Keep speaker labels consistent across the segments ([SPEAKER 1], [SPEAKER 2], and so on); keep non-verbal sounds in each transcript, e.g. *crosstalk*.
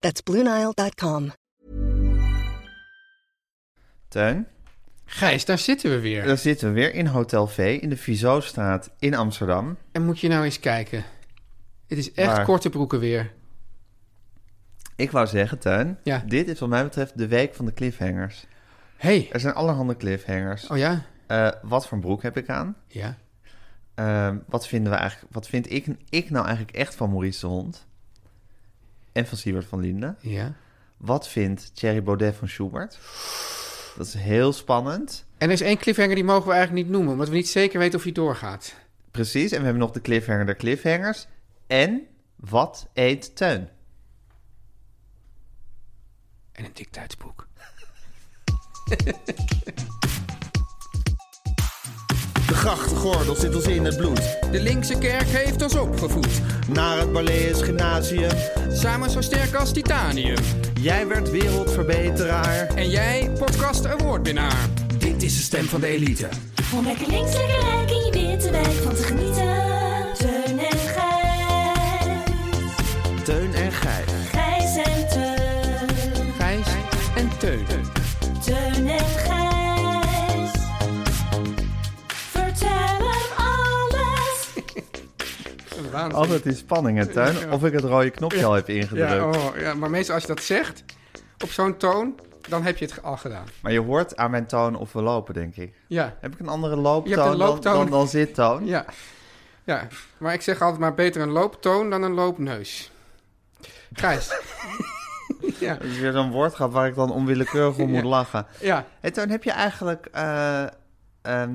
[SPEAKER 1] That's BlueNile.com.
[SPEAKER 2] Teun,
[SPEAKER 3] Gijs, daar zitten we weer.
[SPEAKER 2] dan zitten we weer in Hotel V in de Vizostraat in Amsterdam.
[SPEAKER 3] En moet je nou eens kijken. Het is echt
[SPEAKER 2] Waar?
[SPEAKER 3] korte broeken weer.
[SPEAKER 2] Ik wou zeggen, Teun,
[SPEAKER 3] Ja.
[SPEAKER 2] dit is wat mij betreft de week van de cliffhangers.
[SPEAKER 3] Hé.
[SPEAKER 2] Er zijn allerhande cliffhangers.
[SPEAKER 3] Oh ja?
[SPEAKER 2] Eh, wat voor broek heb ik aan?
[SPEAKER 3] Ja.
[SPEAKER 2] Ehm, wat vinden we eigenlijk, wat vind ik, ik nou eigenlijk echt van Maurice de Hond? En van Siebert van Linden.
[SPEAKER 3] Ja.
[SPEAKER 2] Wat vindt Thierry Baudet van Schubert? Dat is heel spannend.
[SPEAKER 3] En er is één cliffhanger die mogen we eigenlijk niet noemen, omdat we niet zeker weten of hij doorgaat.
[SPEAKER 2] Precies, en we hebben nog de cliffhanger der cliffhangers. En wat eet Teun?
[SPEAKER 3] En een dictuitsboek.
[SPEAKER 4] De grachtengordel zit ons in het bloed.
[SPEAKER 5] De linkse kerk heeft ons opgevoed.
[SPEAKER 4] Naar het Balees Gymnasium.
[SPEAKER 5] Samen zo sterk als titanium.
[SPEAKER 4] Jij werd wereldverbeteraar.
[SPEAKER 5] En jij, podcast awardwinnaar. Dit is de stem van de elite.
[SPEAKER 6] Om lekker links, lekker rijk in je witte wijk van te genieten. Teun en Gijs.
[SPEAKER 4] Teun en Gijs.
[SPEAKER 6] Gijs en Teun.
[SPEAKER 3] Gijs en Teun.
[SPEAKER 6] Teun en Gijs. Vertel hem alles.
[SPEAKER 2] Altijd in spanning, hè, Teun? Of ik het rode knopje al heb ingedrukt.
[SPEAKER 3] Ja, oh, ja, maar meestal als je dat zegt, op zo'n toon, dan heb je het al gedaan.
[SPEAKER 2] Maar je hoort aan mijn toon of we lopen, denk ik.
[SPEAKER 3] Ja.
[SPEAKER 2] Heb ik een andere looptoon,
[SPEAKER 3] Je hebt een
[SPEAKER 2] dan-
[SPEAKER 3] looptoon.
[SPEAKER 2] Dan, dan, zittoon?
[SPEAKER 3] Ja. Ja. Maar ik zeg altijd maar beter een looptoon dan een loopneus.
[SPEAKER 2] *laughs*
[SPEAKER 3] Gijs. ja.
[SPEAKER 2] Dat is weer zo'n woordgrap waar ik dan onwillekeurig om moet
[SPEAKER 3] *laughs* Ja.
[SPEAKER 2] lachen.
[SPEAKER 3] Ja.
[SPEAKER 2] Hey, Teun, heb je eigenlijk eh, ehm,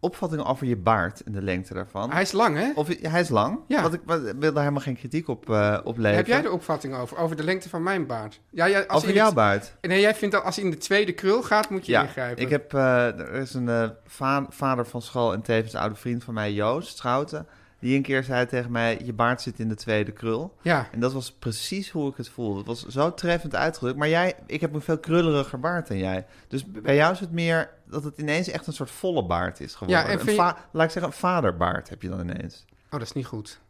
[SPEAKER 2] opvattingen over je baard en de lengte daarvan?
[SPEAKER 3] Hij is lang, hè?
[SPEAKER 2] Of hij is lang?
[SPEAKER 3] Ja.
[SPEAKER 2] Want ik wat- ik wil daar helemaal geen kritiek op, eh op leveren.
[SPEAKER 3] Heb jij er opvatting over? Over de lengte van mijn baard? Ja, ja, als
[SPEAKER 2] Over
[SPEAKER 3] hij in
[SPEAKER 2] jouw
[SPEAKER 3] de-
[SPEAKER 2] baard?
[SPEAKER 3] Nee, jij vindt dat als hij in de tweede krul gaat, moet je
[SPEAKER 2] Ja,
[SPEAKER 3] ingrijpen.
[SPEAKER 2] ik heb, eh, er is een eh, va- vader van school en tevens oude vriend van mij, Joost Schouten, die een keer zei tegen mij, je baard zit in de tweede krul.
[SPEAKER 3] Ja.
[SPEAKER 2] En dat was precies hoe ik het voelde. Het was zo treffend uitgedrukt. Maar jij, ik heb een veel krulleriger baard dan jij. Dus b- bij jou is het meer dat het ineens echt een soort volle baard is geworden.
[SPEAKER 3] Ja, en
[SPEAKER 2] Een
[SPEAKER 3] vind je-
[SPEAKER 2] va- Laat ik zeggen, een vaderbaard heb je dan ineens.
[SPEAKER 3] Oh, dat is niet goed.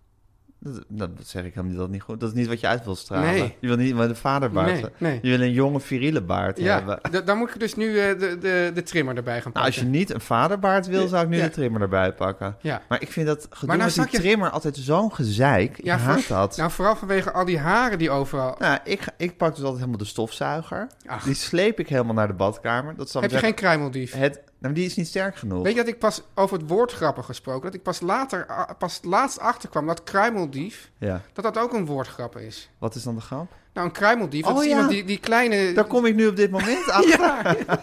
[SPEAKER 2] Dat, dat zeg ik helemaal niet, dat is niet goed. Dat is niet wat je uit wil stralen.
[SPEAKER 3] Nee.
[SPEAKER 2] Je wil niet maar een vaderbaard.
[SPEAKER 3] Nee, nee.
[SPEAKER 2] Je wil een jonge, viriele baard
[SPEAKER 3] Ja,
[SPEAKER 2] hebben.
[SPEAKER 3] d- dan moet ik dus nu eh, de, de, de trimmer erbij gaan
[SPEAKER 2] Nou,
[SPEAKER 3] pakken.
[SPEAKER 2] als je niet een vaderbaard wil, zou ik nu
[SPEAKER 3] Ja.
[SPEAKER 2] de trimmer erbij pakken.
[SPEAKER 3] Ja.
[SPEAKER 2] Maar ik vind dat gedoe
[SPEAKER 3] nou
[SPEAKER 2] met die
[SPEAKER 3] zak je-
[SPEAKER 2] trimmer altijd zo'n gezeik. Ik
[SPEAKER 3] voor-
[SPEAKER 2] haat dat. Nou,
[SPEAKER 3] Nou, vooral vanwege al die haren die overal...
[SPEAKER 2] ik, ga- ik pak dus altijd helemaal de stofzuiger.
[SPEAKER 3] Ach.
[SPEAKER 2] Die sleep ik helemaal naar de badkamer. Dat zal
[SPEAKER 3] heb je
[SPEAKER 2] zeggen,
[SPEAKER 3] geen kruimeldief?
[SPEAKER 2] Het, nou, maar die is niet sterk genoeg.
[SPEAKER 3] Weet je dat ik pas over het woord grappen gesproken... dat ik pas later, ah, pas het laatst achterkwam dat kruimeldief...
[SPEAKER 2] Ja.
[SPEAKER 3] dat dat ook een woordgrap is.
[SPEAKER 2] Wat is dan de grap?
[SPEAKER 3] Nou, een kruimeldief, dat
[SPEAKER 2] Oh,
[SPEAKER 3] is
[SPEAKER 2] ja.
[SPEAKER 3] iemand die, die kleine...
[SPEAKER 2] Daar kom ik nu op dit moment achter.
[SPEAKER 3] *laughs* Ja.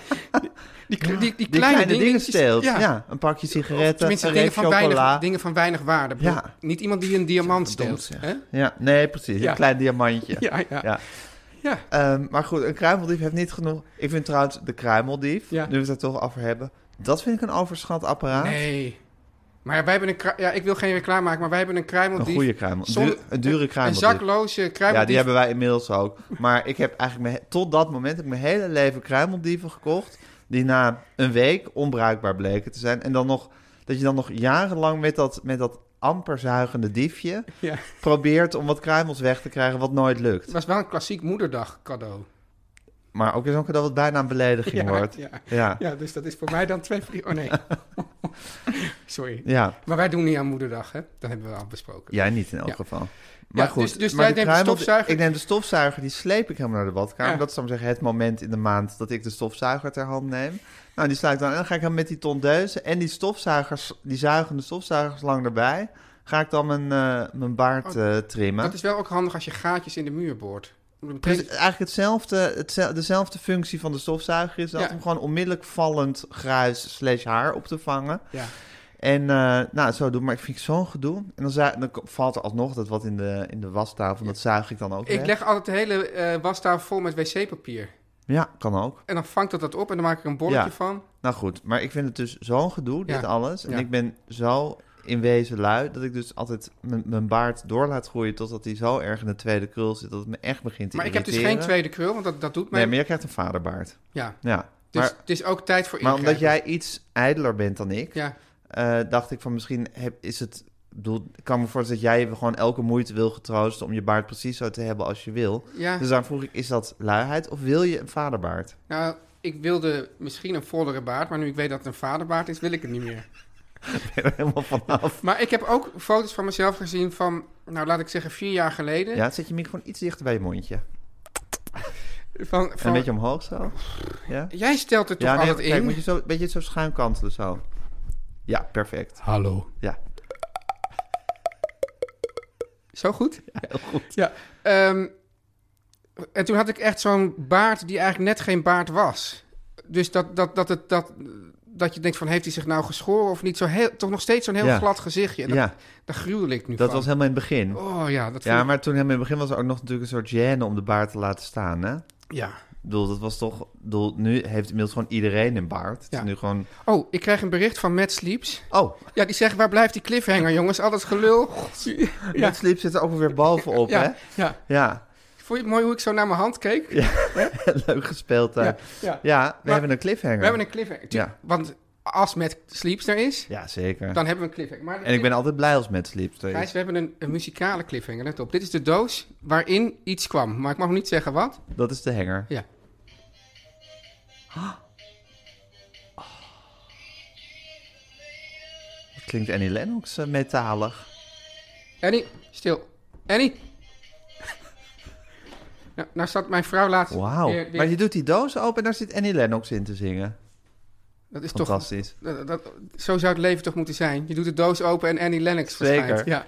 [SPEAKER 3] Die, die, die,
[SPEAKER 2] Die kleine, dingen
[SPEAKER 3] dingetjes-
[SPEAKER 2] steelt. Ja.
[SPEAKER 3] Ja.
[SPEAKER 2] een pakje sigaretten,
[SPEAKER 3] Tenminste,
[SPEAKER 2] een
[SPEAKER 3] dingen
[SPEAKER 2] reep
[SPEAKER 3] van,
[SPEAKER 2] chocola.
[SPEAKER 3] weinig, dingen van weinig waarde. Ik bedoel,
[SPEAKER 2] Ja.
[SPEAKER 3] Niet iemand die een diamant
[SPEAKER 2] Verdomd,
[SPEAKER 3] steelt.
[SPEAKER 2] zeg.
[SPEAKER 3] hè?
[SPEAKER 2] Ja, nee, precies.
[SPEAKER 3] Ja.
[SPEAKER 2] Een klein diamantje.
[SPEAKER 3] Ja, ja.
[SPEAKER 2] Ja.
[SPEAKER 3] Ja.
[SPEAKER 2] Ehm, maar goed, een kruimeldief heeft niet genoeg. Ik vind trouwens de kruimeldief,
[SPEAKER 3] Ja.
[SPEAKER 2] nu we het er toch over hebben, dat vind ik een overschat apparaat.
[SPEAKER 3] Nee. Maar wij hebben een... kru- Ja, ik wil geen reclame maken, maar wij hebben een
[SPEAKER 2] Een
[SPEAKER 3] kruimeldief.
[SPEAKER 2] goede kruimel.
[SPEAKER 3] Zon-
[SPEAKER 2] Duur- een dure
[SPEAKER 3] Een
[SPEAKER 2] kruimeldief.
[SPEAKER 3] zakloze kruimeldief.
[SPEAKER 2] Ja, die hebben wij inmiddels ook. Maar ik heb eigenlijk mijn, he- tot dat moment heb ik mijn hele leven kruimeldieven gekocht. Die na een week onbruikbaar bleken te zijn. En dan nog dat je dan nog jarenlang met dat, met dat amper zuigende diefje
[SPEAKER 3] Ja.
[SPEAKER 2] probeert om wat kruimels weg te krijgen, wat nooit lukt.
[SPEAKER 3] Het was wel een klassiek moederdag cadeau.
[SPEAKER 2] Maar ook weer zo'n cadeau wat bijna een belediging wordt.
[SPEAKER 3] Ja,
[SPEAKER 2] Ja. *laughs*
[SPEAKER 3] ja, dus dat is voor mij dan twee vliegen. Oh nee. Sorry.
[SPEAKER 2] Ja,
[SPEAKER 3] Maar wij doen niet aan moederdag, hè? Dat hebben we al besproken.
[SPEAKER 2] jij niet in elk
[SPEAKER 3] Ja.
[SPEAKER 2] geval. Maar
[SPEAKER 3] Ja,
[SPEAKER 2] goed,
[SPEAKER 3] dus- dus
[SPEAKER 2] maar
[SPEAKER 3] jij
[SPEAKER 2] die
[SPEAKER 3] neemt de
[SPEAKER 2] kruimel-
[SPEAKER 3] stofzuiger?
[SPEAKER 2] Ik neem de stofzuiger, die sleep ik helemaal naar de badkamer.
[SPEAKER 3] Ja.
[SPEAKER 2] Dat is dan zeggen het moment in de maand dat ik de stofzuiger ter hand neem. Nou, die sla ik dan en dan ga ik dan met die tondeuzen en die stofzuigers, die zuigende stofzuigers lang erbij, ga ik dan mijn, eh, mijn baard eh, trimmen.
[SPEAKER 3] Oh, Dat is wel ook handig als je gaatjes in de muur boort. Dan
[SPEAKER 2] Dus
[SPEAKER 3] breekt-
[SPEAKER 2] eigenlijk hetzelfde, hetzel- dezelfde functie van de stofzuiger is dat
[SPEAKER 3] Ja.
[SPEAKER 2] om gewoon onmiddellijk vallend gruis slash haar op te vangen.
[SPEAKER 3] Ja.
[SPEAKER 2] En eh, nou, zo doen, maar ik vind het zo'n gedoe. En dan, zui- dan ko- valt er alsnog dat wat in de, in de wastafel, dat zuig ik dan ook
[SPEAKER 3] Ik
[SPEAKER 2] weg.
[SPEAKER 3] leg altijd de hele eh wastafel vol met wc-papier.
[SPEAKER 2] Ja, kan ook.
[SPEAKER 3] En dan vangt dat dat op en dan maak ik er een bolletje
[SPEAKER 2] Ja.
[SPEAKER 3] van.
[SPEAKER 2] Nou goed, maar ik vind het dus zo'n gedoe, dit
[SPEAKER 3] Ja.
[SPEAKER 2] alles. En
[SPEAKER 3] Ja.
[SPEAKER 2] ik ben zo in wezen lui, dat ik dus altijd mijn- mijn baard door laat groeien totdat hij zo erg in de tweede krul zit, dat het me echt begint te
[SPEAKER 3] Maar ik heb dus
[SPEAKER 2] irriteren.
[SPEAKER 3] geen tweede krul, want dat, dat doet mij.
[SPEAKER 2] Nee, maar jij krijgt een vaderbaard.
[SPEAKER 3] Ja,
[SPEAKER 2] Ja.
[SPEAKER 3] dus
[SPEAKER 2] maar,
[SPEAKER 3] het is ook tijd voor
[SPEAKER 2] maar omdat
[SPEAKER 3] ingrijpen.
[SPEAKER 2] jij iets ijdeler bent dan ik,
[SPEAKER 3] Ja,
[SPEAKER 2] eh, dacht ik van misschien heb, is het... ik Bedoel, ik kan me voorstellen dat jij gewoon elke moeite wil getroosten om je baard precies zo te hebben als je wil.
[SPEAKER 3] ja.
[SPEAKER 2] Dus daar vroeg ik, is dat luiheid of wil je een vaderbaard? *laughs*
[SPEAKER 3] nou, ik wilde misschien een vollere baard, maar nu ik weet dat het een vaderbaard is, wil ik het niet meer.
[SPEAKER 2] Ik ben er helemaal
[SPEAKER 3] *laughs*
[SPEAKER 2] vanaf.
[SPEAKER 3] Maar ik heb ook foto's van mezelf gezien van, nou laat ik zeggen, vier jaar geleden.
[SPEAKER 2] Ja, zet je microfoon iets dichter bij je mondje. En
[SPEAKER 3] Van,
[SPEAKER 2] een
[SPEAKER 3] van,
[SPEAKER 2] beetje omhoog zo. Ja,
[SPEAKER 3] Jij stelt het toch
[SPEAKER 2] ja nee,
[SPEAKER 3] altijd
[SPEAKER 2] kijk,
[SPEAKER 3] in?
[SPEAKER 2] moet je zo, een beetje zo schuin kantelen zo. Ja, perfect.
[SPEAKER 3] Hallo.
[SPEAKER 2] Ja,
[SPEAKER 3] Zo goed? Ja,
[SPEAKER 2] heel goed.
[SPEAKER 3] Ehm, en toen had ik echt zo'n baard die eigenlijk net geen baard was. Dus dat, dat, dat, het, dat, dat je denkt van, heeft hij zich nou geschoren of niet? Zo heel, toch nog steeds zo'n heel
[SPEAKER 2] Ja.
[SPEAKER 3] glad gezichtje. En dat,
[SPEAKER 2] Ja,
[SPEAKER 3] Daar gruwel ik nu
[SPEAKER 2] dat
[SPEAKER 3] van.
[SPEAKER 2] was helemaal in het begin.
[SPEAKER 3] Oh ja, dat
[SPEAKER 2] Ja,
[SPEAKER 3] vind ik-
[SPEAKER 2] maar toen helemaal in het begin was er ook nog natuurlijk een soort gêne om de baard te laten staan, hè?
[SPEAKER 3] ja.
[SPEAKER 2] Ik bedoel, dat was toch... ik Bedoel, nu heeft inmiddels gewoon iedereen een baard. Het
[SPEAKER 3] Ja.
[SPEAKER 2] is nu gewoon...
[SPEAKER 3] Oh, ik krijg een bericht van Matt Sleeps.
[SPEAKER 2] Oh,
[SPEAKER 3] Ja, die zegt, waar blijft die cliffhanger, jongens? Al dat
[SPEAKER 2] *laughs*
[SPEAKER 3] gelul.
[SPEAKER 2] ja.
[SPEAKER 3] Ja,
[SPEAKER 2] sleep zit er ook weer bovenop,
[SPEAKER 3] ja,
[SPEAKER 2] hè?
[SPEAKER 3] ja.
[SPEAKER 2] Ja,
[SPEAKER 3] Vond je het mooi hoe ik zo naar mijn hand keek?
[SPEAKER 2] *laughs* leuk gespeeld daar.
[SPEAKER 3] Ja,
[SPEAKER 2] Ja,
[SPEAKER 3] ja.
[SPEAKER 2] we
[SPEAKER 3] Maar-
[SPEAKER 2] hebben een cliffhanger.
[SPEAKER 3] We hebben een cliffhanger. Tu-
[SPEAKER 2] Ja.
[SPEAKER 3] Want als Matt Sleeps er is,
[SPEAKER 2] Ja, zeker.
[SPEAKER 3] dan hebben we een cliffhanger. Maar
[SPEAKER 2] En ik ben altijd blij als met sleep. er
[SPEAKER 3] Gijs,
[SPEAKER 2] is.
[SPEAKER 3] we hebben een, een muzikale cliffhanger, let op. Dit is de doos waarin iets kwam, maar ik mag nog niet zeggen wat.
[SPEAKER 2] Dat is de hanger.
[SPEAKER 3] Ja.
[SPEAKER 2] Dat klinkt Annie Lennox eh, metalig.
[SPEAKER 3] Annie, stil. Annie! *laughs* nou, nou zat mijn vrouw laatst
[SPEAKER 2] Wauw.
[SPEAKER 3] weer- weer-
[SPEAKER 2] Maar je doet die doos open en daar zit Annie Lennox in te zingen.
[SPEAKER 3] dat is toch
[SPEAKER 2] Fantastisch.
[SPEAKER 3] Dat, dat- zo zou het leven toch moeten zijn? Je doet de doos open en Annie Lennox verschijnt.
[SPEAKER 2] Zeker.
[SPEAKER 3] Ja.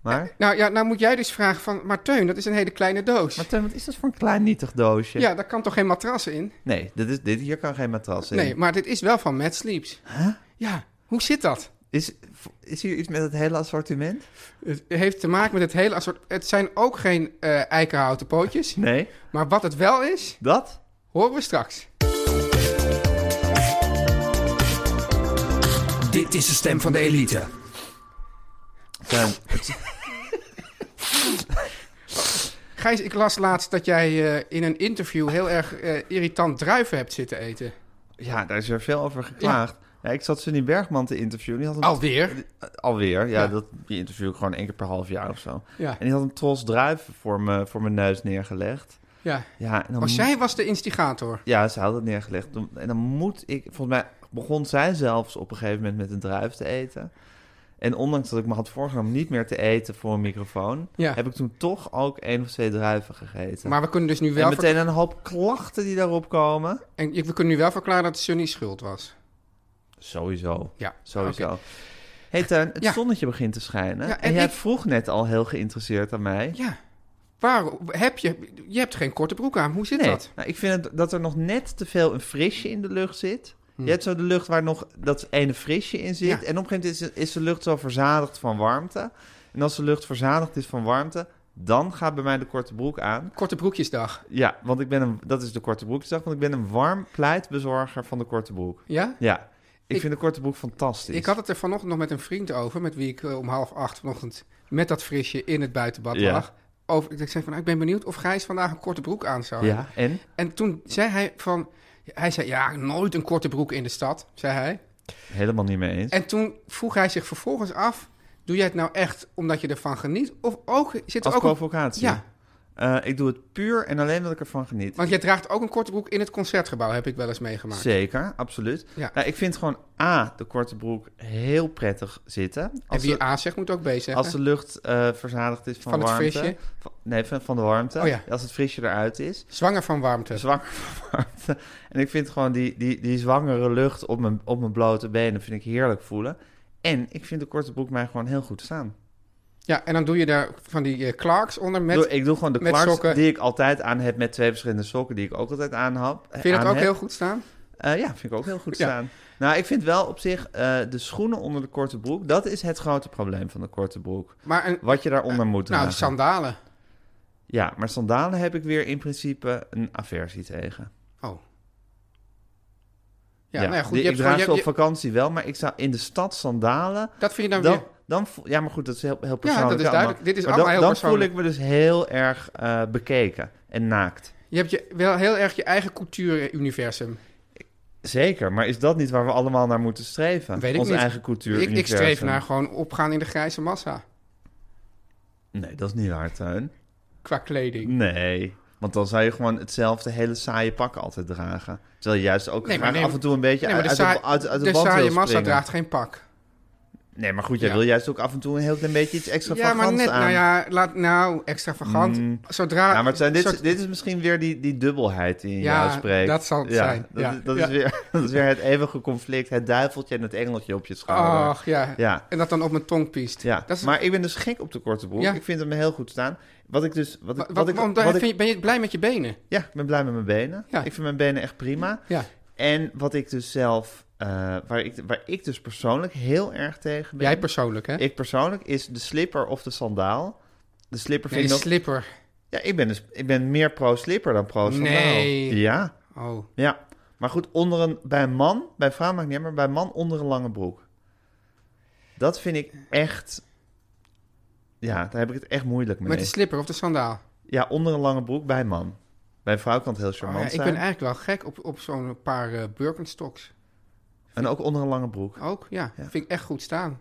[SPEAKER 2] Maar,
[SPEAKER 3] Nou, ja, nou moet jij dus vragen van... Maar Teun, dat is een hele kleine doos.
[SPEAKER 2] maar Teun, wat is dat voor een klein nietig doosje?
[SPEAKER 3] ja, daar kan toch geen matras in?
[SPEAKER 2] Nee, dit, is, dit hier kan geen matras in.
[SPEAKER 3] Nee, maar dit is wel van Matt Sleeps. Huh? Ja, hoe zit dat?
[SPEAKER 2] Is, is hier iets met het hele assortiment?
[SPEAKER 3] Het heeft te maken met het hele assortiment. Het zijn ook geen eh, eikenhouten pootjes.
[SPEAKER 2] Nee.
[SPEAKER 3] Maar wat het wel is,
[SPEAKER 2] Dat?
[SPEAKER 3] horen we straks.
[SPEAKER 5] Dit is de stem van de elite.
[SPEAKER 2] Teun, het-
[SPEAKER 3] Gijs, ik las laatst dat jij eh, in een interview heel erg eh, irritant druiven hebt zitten eten.
[SPEAKER 2] ja, daar is er veel over geklaagd. Ja. ik zat Sunny Bergman te interviewen. Die had een
[SPEAKER 3] Alweer?
[SPEAKER 2] Alweer, ja,
[SPEAKER 3] Oh. Ja.
[SPEAKER 2] Dat, die interview ik gewoon één keer per half jaar of zo.
[SPEAKER 3] Ja.
[SPEAKER 2] En die had een tros druiven voor, me, voor mijn neus neergelegd.
[SPEAKER 3] Ja.
[SPEAKER 2] Ja, en dan
[SPEAKER 3] Oh,
[SPEAKER 2] moet-
[SPEAKER 3] zij was de instigator.
[SPEAKER 2] Ja, ze had het neergelegd. Toen- En dan moet ik... Volgens mij begon zij zelfs op een gegeven moment met een druif te eten. En ondanks dat ik me had voorgenomen niet meer te eten voor een microfoon...
[SPEAKER 3] Ja.
[SPEAKER 2] heb ik toen toch ook één of twee druiven gegeten.
[SPEAKER 3] Maar we kunnen dus nu
[SPEAKER 2] en
[SPEAKER 3] wel... ver-
[SPEAKER 2] meteen een hoop klachten die daarop komen.
[SPEAKER 3] En ik- we kunnen nu wel verklaren dat Sunny schuld was.
[SPEAKER 2] Sowieso.
[SPEAKER 3] Ja,
[SPEAKER 2] Sowieso. Hey Teun, het
[SPEAKER 3] Ja.
[SPEAKER 2] zonnetje begint te schijnen.
[SPEAKER 3] Ja,
[SPEAKER 2] en,
[SPEAKER 3] en
[SPEAKER 2] jij
[SPEAKER 3] ik-
[SPEAKER 2] vroeg net al heel geïnteresseerd aan mij.
[SPEAKER 3] Ja. Waarom heb je... Je hebt geen korte broek aan. Hoe zit
[SPEAKER 2] Nee,
[SPEAKER 3] dat?
[SPEAKER 2] nou, ik vind het, dat er nog net te veel een frisje in de lucht zit. Je hebt zo de lucht waar nog dat ene frisje in zit.
[SPEAKER 3] Hm. Ja.
[SPEAKER 2] En op een gegeven moment is, is de lucht zo verzadigd van warmte. En als de lucht verzadigd is van warmte, dan gaat bij mij de korte broek aan.
[SPEAKER 3] Korte broekjesdag.
[SPEAKER 2] Ja, want ik ben een, dat is de korte broekdag, want ik ben een warm pleitbezorger van de korte broek.
[SPEAKER 3] Ja?
[SPEAKER 2] Ja, ik,
[SPEAKER 3] Ik-
[SPEAKER 2] vind de korte broek fantastisch.
[SPEAKER 3] Ik had het er vanochtend nog met een vriend over, met wie ik eh, om half acht vanochtend met dat frisje in het buitenbad
[SPEAKER 2] Ja.
[SPEAKER 3] lag. Over, ik zei van, nou, ik ben benieuwd of Gijs vandaag een korte broek aan zou hebben.
[SPEAKER 2] Ja, en?
[SPEAKER 3] En toen zei hij van... Hij zei, ja, nooit een korte broek in de stad, zei hij.
[SPEAKER 2] Helemaal niet mee eens.
[SPEAKER 3] En toen vroeg hij zich vervolgens af... Doe jij het nou echt omdat je ervan geniet? Of ook... Zit er
[SPEAKER 2] Als
[SPEAKER 3] ook een-
[SPEAKER 2] provocatie.
[SPEAKER 3] Ja.
[SPEAKER 2] Eh, ik doe het puur en alleen omdat ik ervan geniet.
[SPEAKER 3] Want jij draagt ook een korte broek in het concertgebouw, heb ik wel eens meegemaakt.
[SPEAKER 2] Zeker, absoluut.
[SPEAKER 3] Ja.
[SPEAKER 2] Nou, ik vind gewoon A, de korte broek heel prettig zitten.
[SPEAKER 3] en
[SPEAKER 2] Als,
[SPEAKER 3] wie
[SPEAKER 2] de,
[SPEAKER 3] A zegt, moet ook B zeggen.
[SPEAKER 2] als de lucht eh, verzadigd is van,
[SPEAKER 3] Van het
[SPEAKER 2] warmte.
[SPEAKER 3] frisje?
[SPEAKER 2] Van, nee, van, van de warmte.
[SPEAKER 3] Oh ja.
[SPEAKER 2] Als het frisje eruit is.
[SPEAKER 3] Zwanger van warmte.
[SPEAKER 2] Zwanger van warmte. En ik vind gewoon die, die, die zwangere lucht op mijn, op mijn blote benen vind ik heerlijk voelen. En ik vind de korte broek mij gewoon heel goed staan.
[SPEAKER 3] Ja, en dan doe je daar van die eh, Clarks onder met...
[SPEAKER 2] Doe- ik doe gewoon de
[SPEAKER 3] met
[SPEAKER 2] Clarks
[SPEAKER 3] sokken.
[SPEAKER 2] die ik altijd aan heb met twee verschillende sokken die ik ook altijd aan heb.
[SPEAKER 3] Vind je dat ook heel goed staan?
[SPEAKER 2] Eh, ja, vind ik ook heel goed
[SPEAKER 3] Ja.
[SPEAKER 2] staan. Nou, ik vind wel op zich eh, de schoenen onder de korte broek, dat is het grote probleem van de korte broek.
[SPEAKER 3] Maar een,
[SPEAKER 2] Wat je daaronder moet dragen.
[SPEAKER 3] nou, sandalen.
[SPEAKER 2] Ja, maar sandalen heb ik weer in principe een aversie tegen.
[SPEAKER 3] Oh.
[SPEAKER 2] Ja,
[SPEAKER 3] Ja, nou ja, goed.
[SPEAKER 2] die-
[SPEAKER 3] je
[SPEAKER 2] ik
[SPEAKER 3] hebt gewoon-
[SPEAKER 2] draag
[SPEAKER 3] je
[SPEAKER 2] ze op
[SPEAKER 3] hebt- je-
[SPEAKER 2] vakantie wel, maar ik zou in de stad sandalen...
[SPEAKER 3] dat vind je dan,
[SPEAKER 2] Dan,
[SPEAKER 3] weer...
[SPEAKER 2] dan, voel- ja, maar goed, dat is heel, heel persoonlijk
[SPEAKER 3] dat is
[SPEAKER 2] allemaal.
[SPEAKER 3] duidelijk. Dit is
[SPEAKER 2] Maar
[SPEAKER 3] allemaal
[SPEAKER 2] dan,
[SPEAKER 3] heel
[SPEAKER 2] dan voel
[SPEAKER 3] persoonlijk.
[SPEAKER 2] ik me dus heel erg eh, bekeken en naakt.
[SPEAKER 3] Je hebt je, wel heel erg je eigen cultuuruniversum.
[SPEAKER 2] Zeker, maar is dat niet waar we allemaal naar moeten streven?
[SPEAKER 3] Weet ik
[SPEAKER 2] Onze
[SPEAKER 3] niet.
[SPEAKER 2] eigen cultuur.
[SPEAKER 3] Ik, ik streef naar gewoon opgaan in de grijze massa.
[SPEAKER 2] Nee, dat is niet waar, Tuin.
[SPEAKER 3] Qua kleding.
[SPEAKER 2] Nee, want dan zou je gewoon hetzelfde hele saaie pak altijd dragen. Terwijl je juist ook
[SPEAKER 3] Nee, maar
[SPEAKER 2] graag
[SPEAKER 3] nee,
[SPEAKER 2] af en toe een beetje
[SPEAKER 3] nee, maar
[SPEAKER 2] uit,
[SPEAKER 3] de,
[SPEAKER 2] uit,
[SPEAKER 3] saai-
[SPEAKER 2] de, uit, uit de
[SPEAKER 3] de
[SPEAKER 2] band wil
[SPEAKER 3] saaie massa
[SPEAKER 2] springen.
[SPEAKER 3] draagt geen pak.
[SPEAKER 2] Nee, maar goed, jij
[SPEAKER 3] Ja.
[SPEAKER 2] wil juist ook af en toe een heel klein beetje iets extra
[SPEAKER 3] Ja, maar net,
[SPEAKER 2] aan. Mm.
[SPEAKER 3] nou ja, laat, nou, extravagant. Zodra...
[SPEAKER 2] Ja, maar het zijn, dit,
[SPEAKER 3] soort-
[SPEAKER 2] dit is misschien weer die, die dubbelheid die in
[SPEAKER 3] Ja,
[SPEAKER 2] jou spreekt.
[SPEAKER 3] dat zal het zijn.
[SPEAKER 2] Dat,
[SPEAKER 3] Ja.
[SPEAKER 2] is- dat
[SPEAKER 3] Ja.
[SPEAKER 2] Is weer, *laughs* dat is weer het eeuwige conflict. Het duiveltje en het engeltje op je schouder.
[SPEAKER 3] Ach, ja.
[SPEAKER 2] Ja.
[SPEAKER 3] En dat dan op mijn tong piest.
[SPEAKER 2] Ja,
[SPEAKER 3] Oh, Dat is,
[SPEAKER 2] maar ik ben dus gek op de korte broek.
[SPEAKER 3] Ja.
[SPEAKER 2] Ik vind hem heel goed staan. Wat ik dus... Wat ik,
[SPEAKER 3] wat,
[SPEAKER 2] wat,
[SPEAKER 3] wat,
[SPEAKER 2] ik,
[SPEAKER 3] want
[SPEAKER 2] wat
[SPEAKER 3] daar
[SPEAKER 2] ik-
[SPEAKER 3] vind je- ben je blij met je benen?
[SPEAKER 2] Ja, ik ben blij met mijn benen.
[SPEAKER 3] Ja.
[SPEAKER 2] Ik vind mijn benen echt prima.
[SPEAKER 3] Ja.
[SPEAKER 2] En wat ik dus zelf... eh, waar, ik, waar ik dus persoonlijk heel erg tegen ben...
[SPEAKER 3] Jij persoonlijk, hè?
[SPEAKER 2] ik persoonlijk is de slipper of de sandaal. De slipper
[SPEAKER 3] nee,
[SPEAKER 2] vind
[SPEAKER 3] die
[SPEAKER 2] ik nog...
[SPEAKER 3] slipper.
[SPEAKER 2] Ja, ik ben, dus, ik ben meer pro-slipper dan pro-sandaal.
[SPEAKER 3] Nee.
[SPEAKER 2] Ja.
[SPEAKER 3] Oh.
[SPEAKER 2] Ja, maar goed, onder een, bij een man, bij een vrouw maakt niet uit, maar bij een man onder een lange broek. Dat vind ik echt. Ja, daar heb ik het echt moeilijk mee.
[SPEAKER 3] Met de slipper of de sandaal.
[SPEAKER 2] Ja, onder een lange broek bij een man. Bij een vrouw kan het heel
[SPEAKER 3] Oh,
[SPEAKER 2] charmant
[SPEAKER 3] ja, ik ben
[SPEAKER 2] zijn.
[SPEAKER 3] eigenlijk wel gek op, op zo'n paar eh Birkenstocks.
[SPEAKER 2] En ook onder een lange broek.
[SPEAKER 3] Ook, ja. Vind ik echt goed staan.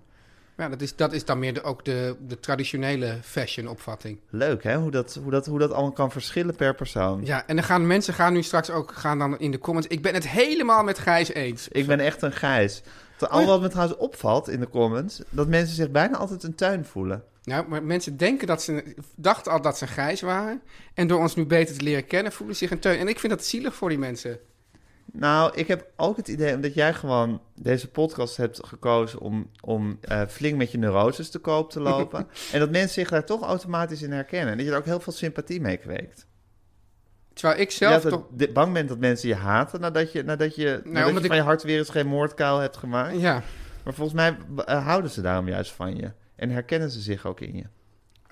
[SPEAKER 3] Maar Ja, dat is, dat is dan meer de, ook de, de traditionele fashion-opvatting.
[SPEAKER 2] Leuk hè, hoe dat, hoe, dat, hoe dat allemaal kan verschillen per persoon.
[SPEAKER 3] Ja, en dan gaan mensen gaan nu straks ook gaan dan in de comments... Ik ben het helemaal met Gijs eens.
[SPEAKER 2] Ik ben echt een gijs. Te-
[SPEAKER 3] Oh
[SPEAKER 2] Al wat me trouwens opvalt in de comments, dat mensen zich bijna altijd een tuin voelen.
[SPEAKER 3] Nou, maar mensen denken dat ze, dachten al dat ze Gijs waren. En door ons nu beter te leren kennen voelen ze zich een teun. En ik vind dat zielig voor die mensen.
[SPEAKER 2] Nou, ik heb ook het idee, omdat jij gewoon deze podcast hebt gekozen om, om eh, flink met je neuroses te koop te lopen.
[SPEAKER 3] *laughs*
[SPEAKER 2] en dat mensen zich daar toch automatisch in herkennen. En dat je daar ook heel veel sympathie mee kweekt.
[SPEAKER 3] Terwijl ik
[SPEAKER 2] Ja,
[SPEAKER 3] zelf
[SPEAKER 2] dat
[SPEAKER 3] toch... Nou,
[SPEAKER 2] je bang bent dat mensen je haten nadat je, nadat je, nadat je
[SPEAKER 3] omdat
[SPEAKER 2] van je
[SPEAKER 3] ik-
[SPEAKER 2] hart weer eens geen moordkuil hebt gemaakt.
[SPEAKER 3] Ja.
[SPEAKER 2] Maar volgens mij eh, houden ze daarom juist van je. En herkennen ze zich ook in je.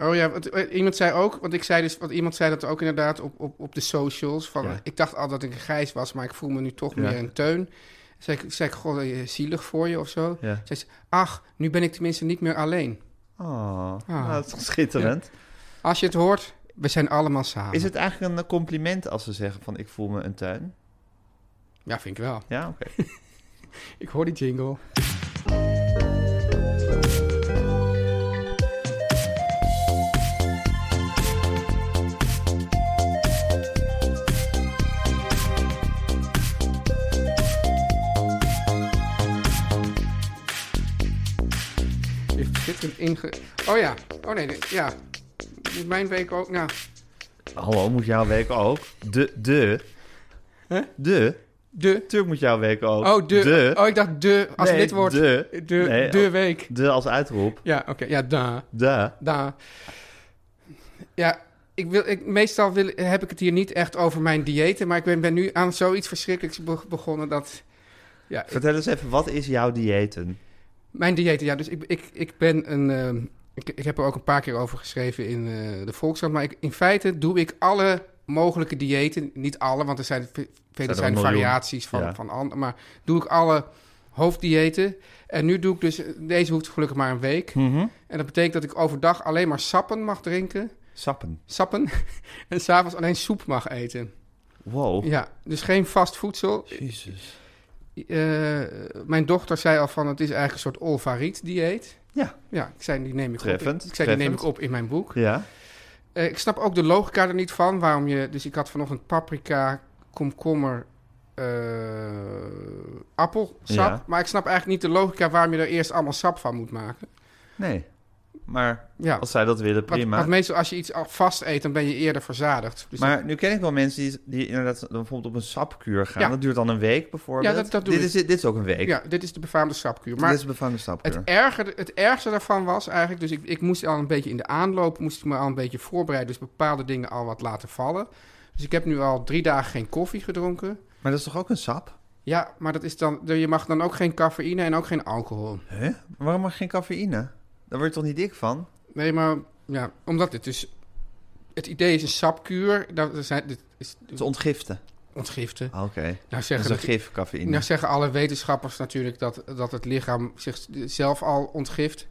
[SPEAKER 3] Oh ja, want, eh, iemand zei ook, want ik zei dus, want iemand zei dat ook inderdaad op, op, op de socials. Van,
[SPEAKER 2] Ja.
[SPEAKER 3] Ik dacht al dat ik een gijs was, maar ik voel me nu toch
[SPEAKER 2] Ja.
[SPEAKER 3] meer een teun. Zei ik, zei ik god, eh, zielig voor je of zo.
[SPEAKER 2] Ja.
[SPEAKER 3] Zei ze, ach, nu ben ik tenminste niet meer alleen.
[SPEAKER 2] Oh,
[SPEAKER 3] Ah.
[SPEAKER 2] nou, dat is toch schitterend.
[SPEAKER 3] Als je het hoort, we zijn allemaal samen.
[SPEAKER 2] Is het eigenlijk een eh, compliment als ze zeggen van ik voel me een tuin?
[SPEAKER 3] Ja, vind ik wel.
[SPEAKER 2] Ja, oké. *laughs*
[SPEAKER 3] Ik hoor die jingle. Ligt schitterend inge... Oh ja, oh nee, nee, ja. Moet Mijn week ook, nou...
[SPEAKER 2] Hallo, moet jouw week ook? De, de. De.
[SPEAKER 3] De...
[SPEAKER 2] Tuurlijk moet jouw week ook.
[SPEAKER 3] Oh, de...
[SPEAKER 2] De.
[SPEAKER 3] Oh, ik dacht de, als
[SPEAKER 2] Nee,
[SPEAKER 3] dit wordt...
[SPEAKER 2] de.
[SPEAKER 3] De,
[SPEAKER 2] Nee,
[SPEAKER 3] de
[SPEAKER 2] oh.
[SPEAKER 3] week.
[SPEAKER 2] De als uitroep.
[SPEAKER 3] Ja, oké, ja, da.
[SPEAKER 2] De.
[SPEAKER 3] Daar. Nou, Ja, ik wil, ik, meestal wil, heb ik het hier niet echt over mijn diëten, maar ik ben, ben nu aan zoiets verschrikkelijks be- begonnen dat... Ja, ik-
[SPEAKER 2] Vertel eens even, wat is jouw diëten?
[SPEAKER 3] mijn diëten, ja, dus ik, ik, ik ben een... ehm, ik, ik heb er ook een paar keer over geschreven in eh, de Volkskrant, maar ik, in feite doe ik alle mogelijke diëten, niet alle, want er zijn ve- vele
[SPEAKER 2] er
[SPEAKER 3] zijn
[SPEAKER 2] een miljoen.
[SPEAKER 3] variaties van,
[SPEAKER 2] Ja.
[SPEAKER 3] van andere, maar doe ik alle hoofddiëten. En nu doe ik dus, deze hoeft gelukkig maar een week.
[SPEAKER 2] Mhm.
[SPEAKER 3] En dat betekent dat ik overdag alleen maar sappen mag drinken.
[SPEAKER 2] Sappen.
[SPEAKER 3] sappen *laughs* en s'avonds alleen soep mag eten.
[SPEAKER 2] Wow.
[SPEAKER 3] Ja, dus geen vast voedsel.
[SPEAKER 2] Jezus.
[SPEAKER 3] Eh, mijn dochter zei al van het is eigenlijk een soort olvariet dieet.
[SPEAKER 2] Ja.
[SPEAKER 3] Ja, ik zei die neem ik op.
[SPEAKER 2] Treffend,
[SPEAKER 3] Ik zei die neem ik
[SPEAKER 2] treffend.
[SPEAKER 3] op in mijn boek.
[SPEAKER 2] Ja.
[SPEAKER 3] Eh, ik snap ook de logica er niet van. Waarom je, dus ik had vanochtend paprika, komkommer, eh, appelsap.
[SPEAKER 2] Ja.
[SPEAKER 3] Maar ik snap eigenlijk niet de logica waarom je er eerst allemaal sap van moet maken.
[SPEAKER 2] Nee. Maar
[SPEAKER 3] Ja,
[SPEAKER 2] als zij dat willen,
[SPEAKER 3] want-
[SPEAKER 2] prima.
[SPEAKER 3] want meestal als je iets al vast eet, dan ben je eerder verzadigd. Dus
[SPEAKER 2] maar nu ken ik wel mensen die, die inderdaad dan bijvoorbeeld op een sapkuur gaan.
[SPEAKER 3] Ja.
[SPEAKER 2] Dat duurt dan een week bijvoorbeeld.
[SPEAKER 3] Ja, dat- dat doe
[SPEAKER 2] dit,
[SPEAKER 3] ik.
[SPEAKER 2] is, dit is ook een week.
[SPEAKER 3] ja, dit is de befaamde sapkuur.
[SPEAKER 2] dit
[SPEAKER 3] Maar
[SPEAKER 2] is een bevangen sapkuur.
[SPEAKER 3] Het, erger, het ergste daarvan was eigenlijk, dus ik, ik moest al een beetje in de aanloop, moest ik me al een beetje voorbereiden, dus bepaalde dingen al wat laten vallen. Dus ik heb nu al drie dagen geen koffie gedronken.
[SPEAKER 2] Maar dat is toch ook een sap?
[SPEAKER 3] Ja, maar dat is dan, je mag dan ook geen cafeïne en ook geen alcohol.
[SPEAKER 2] Huh? Waarom mag geen cafeïne? Daar word je toch niet dik van?
[SPEAKER 3] Nee, maar ja, omdat dit dus, het idee is een sapkuur, dat er zijn, dit is
[SPEAKER 2] Het is ontgiften.
[SPEAKER 3] ontgiften.
[SPEAKER 2] Ah, Oké.
[SPEAKER 3] Nou
[SPEAKER 2] Dat is
[SPEAKER 3] zeggen,
[SPEAKER 2] een
[SPEAKER 3] dat,
[SPEAKER 2] gif, cafeïne.
[SPEAKER 3] nou zeggen alle wetenschappers natuurlijk dat, dat het lichaam zichzelf al ontgift,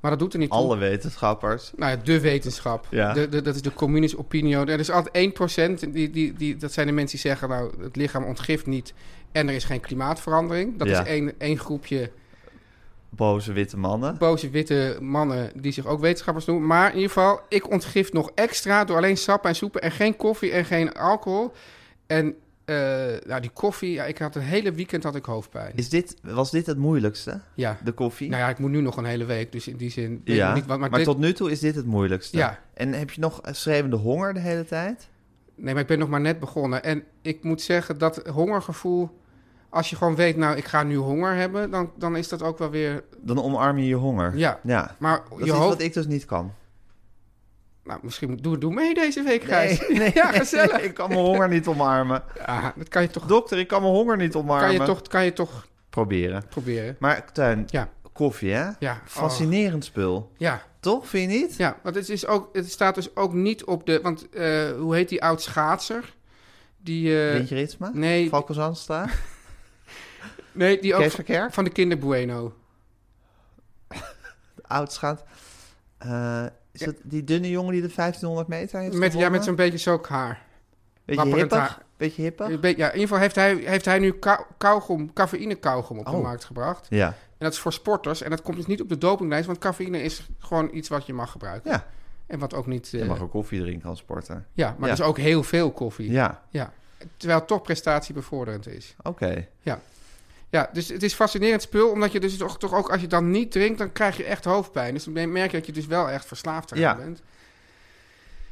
[SPEAKER 3] maar dat doet er niet toe.
[SPEAKER 2] Alle wetenschappers.
[SPEAKER 3] Nou ja, de wetenschap.
[SPEAKER 2] Ja.
[SPEAKER 3] De, de- dat is de communis opinio. Er is altijd 1%, die, die, die, dat zijn de mensen die zeggen... nou, het lichaam ontgift niet en er is geen klimaatverandering. Dat
[SPEAKER 2] Ja.
[SPEAKER 3] is één, één groepje
[SPEAKER 2] Boze witte mannen.
[SPEAKER 3] boze witte mannen die zich ook wetenschappers noemen. Maar in ieder geval, ik ontgift nog extra door alleen sap en soepen... en geen koffie en geen alcohol. En eh, nou, die koffie, ja, ik had een hele weekend had ik hoofdpijn.
[SPEAKER 2] is dit, was dit het moeilijkste?
[SPEAKER 3] Ja.
[SPEAKER 2] De koffie?
[SPEAKER 3] Nou ja, ik moet nu nog een hele week, dus in die zin... weet
[SPEAKER 2] Ja,
[SPEAKER 3] ik niet wat,
[SPEAKER 2] maar,
[SPEAKER 3] maar dit-
[SPEAKER 2] tot nu toe is dit het moeilijkste.
[SPEAKER 3] Ja.
[SPEAKER 2] En heb je nog schreeuwende honger de hele tijd?
[SPEAKER 3] Nee, maar ik ben nog maar net begonnen. En ik moet zeggen dat hongergevoel... Als je gewoon weet, nou, ik ga nu honger hebben... dan, dan is dat ook wel weer...
[SPEAKER 2] Dan omarm je je honger.
[SPEAKER 3] Ja.
[SPEAKER 2] ja.
[SPEAKER 3] Maar
[SPEAKER 2] Dat
[SPEAKER 3] je
[SPEAKER 2] is
[SPEAKER 3] hoofd...
[SPEAKER 2] wat ik dus niet kan.
[SPEAKER 3] Nou, misschien moet- doe, doe mee deze week, Gijs.
[SPEAKER 2] *laughs*
[SPEAKER 3] *laughs* ja, gezellig.
[SPEAKER 2] ik kan mijn honger niet omarmen.
[SPEAKER 3] Ja, dat kan je toch,
[SPEAKER 2] Dokter, ik kan mijn honger niet omarmen.
[SPEAKER 3] kan je toch, kan je toch
[SPEAKER 2] proberen.
[SPEAKER 3] proberen.
[SPEAKER 2] Maar Tuin,
[SPEAKER 3] Ja.
[SPEAKER 2] koffie hè?
[SPEAKER 3] Ja. Oh.
[SPEAKER 2] Fascinerend spul.
[SPEAKER 3] Ja,
[SPEAKER 2] Toch, vind je niet?
[SPEAKER 3] ja. Want het, is ook, het staat dus ook niet op de... Want eh, hoe heet die oud schaatser? Die, eh,
[SPEAKER 2] Wintje Ritsma?
[SPEAKER 3] nee.
[SPEAKER 2] Falco Zandstra?
[SPEAKER 3] *laughs* nee, die ook
[SPEAKER 2] Kees
[SPEAKER 3] van,
[SPEAKER 2] Verkerk?
[SPEAKER 3] van de Kinder Bueno.
[SPEAKER 2] Oudschaat. Eh is dat die dunne jongen die de 1500 meter heeft
[SPEAKER 3] Met, ja,
[SPEAKER 2] gewonnen?
[SPEAKER 3] met zo'n beetje zoek haar.
[SPEAKER 2] Beetje
[SPEAKER 3] wapperend
[SPEAKER 2] hippig?
[SPEAKER 3] haar.
[SPEAKER 2] Beetje hippig?
[SPEAKER 3] Een beetje- Ja, in ieder geval heeft hij, heeft hij nu kou- kauwgom, cafeïne kauwgom op de
[SPEAKER 2] Oh.
[SPEAKER 3] markt gebracht.
[SPEAKER 2] Ja.
[SPEAKER 3] En dat is voor sporters. En dat komt dus niet op de dopinglijst, want cafeïne is gewoon iets wat je mag gebruiken.
[SPEAKER 2] Ja.
[SPEAKER 3] En wat ook niet... eh,
[SPEAKER 2] Je mag ook koffie drinken als sporter.
[SPEAKER 3] Ja, maar
[SPEAKER 2] Ja.
[SPEAKER 3] dat is ook heel veel koffie.
[SPEAKER 2] Ja,
[SPEAKER 3] Ja. Terwijl het toch prestatiebevorderend is.
[SPEAKER 2] oké.
[SPEAKER 3] Ja, dus het is fascinerend spul, omdat je dus toch, toch ook als je dan niet drinkt, dan krijg je echt hoofdpijn. Dus dan merk je dat je dus wel echt verslaafd eraan
[SPEAKER 2] Ja.
[SPEAKER 3] bent.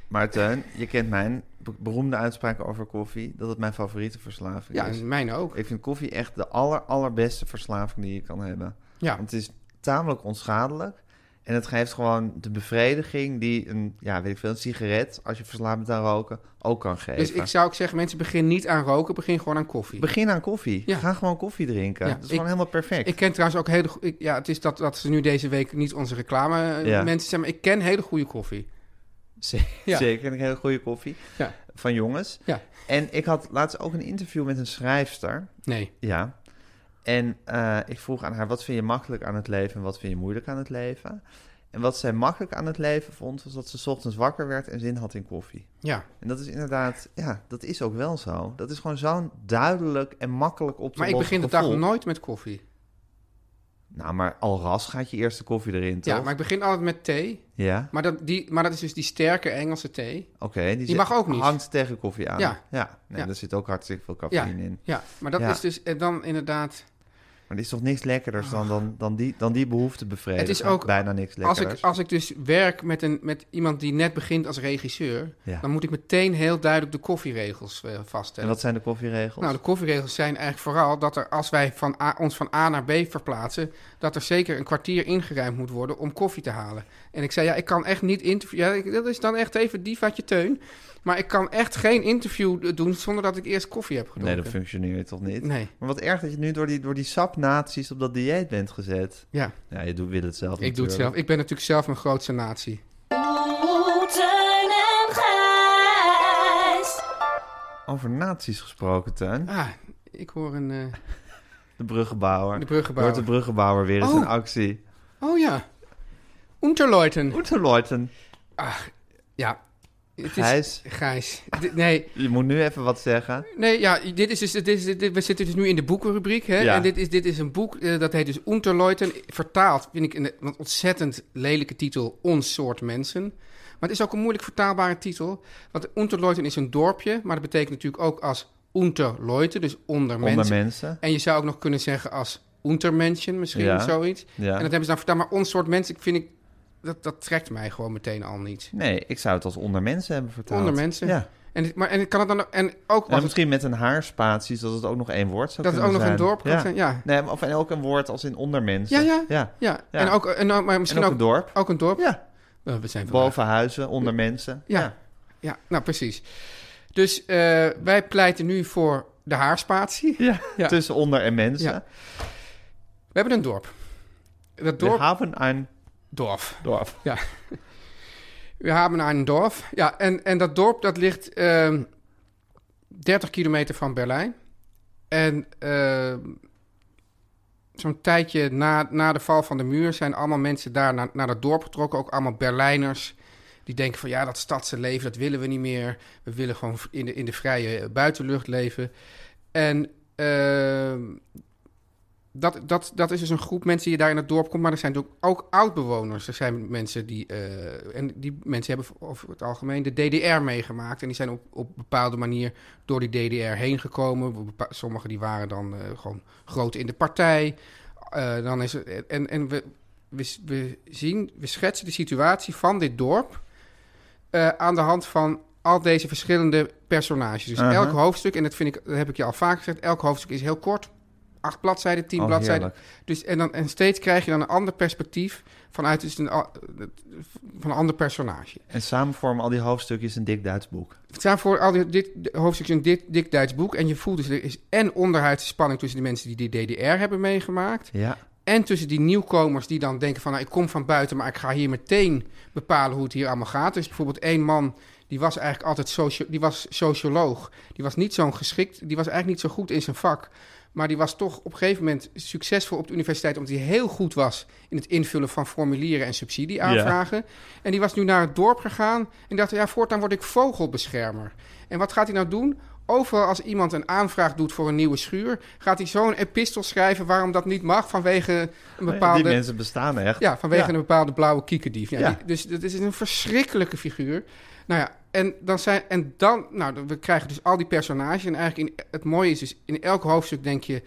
[SPEAKER 2] Maar Teun, je kent mijn be- beroemde uitspraak over koffie... dat het mijn favoriete verslaving
[SPEAKER 3] Ja,
[SPEAKER 2] is.
[SPEAKER 3] en mijn ook.
[SPEAKER 2] Ik vind koffie echt de aller, allerbeste verslaving die je kan hebben.
[SPEAKER 3] Ja.
[SPEAKER 2] Want het is tamelijk onschadelijk. En het geeft gewoon de bevrediging die een, ja, weet ik veel, een sigaret... als je verslaafd bent aan roken, ook kan geven.
[SPEAKER 3] Dus ik zou ook zeggen, mensen begin niet aan roken, begin gewoon aan koffie.
[SPEAKER 2] Begin aan koffie.
[SPEAKER 3] Ja.
[SPEAKER 2] Ga gewoon koffie drinken.
[SPEAKER 3] Ja,
[SPEAKER 2] dat is
[SPEAKER 3] ik-
[SPEAKER 2] gewoon helemaal perfect.
[SPEAKER 3] Ik
[SPEAKER 2] *laughs*
[SPEAKER 3] ken trouwens ook hele goede... Ja, het is dat, dat ze nu deze week niet onze reclame eh,
[SPEAKER 2] Ja.
[SPEAKER 3] mensen zijn, maar ik ken hele goede koffie.
[SPEAKER 2] Zeker,
[SPEAKER 3] *laughs* Ja.
[SPEAKER 2] zeker een hele goede koffie
[SPEAKER 3] Ja.
[SPEAKER 2] van jongens.
[SPEAKER 3] Ja.
[SPEAKER 2] En ik had laatst ook een interview met een schrijfster.
[SPEAKER 3] Nee.
[SPEAKER 2] Ja. En eh, ik vroeg aan haar, wat vind je makkelijk aan het leven en wat vind je moeilijk aan het leven? En wat zij makkelijk aan het leven vond, was dat ze 's ochtends wakker werd en zin had in koffie.
[SPEAKER 3] Ja.
[SPEAKER 2] En dat is inderdaad, ja, dat is ook wel zo. Dat is gewoon zo'n duidelijk en makkelijk op te
[SPEAKER 3] Maar ik
[SPEAKER 2] lossen
[SPEAKER 3] begin de dag
[SPEAKER 2] gevoel.
[SPEAKER 3] nooit met koffie.
[SPEAKER 2] Nou, maar al ras gaat je eerste koffie erin, toch?
[SPEAKER 3] Ja, maar ik begin altijd met thee.
[SPEAKER 2] Ja,
[SPEAKER 3] Maar dat, die, maar dat is dus die sterke Engelse thee.
[SPEAKER 2] oké. die zit-
[SPEAKER 3] mag ook niet.
[SPEAKER 2] Hangt tegen koffie aan.
[SPEAKER 3] Ja.
[SPEAKER 2] ja. Nee,
[SPEAKER 3] Ja.
[SPEAKER 2] daar zit ook hartstikke veel
[SPEAKER 3] Ja,
[SPEAKER 2] cafeïne in.
[SPEAKER 3] ja, maar dat
[SPEAKER 2] Ja.
[SPEAKER 3] is dus eh, dan inderdaad...
[SPEAKER 2] Maar er is toch niks lekkerders dan, dan, dan, die, dan die behoefte bevredigen?
[SPEAKER 3] Oh. Het is ook-
[SPEAKER 2] Bijna niks
[SPEAKER 3] Als
[SPEAKER 2] lekkerders.
[SPEAKER 3] ik, als ik dus werk met, een, met iemand die net begint als regisseur...
[SPEAKER 2] Ja.
[SPEAKER 3] dan moet ik meteen heel duidelijk de koffieregels eh,
[SPEAKER 2] En
[SPEAKER 3] vaststellen.
[SPEAKER 2] wat zijn de koffieregels?
[SPEAKER 3] Nou, de koffieregels zijn eigenlijk vooral dat er als wij van A- ons van A naar B verplaatsen, dat er zeker een kwartier ingeruimd moet worden om koffie te halen. En ik zei, ja, ik kan echt niet interviewen. Ja, ik- dat is dan echt even divaatje teun. Maar ik kan echt geen interview eh, doen zonder dat ik eerst koffie heb
[SPEAKER 2] nee,
[SPEAKER 3] gedronken.
[SPEAKER 2] dat functioneert toch niet?
[SPEAKER 3] Nee.
[SPEAKER 2] Maar wat erg dat je nu door die, door die sapnaties op dat dieet bent gezet.
[SPEAKER 3] Ja,
[SPEAKER 2] Ja, je doet, wil het zelf
[SPEAKER 3] ik doe het zelf.
[SPEAKER 2] natuurlijk.
[SPEAKER 3] Ik ben natuurlijk zelf mijn grootste natie.
[SPEAKER 6] Oeh, Teun en Gijs.
[SPEAKER 2] Over naties gesproken, Tuin.
[SPEAKER 3] Ah, ik hoor een... eh,
[SPEAKER 2] De bruggenbouwer.
[SPEAKER 3] De bruggenbouwer.
[SPEAKER 2] Wordt de bruggenbouwer weer eens
[SPEAKER 3] Oh.
[SPEAKER 2] in actie.
[SPEAKER 3] Oh ja, Unterleuten.
[SPEAKER 2] Oeterleuten.
[SPEAKER 3] Ja, het is...
[SPEAKER 2] Gijs,
[SPEAKER 3] Gijs. Dit- Nee,
[SPEAKER 2] je moet nu even wat zeggen.
[SPEAKER 3] nee, ja, dit is dus, dit is, dit- dit- we zitten dus nu in de boekenrubriek. Hè?
[SPEAKER 2] Ja.
[SPEAKER 3] En dit is, dit is een boek, eh, dat heet dus Unterleuten. Vertaald vind ik een, een ontzettend lelijke titel, Ons soort mensen. Maar het is ook een moeilijk vertaalbare titel. Want Unterleuten is een dorpje, maar dat betekent natuurlijk ook als Unterleuten, dus onder mensen.
[SPEAKER 2] Onder mensen.
[SPEAKER 3] En je zou ook nog kunnen zeggen als Untermenschen misschien,
[SPEAKER 2] Ja.
[SPEAKER 3] zoiets.
[SPEAKER 2] Ja.
[SPEAKER 3] En dat hebben ze dan vertaald. Maar ons soort mensen, ik vind ik, dat, dat trekt mij gewoon meteen al niet.
[SPEAKER 2] Nee, ik zou het als onder mensen hebben vertaald.
[SPEAKER 3] Onder mensen.
[SPEAKER 2] Ja.
[SPEAKER 3] En, het- maar, en het kan het dan ook- en ook
[SPEAKER 2] En
[SPEAKER 3] wat
[SPEAKER 2] misschien met een haarspatie, zodat het ook nog één woord zou
[SPEAKER 3] Dat het
[SPEAKER 2] kunnen
[SPEAKER 3] ook nog
[SPEAKER 2] zijn.
[SPEAKER 3] een dorp kan
[SPEAKER 2] ja.
[SPEAKER 3] zijn, ja.
[SPEAKER 2] Nee, maar of en ook een woord als in ondermens.
[SPEAKER 3] Ja, ja.
[SPEAKER 2] ja.
[SPEAKER 3] Ja,
[SPEAKER 2] Ja.
[SPEAKER 3] en ook, en, ook- maar
[SPEAKER 2] En
[SPEAKER 3] misschien
[SPEAKER 2] ook
[SPEAKER 3] ook,
[SPEAKER 2] een dorp.
[SPEAKER 3] ook een dorp.
[SPEAKER 2] Ja,
[SPEAKER 3] Eh, we zijn vandaag-
[SPEAKER 2] boven huizen, onder mensen.
[SPEAKER 3] Ja. Ja. nou precies. Dus eh, wij pleiten nu voor de haarspatie.
[SPEAKER 2] Ja.
[SPEAKER 3] Ja.
[SPEAKER 2] tussen onder en mensen.
[SPEAKER 3] Ja. We hebben een dorp. Dat
[SPEAKER 2] We
[SPEAKER 3] dorp...
[SPEAKER 2] hebben een
[SPEAKER 3] dorp.
[SPEAKER 2] dorp.
[SPEAKER 3] Ja. We hebben een dorp. Ja, en, en dat dorp dat ligt ehm 30 kilometer van Berlijn. En ehm, zo'n tijdje na, na de val van de muur zijn allemaal mensen daar naar, naar dat dorp getrokken. Ook allemaal Berlijners. Die denken van ja, dat stadse leven, dat willen we niet meer. We willen gewoon in de, in de vrije eh, buitenlucht leven. En ehm, dat, dat, dat is dus een groep mensen die daar in het dorp komt. Maar er zijn natuurlijk ook oud-bewoners. Er zijn mensen die... eh, en die mensen hebben over het algemeen de DDR meegemaakt. En die zijn op, op bepaalde manier door die DDR heen gekomen. Bepa- Sommigen die waren dan eh, gewoon groot in de partij. Eh, dan is er, en en we, we, we zien, we schetsen de situatie van dit dorp... eh, aan de hand van al deze verschillende personages. Dus
[SPEAKER 2] Aha.
[SPEAKER 3] elk hoofdstuk, en dat, vind ik, dat heb ik je al vaak gezegd... elk hoofdstuk is heel kort. Acht bladzijden, tien
[SPEAKER 2] Oh,
[SPEAKER 3] bladzijden.
[SPEAKER 2] heerlijk.
[SPEAKER 3] Dus, en, dan, en steeds krijg je dan een ander perspectief... vanuit dus een, a- van een ander personage.
[SPEAKER 2] En samen vormen al die hoofdstukjes een dik Duits boek.
[SPEAKER 3] Het zijn voor al die- dit hoofdstuk een dik, dik Duits boek. En je voelt dus er is en onderhuidse spanning tussen de mensen die die DDR hebben meegemaakt.
[SPEAKER 2] Ja.
[SPEAKER 3] En tussen die nieuwkomers die dan denken van nou, ik kom van buiten, maar ik ga hier meteen bepalen hoe het hier allemaal gaat. Er is bijvoorbeeld één man, die was eigenlijk altijd socio die was socioloog. Die was niet zo'n geschikt, die was eigenlijk niet zo goed in zijn vak. Maar die was toch op een gegeven moment succesvol op de universiteit, omdat hij heel goed was in het invullen van formulieren en subsidieaanvragen. En die was nu naar het dorp gegaan en dacht, ja, voortaan word ik vogelbeschermer. En wat gaat hij nou doen? Overal als iemand een aanvraag doet voor een nieuwe schuur, gaat hij zo'n epistel schrijven waarom dat niet mag vanwege een bepaalde.
[SPEAKER 2] Die mensen bestaan echt.
[SPEAKER 3] Ja, vanwege
[SPEAKER 2] Ja.
[SPEAKER 3] een bepaalde blauwe kiekendief. Ja,
[SPEAKER 2] Ja.
[SPEAKER 3] die- dus dat is een verschrikkelijke figuur. Nou ja, en dan zijn. En dan. Nou, we krijgen dus al die personages. En eigenlijk in, het mooie is dus. In elk hoofdstuk denk je.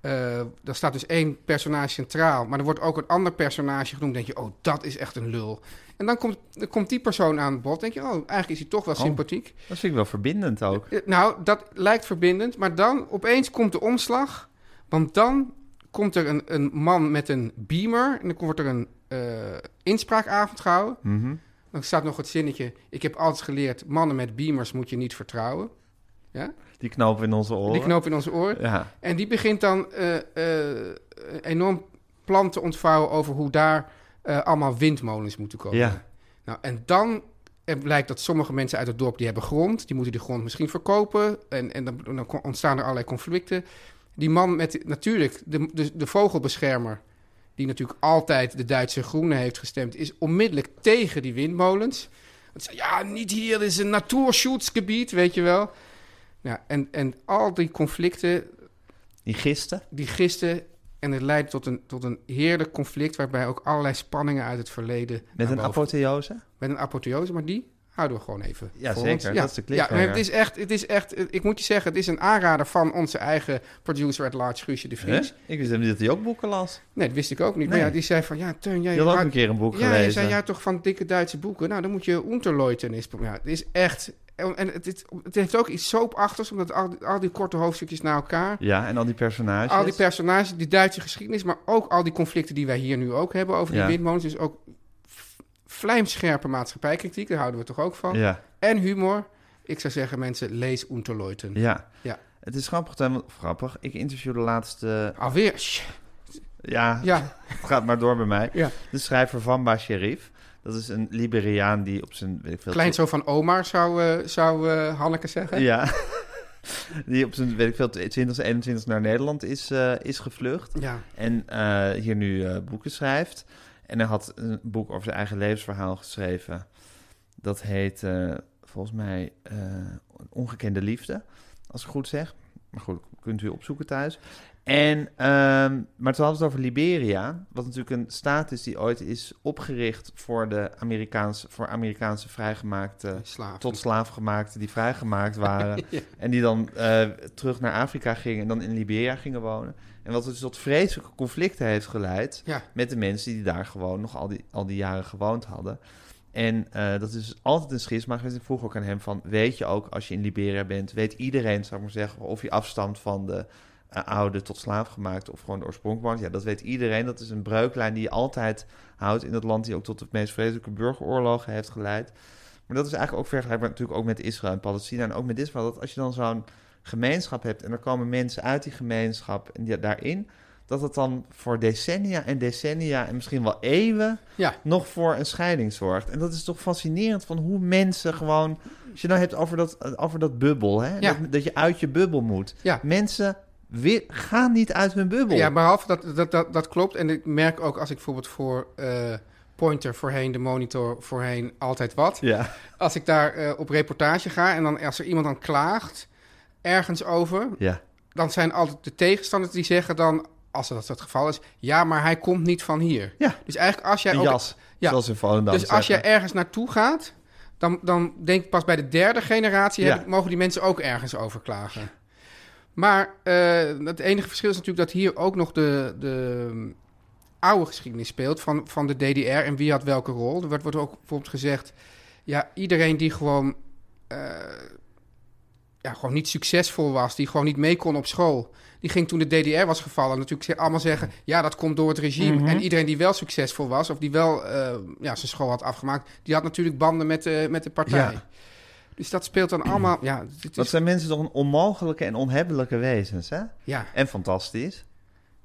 [SPEAKER 3] eh daar staat dus één personage centraal. Maar er wordt ook een ander personage genoemd. Denk je, oh, dat is echt een lul. En dan komt, dan komt die persoon aan het bod. Denk je, oh, eigenlijk is hij toch wel
[SPEAKER 2] Oh.
[SPEAKER 3] sympathiek.
[SPEAKER 2] Dat vind ik wel verbindend ook.
[SPEAKER 3] Eh, Nou, dat lijkt verbindend, maar dan opeens komt de omslag. Want dan komt er een, een man met een beamer en dan wordt er een eh, inspraakavond gehouden.
[SPEAKER 2] Mhm.
[SPEAKER 3] Dan staat nog het zinnetje, ik heb altijd geleerd, mannen met beamers moet je niet vertrouwen. Ja?
[SPEAKER 2] Die knopen in onze oren.
[SPEAKER 3] Die knoop in onze oren.
[SPEAKER 2] Ja.
[SPEAKER 3] En die begint dan eh, eh, een enorm plan te ontvouwen over hoe daar eh, allemaal windmolens moeten komen.
[SPEAKER 2] Ja.
[SPEAKER 3] Nou, en dan eh, blijkt dat sommige mensen uit het dorp die hebben grond, die moeten die grond misschien verkopen. En, en dan, dan kon- ontstaan er allerlei conflicten. Die man met, natuurlijk, de, de, de vogelbeschermer, die natuurlijk altijd de Duitse Groenen heeft gestemd, is onmiddellijk tegen die windmolens. Want ze- Ja, niet hier, dit is een natuurschutzgebied, weet je wel. Nou, en, en al die conflicten,
[SPEAKER 2] Die gisten.
[SPEAKER 3] die gisten. En het leidt tot een, tot een heerlijk conflict. waarbij ook allerlei spanningen uit het verleden.
[SPEAKER 2] Met
[SPEAKER 3] naar
[SPEAKER 2] een
[SPEAKER 3] boven-
[SPEAKER 2] apotheose.
[SPEAKER 3] met een apotheose, maar die houden we gewoon even.
[SPEAKER 2] Ja,
[SPEAKER 3] voor
[SPEAKER 2] zeker.
[SPEAKER 3] ons.
[SPEAKER 2] Dat is de
[SPEAKER 3] ja,
[SPEAKER 2] cliffhanger.
[SPEAKER 3] maar het is echt, het is echt, ik moet je zeggen, het is een aanrader van onze eigen producer at large, Guusje de
[SPEAKER 2] Hè?
[SPEAKER 3] Vries.
[SPEAKER 2] Ik wist hem niet dat hij ook boeken las.
[SPEAKER 3] Nee, dat wist ik ook niet. Maar
[SPEAKER 2] Nee.
[SPEAKER 3] ja, die zei van, ja, Teun, jij...
[SPEAKER 2] Je had ook
[SPEAKER 3] maar-
[SPEAKER 2] een keer een boek
[SPEAKER 3] ja, je
[SPEAKER 2] gelezen.
[SPEAKER 3] zei, ja, toch van dikke Duitse boeken. Nou, dan moet je Unterleuten eens... pro- Ja, het is echt... En en het, het, het heeft ook iets soapachtigs, omdat al, die- al die korte hoofdstukjes na elkaar...
[SPEAKER 2] Ja, en al die personages.
[SPEAKER 3] Al die personages, die Duitse geschiedenis, maar ook al die conflicten die wij hier nu ook hebben over
[SPEAKER 2] Ja.
[SPEAKER 3] die windmolens. Dus ook f- vlijmscherpe maatschappijkritiek, daar houden we toch ook van.
[SPEAKER 2] Ja,
[SPEAKER 3] En humor. Ik zou zeggen, mensen, lees Unterleuten.
[SPEAKER 2] ja.
[SPEAKER 3] Ja.
[SPEAKER 2] Het is grappig, Teun, want- of grappig. Ik interviewde laatst... eh,
[SPEAKER 3] Alweer. Sj.
[SPEAKER 2] ja,
[SPEAKER 3] Ja,
[SPEAKER 2] het gaat maar door bij mij.
[SPEAKER 3] Ja.
[SPEAKER 2] De schrijver Vamba Sherif. Dat is een Liberiaan die op zijn... Weet ik veel,
[SPEAKER 3] klein zo van Omar, zou, eh, zou eh, Hanneke zeggen.
[SPEAKER 2] Ja. *laughs* Die op zijn, weet ik veel, 20, 21 naar Nederland is, eh, is gevlucht.
[SPEAKER 3] Ja.
[SPEAKER 2] En eh, hier nu eh, boeken schrijft. En hij had een boek over zijn eigen levensverhaal geschreven. Dat heet eh, volgens mij eh, Ongekende Liefde, als ik goed zeg. Maar goed, kunt u opzoeken thuis. En, ehm, maar toen hadden we het over Liberia, wat natuurlijk een staat is die ooit is opgericht voor, de Amerikaanse, voor Amerikaanse vrijgemaakte,
[SPEAKER 3] Slaaf.
[SPEAKER 2] tot slaafgemaakten die vrijgemaakt waren.
[SPEAKER 3] *laughs* Ja.
[SPEAKER 2] En die dan eh, terug naar Afrika gingen en dan in Liberia gingen wonen. En wat dus tot vreselijke conflicten heeft geleid
[SPEAKER 3] Ja.
[SPEAKER 2] met de mensen die daar gewoon nog al die, al die jaren gewoond hadden. En eh, dat is altijd een schisma geweest. Ik vroeg ook aan hem van, weet je ook als je in Liberia bent, weet iedereen, zou ik maar zeggen, of je afstamt van de eh, oude tot slaafgemaakte of gewoon de oorspronkelijke. Ja, dat weet iedereen. Dat is een breuklijn die je altijd houdt in dat land die ook tot de meest vreselijke burgeroorlogen heeft geleid. Maar dat is eigenlijk ook vergelijkbaar natuurlijk ook met Israël en Palestina en ook met Israël. Dat als je dan zo'n gemeenschap hebt en er komen mensen uit die gemeenschap en die, daarin, dat het dan voor decennia en decennia en misschien wel eeuwen
[SPEAKER 3] Ja.
[SPEAKER 2] nog voor een scheiding zorgt. En dat is toch fascinerend van hoe mensen gewoon, als je nou hebt over dat, over dat bubbel, hè?
[SPEAKER 3] Ja.
[SPEAKER 2] Dat, dat je uit je bubbel moet.
[SPEAKER 3] Ja.
[SPEAKER 2] Mensen wi- gaan niet uit hun bubbel.
[SPEAKER 3] Ja, behalve dat, dat, dat, dat klopt. En ik merk ook als ik bijvoorbeeld voor eh, Pointer voorheen, de monitor voorheen, altijd wat.
[SPEAKER 2] ja.
[SPEAKER 3] Als ik daar eh, op reportage ga en dan als er iemand dan klaagt ergens over,
[SPEAKER 2] ja.
[SPEAKER 3] dan zijn altijd de tegenstanders die zeggen dan, als dat het geval is, ja, maar hij komt niet van hier.
[SPEAKER 2] Ja.
[SPEAKER 3] Dus eigenlijk als jij
[SPEAKER 2] Een
[SPEAKER 3] ook-
[SPEAKER 2] jas,
[SPEAKER 3] Ja.
[SPEAKER 2] zoals in Volendam
[SPEAKER 3] dus als je
[SPEAKER 2] zeggen.
[SPEAKER 3] ergens naartoe gaat, dan, dan denk ik pas bij de derde generatie heb
[SPEAKER 2] Ja.
[SPEAKER 3] ik- mogen die mensen ook ergens over klagen. Maar eh, het enige verschil is natuurlijk dat hier ook nog de, de mm, oude geschiedenis speelt van, van de DDR en wie had welke rol. Er wordt, wordt ook bijvoorbeeld gezegd, ja, iedereen die gewoon, eh, ja, gewoon niet succesvol was, die gewoon niet mee kon op school, die ging toen de DDR was gevallen natuurlijk ze- allemaal zeggen, ja, dat komt door het regime.
[SPEAKER 2] Mhm.
[SPEAKER 3] En iedereen die wel succesvol was of die wel eh, ja, zijn school had afgemaakt, die had natuurlijk banden met de, met de partij.
[SPEAKER 2] Ja.
[SPEAKER 3] Dus dat speelt dan allemaal, ja, het
[SPEAKER 2] Dat
[SPEAKER 3] is,
[SPEAKER 2] zijn mensen toch een onmogelijke en onhebbelijke wezens, hè?
[SPEAKER 3] ja.
[SPEAKER 2] En fantastisch,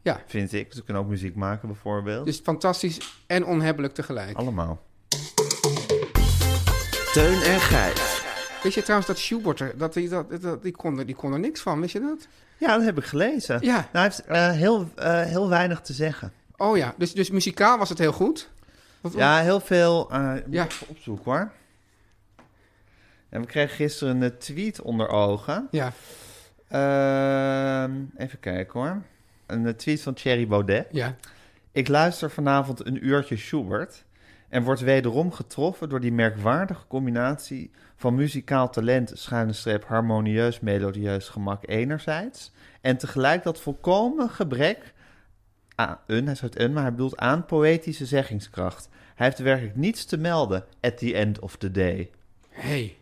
[SPEAKER 3] Ja,
[SPEAKER 2] vind ik. Ze kunnen ook muziek maken, bijvoorbeeld.
[SPEAKER 3] dus fantastisch en onhebbelijk tegelijk.
[SPEAKER 2] Allemaal.
[SPEAKER 4] Teun en Gijs.
[SPEAKER 3] Weet je trouwens dat Schubert, er- dat, die, dat, dat- die, kon, er- die kon er niks van, wist je dat?
[SPEAKER 2] Ja, dat heb ik gelezen.
[SPEAKER 3] Ja.
[SPEAKER 2] Nou, hij heeft eh, heel, eh, heel weinig te zeggen.
[SPEAKER 3] Oh ja, dus, dus muzikaal was het heel goed. Wat-
[SPEAKER 2] Ja, heel veel. eh moet
[SPEAKER 3] Ja.
[SPEAKER 2] ik even opzoeken hoor. En we kregen gisteren een tweet onder ogen.
[SPEAKER 3] Ja,
[SPEAKER 2] Ehm, even kijken hoor. Een tweet van Thierry Baudet.
[SPEAKER 3] ja.
[SPEAKER 2] Ik luister vanavond een uurtje Schubert en word wederom getroffen door die merkwaardige combinatie van muzikaal talent, schuine streep, harmonieus, melodieus gemak enerzijds en tegelijk dat volkomen gebrek aan, een, hij schrijft een, maar hij bedoelt aan poëtische zeggingskracht. Hij heeft werkelijk niets te melden at the end of the day.
[SPEAKER 3] Hey.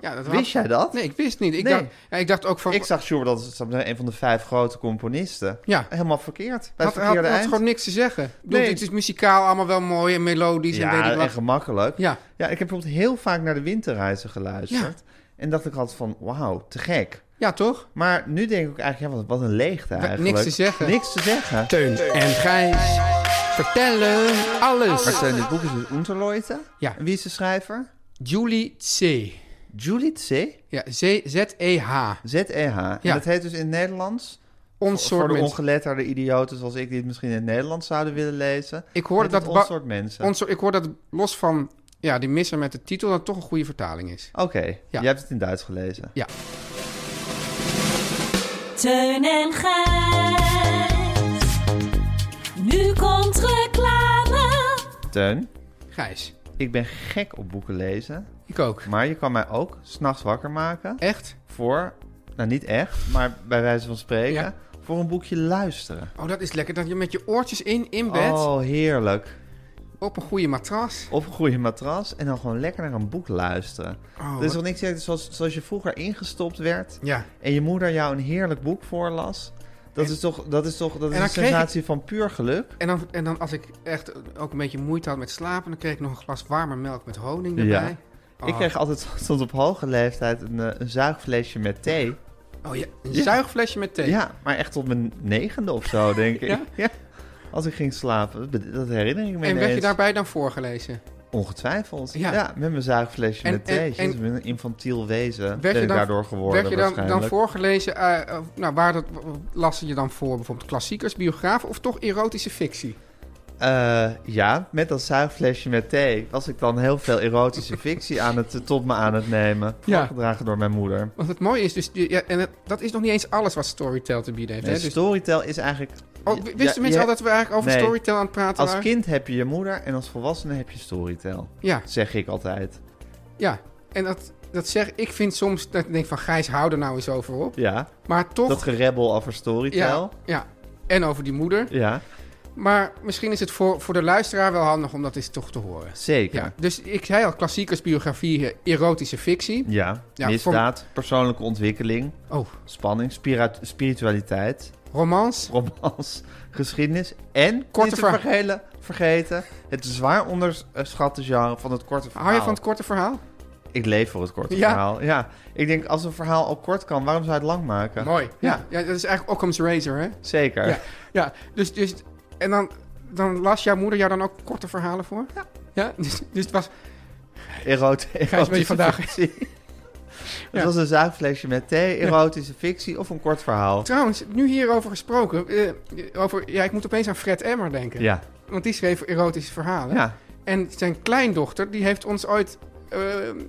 [SPEAKER 3] Ja, dat
[SPEAKER 2] Wist jij dat?
[SPEAKER 3] Nee, ik wist niet. Ik,
[SPEAKER 2] Nee.
[SPEAKER 3] dacht, ja, ik dacht ook van...
[SPEAKER 2] Ik zag Schubert als zou ik maar zeggen, een van de vijf grote componisten.
[SPEAKER 3] Ja.
[SPEAKER 2] Helemaal verkeerd. Bij
[SPEAKER 3] had,
[SPEAKER 2] het
[SPEAKER 3] had,
[SPEAKER 2] verkeerde
[SPEAKER 3] had
[SPEAKER 2] eind.
[SPEAKER 3] gewoon niks te zeggen. Ik bedoel,
[SPEAKER 2] Nee.
[SPEAKER 3] Het is muzikaal allemaal wel mooi en melodisch en Dus weet
[SPEAKER 2] Ja,
[SPEAKER 3] ik wat.
[SPEAKER 2] en gemakkelijk.
[SPEAKER 3] Ja,
[SPEAKER 2] Ja, ik heb bijvoorbeeld heel vaak naar de winterreizen geluisterd. En dacht ik altijd van, wauw, te gek.
[SPEAKER 3] ja toch?
[SPEAKER 2] Maar nu denk ik ook eigenlijk, ja, wat, wat een leegte eigenlijk.
[SPEAKER 3] niks te zeggen.
[SPEAKER 2] Niks te zeggen.
[SPEAKER 3] Teun en Gijs vertellen alles.
[SPEAKER 2] Maar Teun, dit boek is dus Unterleute.
[SPEAKER 3] Ja.
[SPEAKER 2] En wie is de schrijver?
[SPEAKER 3] Julie C.
[SPEAKER 2] Julie C.
[SPEAKER 3] Ja, Z- Z-E-H.
[SPEAKER 2] Z-E-H. En
[SPEAKER 3] Ja.
[SPEAKER 2] dat heet dus in het Nederlands...
[SPEAKER 3] Ons
[SPEAKER 2] voor
[SPEAKER 3] soort
[SPEAKER 2] de
[SPEAKER 3] mensen.
[SPEAKER 2] ongeletterde idioten zoals ik... die het misschien in het Nederlands zouden willen lezen.
[SPEAKER 3] Ik hoorde
[SPEAKER 2] heet
[SPEAKER 3] dat...
[SPEAKER 2] het
[SPEAKER 3] ba-
[SPEAKER 2] Ons soort mensen.
[SPEAKER 3] ons soort- ik hoorde dat los van ja, die misser met de titel... dat het toch een goede vertaling is.
[SPEAKER 2] Oké,
[SPEAKER 3] Ja.
[SPEAKER 2] jij hebt het in Duits gelezen.
[SPEAKER 3] Ja.
[SPEAKER 6] Teun en Gijs. Nu komt reclame.
[SPEAKER 2] Teun,
[SPEAKER 3] Gijs,
[SPEAKER 2] ik ben gek op boeken lezen.
[SPEAKER 3] ik ook.
[SPEAKER 2] Maar je kan mij ook s'nachts wakker maken...
[SPEAKER 3] Echt?
[SPEAKER 2] voor, nou niet echt, maar bij wijze van spreken,
[SPEAKER 3] Ja.
[SPEAKER 2] voor een boekje luisteren.
[SPEAKER 3] Oh, dat is lekker. Dat je met je oortjes in, in bed,
[SPEAKER 2] Oh, heerlijk.
[SPEAKER 3] op een goede matras.
[SPEAKER 2] Op een goede matras en dan gewoon lekker naar een boek luisteren.
[SPEAKER 3] Oh,
[SPEAKER 2] Er is
[SPEAKER 3] wat-
[SPEAKER 2] toch niks zeggen, zoals, zoals je vroeger ingestopt werd
[SPEAKER 3] Ja.
[SPEAKER 2] en je moeder jou een heerlijk boek voorlas. Dat is toch, dat is toch dat is
[SPEAKER 3] dan
[SPEAKER 2] een
[SPEAKER 3] kreeg ik-
[SPEAKER 2] sensatie van puur geluk.
[SPEAKER 3] En dan, en dan als ik echt ook een beetje moeite had met slapen, dan kreeg ik nog een glas warme melk met honing erbij. Oh.
[SPEAKER 2] Ik kreeg altijd *laughs* tot op hoge leeftijd een, eh, een zuigflesje met thee.
[SPEAKER 3] Oh ja, een
[SPEAKER 2] Ja.
[SPEAKER 3] zuigflesje met thee.
[SPEAKER 2] Ja, maar echt tot mijn negende of zo,
[SPEAKER 3] *laughs*
[SPEAKER 2] denk ik.
[SPEAKER 3] Ja?
[SPEAKER 2] Ja. Als ik ging slapen, dat- dat herinner ik me
[SPEAKER 3] en werd je
[SPEAKER 2] ineens.
[SPEAKER 3] daarbij dan voorgelezen?
[SPEAKER 2] Ongetwijfeld. Ja,
[SPEAKER 3] Ja.
[SPEAKER 2] met mijn zuigflesje
[SPEAKER 3] En-
[SPEAKER 2] met
[SPEAKER 3] en-
[SPEAKER 2] thee.
[SPEAKER 3] en-
[SPEAKER 2] Jezus, Met een infantiel wezen
[SPEAKER 3] Werd
[SPEAKER 2] ben
[SPEAKER 3] je
[SPEAKER 2] ik
[SPEAKER 3] dan-
[SPEAKER 2] daardoor geworden
[SPEAKER 3] werd je dan, dan
[SPEAKER 2] waarschijnlijk.
[SPEAKER 3] voorgelezen, eh, eh, nou, waar dat, las je dan voor bijvoorbeeld klassiekers, biografen of toch erotische fictie?
[SPEAKER 2] eh, ja, met dat zuigflesje met thee was ik dan heel veel erotische
[SPEAKER 3] *laughs*
[SPEAKER 2] fictie aan het, eh, tot me aan het nemen.
[SPEAKER 3] Ja.
[SPEAKER 2] Gedragen door mijn moeder.
[SPEAKER 3] Want het mooie is dus, die- ja, en het- dat is nog niet eens alles wat Storytel te bieden heeft.
[SPEAKER 2] Nee,
[SPEAKER 3] hè? Dus,
[SPEAKER 2] Storytel is eigenlijk...
[SPEAKER 3] oh, w-
[SPEAKER 2] ja,
[SPEAKER 3] wisten
[SPEAKER 2] je-
[SPEAKER 3] mensen al dat we eigenlijk over
[SPEAKER 2] Nee.
[SPEAKER 3] Storytel aan het praten
[SPEAKER 2] Als
[SPEAKER 3] waren?
[SPEAKER 2] kind heb je je moeder en als volwassene heb je Storytel.
[SPEAKER 3] Ja,
[SPEAKER 2] Zeg ik altijd.
[SPEAKER 3] ja. En dat, dat zeg ik, vind soms, dat ik denk van Gijs, hou er nou eens over op.
[SPEAKER 2] Ja,
[SPEAKER 3] Maar toch,
[SPEAKER 2] dat gerebbel over
[SPEAKER 3] ja,
[SPEAKER 2] Storytel.
[SPEAKER 3] ja. En over die moeder.
[SPEAKER 2] ja.
[SPEAKER 3] Maar misschien is het voor, voor de luisteraar wel handig om dat eens toch te horen.
[SPEAKER 2] Zeker.
[SPEAKER 3] Ja,
[SPEAKER 2] Ja,
[SPEAKER 3] dus ik zei al, klassiekers, biografieën, erotische fictie. Ja,
[SPEAKER 2] misdaad, persoonlijke ontwikkeling,
[SPEAKER 3] Oh,
[SPEAKER 2] spanning, spira- spiritualiteit,
[SPEAKER 3] romans.
[SPEAKER 2] romans, geschiedenis en,
[SPEAKER 3] Korte
[SPEAKER 2] niet te
[SPEAKER 3] verha-
[SPEAKER 2] vergelen, vergeten, het zwaar onderschatte genre van het korte verhaal.
[SPEAKER 3] Hou je van het korte verhaal?
[SPEAKER 2] Ik leef voor het korte
[SPEAKER 3] Ja.
[SPEAKER 2] verhaal. Ja, ik denk als een verhaal al kort kan, waarom zou je het lang maken?
[SPEAKER 3] Mooi. Ja.
[SPEAKER 2] Ja.
[SPEAKER 3] ja, dat is eigenlijk Occam's Razor, hè?
[SPEAKER 2] Zeker.
[SPEAKER 3] Ja, ja dus, dus en dan, dan las jouw moeder jou dan ook korte verhalen voor? Ja. ja? *laughs* Dus, dus het was,
[SPEAKER 2] Erot- erotische
[SPEAKER 3] vandaag.
[SPEAKER 2] fictie.
[SPEAKER 3] *laughs* Ja.
[SPEAKER 2] Het was een zuigflesje met thee, erotische fictie of een kort verhaal.
[SPEAKER 3] trouwens, nu hierover gesproken, eh, over, ja, ik moet opeens aan Fred Emmer denken.
[SPEAKER 2] Ja,
[SPEAKER 3] Want die schreef erotische verhalen.
[SPEAKER 2] ja.
[SPEAKER 3] En zijn kleindochter, die heeft ons ooit, eh,